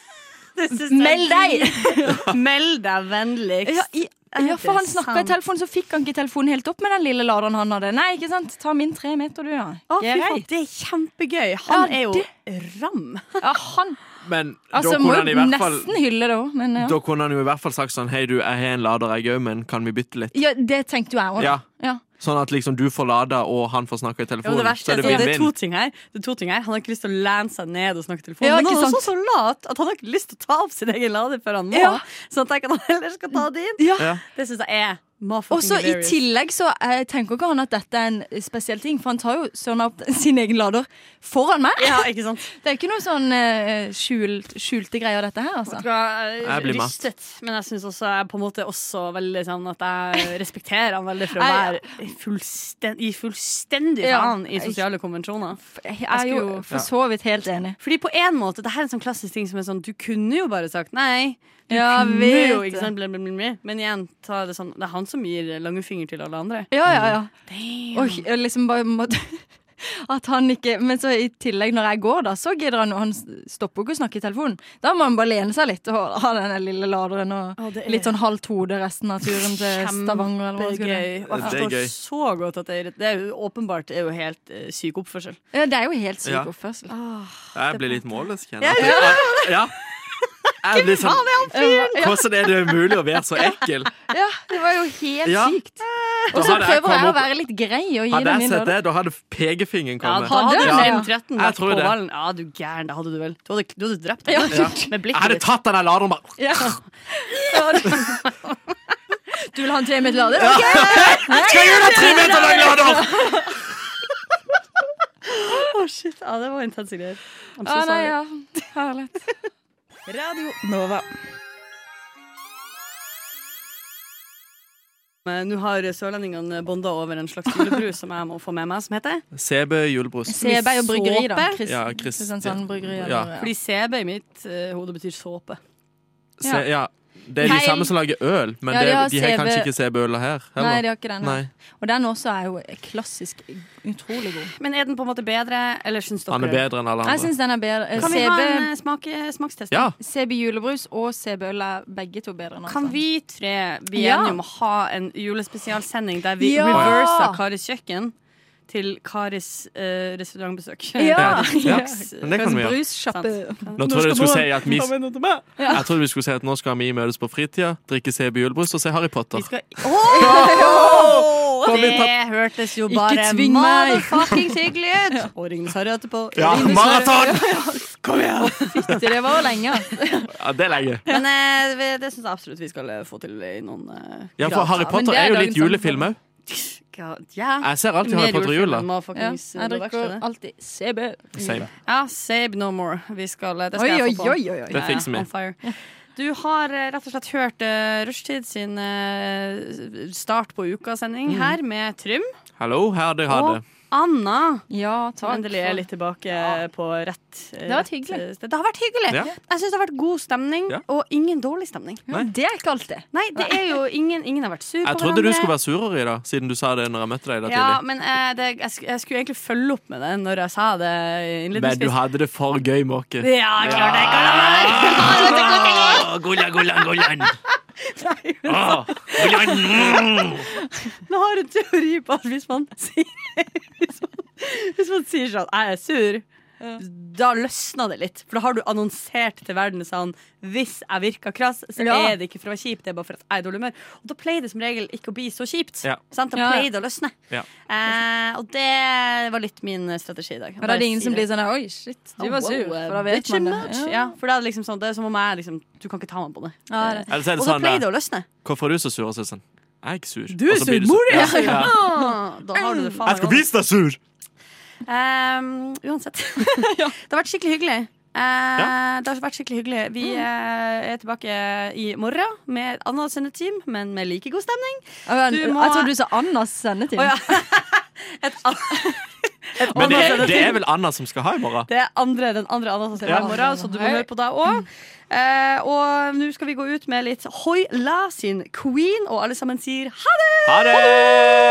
Speaker 6: Meld deg!
Speaker 5: Meld deg vennligst.
Speaker 6: Ja, i, ja, for han snakka i telefonen, så fikk han ikke telefonen helt opp med den lille laderen han hadde. Nei, ikke sant? Ta min tre meter, du, ja.
Speaker 5: Å, fy faen,
Speaker 6: Greit.
Speaker 5: det er kjempegøy. Han
Speaker 6: Ja,
Speaker 5: er jo ram.
Speaker 6: Ja, han
Speaker 1: Men
Speaker 6: altså,
Speaker 1: da
Speaker 6: må
Speaker 1: kunne han i
Speaker 6: jo
Speaker 1: hvert fall
Speaker 6: nesten hylle det òg, men ja.
Speaker 1: Da kunne han jo i hvert fall sagt sånn Hei, du, jeg har en lader, jeg òg, men kan vi bytte litt?
Speaker 6: ja. Det tenkte jo jeg òg, da.
Speaker 1: Ja.
Speaker 6: Ja.
Speaker 1: Sånn at liksom du får lada, og han får snakka i
Speaker 5: Jo,
Speaker 1: telefonen.
Speaker 5: det verste
Speaker 1: så
Speaker 5: er
Speaker 1: er det
Speaker 5: sånn, det er to
Speaker 1: vinn-vinn.
Speaker 5: ting her. Det er to ting her. Han har ikke lyst til å lene seg ned og snakke i telefonen.
Speaker 6: Ja,
Speaker 5: men han
Speaker 6: ikke
Speaker 5: er også så lat at han har ikke lyst til å ta opp sin egen lader før han må.
Speaker 6: Ja.
Speaker 5: Sånn at jeg kan heller skal ta det inn.
Speaker 6: Ja.
Speaker 1: Ja.
Speaker 5: Det syns jeg er
Speaker 6: Og så
Speaker 5: motherfucking
Speaker 6: i
Speaker 5: hilarious.
Speaker 6: tillegg så eh, tenker ikke han at dette er en spesiell ting, for han tar jo søren meg opp sin egen lader foran meg.
Speaker 5: Ja, ikke sant?
Speaker 6: Det er ikke noe sånn eh, skjult, skjulte greier, dette her, altså.
Speaker 5: Jeg
Speaker 1: Jeg blir matt.
Speaker 5: eh, rystet, men jeg syns også jeg på en måte også veldig sånn at jeg respekterer han veldig for å
Speaker 6: Jeg-
Speaker 5: være fullsten- i fullstendig
Speaker 6: Ja.
Speaker 5: faen i sosiale konvensjoner.
Speaker 6: Jeg er jo
Speaker 5: skulle-
Speaker 6: for så vidt helt enig.
Speaker 5: Fordi på en måte, det her er en sånn klassisk ting som er sånn Du kunne jo bare sagt nei. Du
Speaker 6: Ja,
Speaker 5: kunne
Speaker 6: vet
Speaker 5: jo,
Speaker 6: det.
Speaker 5: ikke sant? Bla, bla, bla, bla. Men igjen, ta det, sånn, det er han som gir langfinger til alle andre.
Speaker 6: Ja, ja, ja. Og jeg liksom bare måtte at han ikke, Men så i tillegg, når jeg går, da, så gidder han Han stopper jo ikke å snakke i telefonen. Da må han bare lene seg litt og ha den der lille laderen og
Speaker 5: Å, det er
Speaker 6: litt sånn halvt hode resten av turen til Stavanger. Eller hva det skulle.
Speaker 5: Kjempegøy. Og jeg
Speaker 1: Det er
Speaker 5: forstår
Speaker 1: gøy.
Speaker 5: så godt at det er Det er jo åpenbart er jo helt eh, syk oppførsel.
Speaker 6: Ja, det er jo helt syk
Speaker 1: Ja.
Speaker 6: oppførsel.
Speaker 1: Jeg blir litt målløs, kjenner jeg. Ja. Jeg blir sånn Hvordan er det mulig å være så ekkel?
Speaker 6: Ja, det var jo helt
Speaker 1: Ja.
Speaker 6: sykt.
Speaker 1: Da
Speaker 5: Eh.
Speaker 6: Og så
Speaker 1: hadde jeg
Speaker 6: prøver
Speaker 1: kommet
Speaker 6: jeg å
Speaker 1: opp-
Speaker 6: være litt grei og gi
Speaker 1: Hadde
Speaker 6: den
Speaker 1: jeg
Speaker 6: min
Speaker 1: sett
Speaker 6: lader.
Speaker 1: det, da hadde pekefingeren
Speaker 5: Ja,
Speaker 1: kommet.
Speaker 5: da hadde
Speaker 6: du
Speaker 5: du
Speaker 1: Ja.
Speaker 5: 13
Speaker 6: det?
Speaker 1: Jeg
Speaker 5: vært
Speaker 1: tror
Speaker 5: på
Speaker 1: det.
Speaker 5: ballen. Ja, du gæren, det hadde du vel. Du hadde, du hadde drept den. Med
Speaker 1: Jeg
Speaker 5: blikket
Speaker 1: hadde
Speaker 5: ditt.
Speaker 1: tatt den der laderen bare
Speaker 6: Ja. Ja, du- Du vil ha en tre meter lader? Ok!
Speaker 1: Skal jeg gi deg tre meter lang lader?!
Speaker 5: Å, shit. Ja, det var intense greier. I'm so
Speaker 6: Ja, Ah, nei,
Speaker 5: sorry.
Speaker 6: ja. Herlig.
Speaker 9: Radio Nova.
Speaker 5: Men Nå har sørlendingene bonda over en slags julebrus som jeg må få med meg, som heter
Speaker 1: CB julebrus.
Speaker 6: Seberg og bryggeri, da.
Speaker 5: Såpe?
Speaker 1: Ja, Chris-
Speaker 6: Kristiansand bryggeri.
Speaker 1: ja.
Speaker 6: eller-
Speaker 5: Fordi CB i mitt eh, hode betyr såpe.
Speaker 1: Se, ja. Det er de
Speaker 6: Feil.
Speaker 1: samme som lager øl, men
Speaker 6: Ja, de
Speaker 1: det,
Speaker 6: har
Speaker 1: de har
Speaker 6: CB
Speaker 1: kanskje ikke CB-øla her. Heller.
Speaker 6: Nei, de har ikke den.
Speaker 1: Nei.
Speaker 6: her. Og den også er jo klassisk utrolig god.
Speaker 5: Men er den på en måte bedre, eller syns dere
Speaker 1: Han er bedre enn alle
Speaker 6: Jeg
Speaker 1: andre.
Speaker 6: syns den er bedre. Eh,
Speaker 5: Kan vi ha en
Speaker 6: CB,
Speaker 5: eh, smak, eh, smakstest?
Speaker 1: Ja,
Speaker 6: CB julebrus og CB øl er begge to bedre enn
Speaker 5: Kan
Speaker 6: andre.
Speaker 5: vi tre bli
Speaker 6: Ja.
Speaker 5: enige om å ha en julespesialsending der vi
Speaker 6: Ja.
Speaker 5: reverser Karis kjøkken til Karis eh, restaurantbesøk?
Speaker 6: Ja.
Speaker 1: Ja. Men det kan vi gjøre.
Speaker 6: Brussjappe.
Speaker 1: nå trodde jeg skulle si at vi,
Speaker 5: Vi
Speaker 1: jeg trodde vi skulle si at nå skal vi møtes på fritida, drikke CB julebrus og se Harry Potter.
Speaker 5: skal Åh!
Speaker 1: Kom
Speaker 5: Det
Speaker 1: igjen, ta-
Speaker 5: hørtes jo bare
Speaker 6: tving meg.
Speaker 5: motherfuckings hyggelig ut! Og Ringnes Harry etterpå.
Speaker 1: Ja,
Speaker 5: Ringnes Harry.
Speaker 1: maraton!
Speaker 6: Det var jo lenge. altså.
Speaker 1: Ja, det er lenge.
Speaker 5: Men eh, vi- det syns jeg absolutt vi skal eh, få til i noen eh,
Speaker 1: Ja, for Harry
Speaker 6: men
Speaker 1: Potter
Speaker 6: det er
Speaker 1: er jo
Speaker 6: dagens
Speaker 1: litt julefilm òg.
Speaker 5: God, yeah.
Speaker 1: Jeg ser alltid Harry Potter i jula.
Speaker 6: Ja,
Speaker 5: Ja,
Speaker 6: jeg drikker alltid CB.
Speaker 1: Same.
Speaker 5: ja, save no more. Vi skal, eh, det skal
Speaker 6: Oi,
Speaker 5: jeg
Speaker 6: oi,
Speaker 5: få på.
Speaker 6: oi. oi, oi.
Speaker 1: Det fikser vi.
Speaker 5: On fire. Du har eh, rett og slett hørt uh, Rushtid sin
Speaker 1: Mm.
Speaker 5: eh, start på ukasending her med Trym
Speaker 1: Hallo, her er det Hade.
Speaker 5: og Anna.
Speaker 6: Ja,
Speaker 5: Som
Speaker 6: takk.
Speaker 5: endelig er litt tilbake på rett eh,
Speaker 6: Det har vært
Speaker 5: rett,
Speaker 6: hyggelig.
Speaker 5: eh, sted. Det har vært hyggelig.
Speaker 1: Ja.
Speaker 5: Jeg syns det har vært god stemning,
Speaker 1: Ja.
Speaker 5: og ingen dårlig stemning.
Speaker 6: Ja, Det er ikke alltid.
Speaker 5: Nei, det er jo ingen, ingen har vært sur på
Speaker 1: Jeg trodde du skulle være surere i dag, siden du sa det når jeg møtte deg i dag
Speaker 5: ja,
Speaker 1: tidlig.
Speaker 5: men eh, det, jeg, sk- jeg skulle egentlig følge opp med det når jeg sa det
Speaker 1: Men du
Speaker 5: innledningsvis.
Speaker 1: hadde det for gøy, Måke.
Speaker 5: Ja, klart det! Kan jeg være. Ah,
Speaker 1: Ah, Gullan, gullan, gullan. Ah, gullan, mm.
Speaker 5: Nå har jeg en teori på at hvis man sier Hvis man, hvis man sier sånn 'jeg er sur', da løsner det litt. For da har du annonsert til verden sånn 'hvis jeg virker krass', så
Speaker 6: Ja.
Speaker 5: er det ikke for å være kjip, det er bare for at jeg er i dårlig humør. Og da pleier det som regel ikke å bli så kjipt.
Speaker 1: Ja.
Speaker 5: Sant? Da
Speaker 6: Ja, ja.
Speaker 5: pleier det å løsne.
Speaker 1: Ja.
Speaker 5: Eh, og det var litt min strategi i dag.
Speaker 6: Og da er det ingen som blir sånn Oi, shit, du
Speaker 5: Oh,
Speaker 6: var sur. For da vet man det.
Speaker 5: Ja. for da er det liksom sånn, det er som om jeg liksom Du kan ikke ta meg på det.
Speaker 6: Ja, det er
Speaker 1: Eller så er det
Speaker 5: Og da
Speaker 1: sånn
Speaker 5: pleier det
Speaker 1: eh,
Speaker 5: å løsne.
Speaker 1: Hvorfor er du så sur, Susan? Jeg er ikke sur.
Speaker 5: Du er
Speaker 1: Og så blir
Speaker 5: sur, mor,
Speaker 1: Ja.
Speaker 5: jeg er sur.
Speaker 1: Ja.
Speaker 5: Ah, Da har du det faen
Speaker 1: Jeg
Speaker 5: meg
Speaker 1: skal
Speaker 5: godt.
Speaker 1: vise deg sur!
Speaker 5: Ehm, uansett. Det har vært skikkelig hyggelig. Eh, Det har vært skikkelig hyggelig Vi eh, er tilbake i morgen med et annet sendeteam, men med like god stemning.
Speaker 6: Jeg,
Speaker 5: Du må-
Speaker 6: jeg trodde du sa Annas sendetid.
Speaker 5: Å, ja. Et annet
Speaker 1: Men det, det er vel Anna som skal ha i morgen?
Speaker 5: Det er andre, den andre Anna som ser
Speaker 1: Ja.
Speaker 5: meg i morgen, så du må høre på deg òg. og nå skal vi gå ut med litt Hoi La sin Queen, og alle sammen sier ha det!
Speaker 1: Ha det!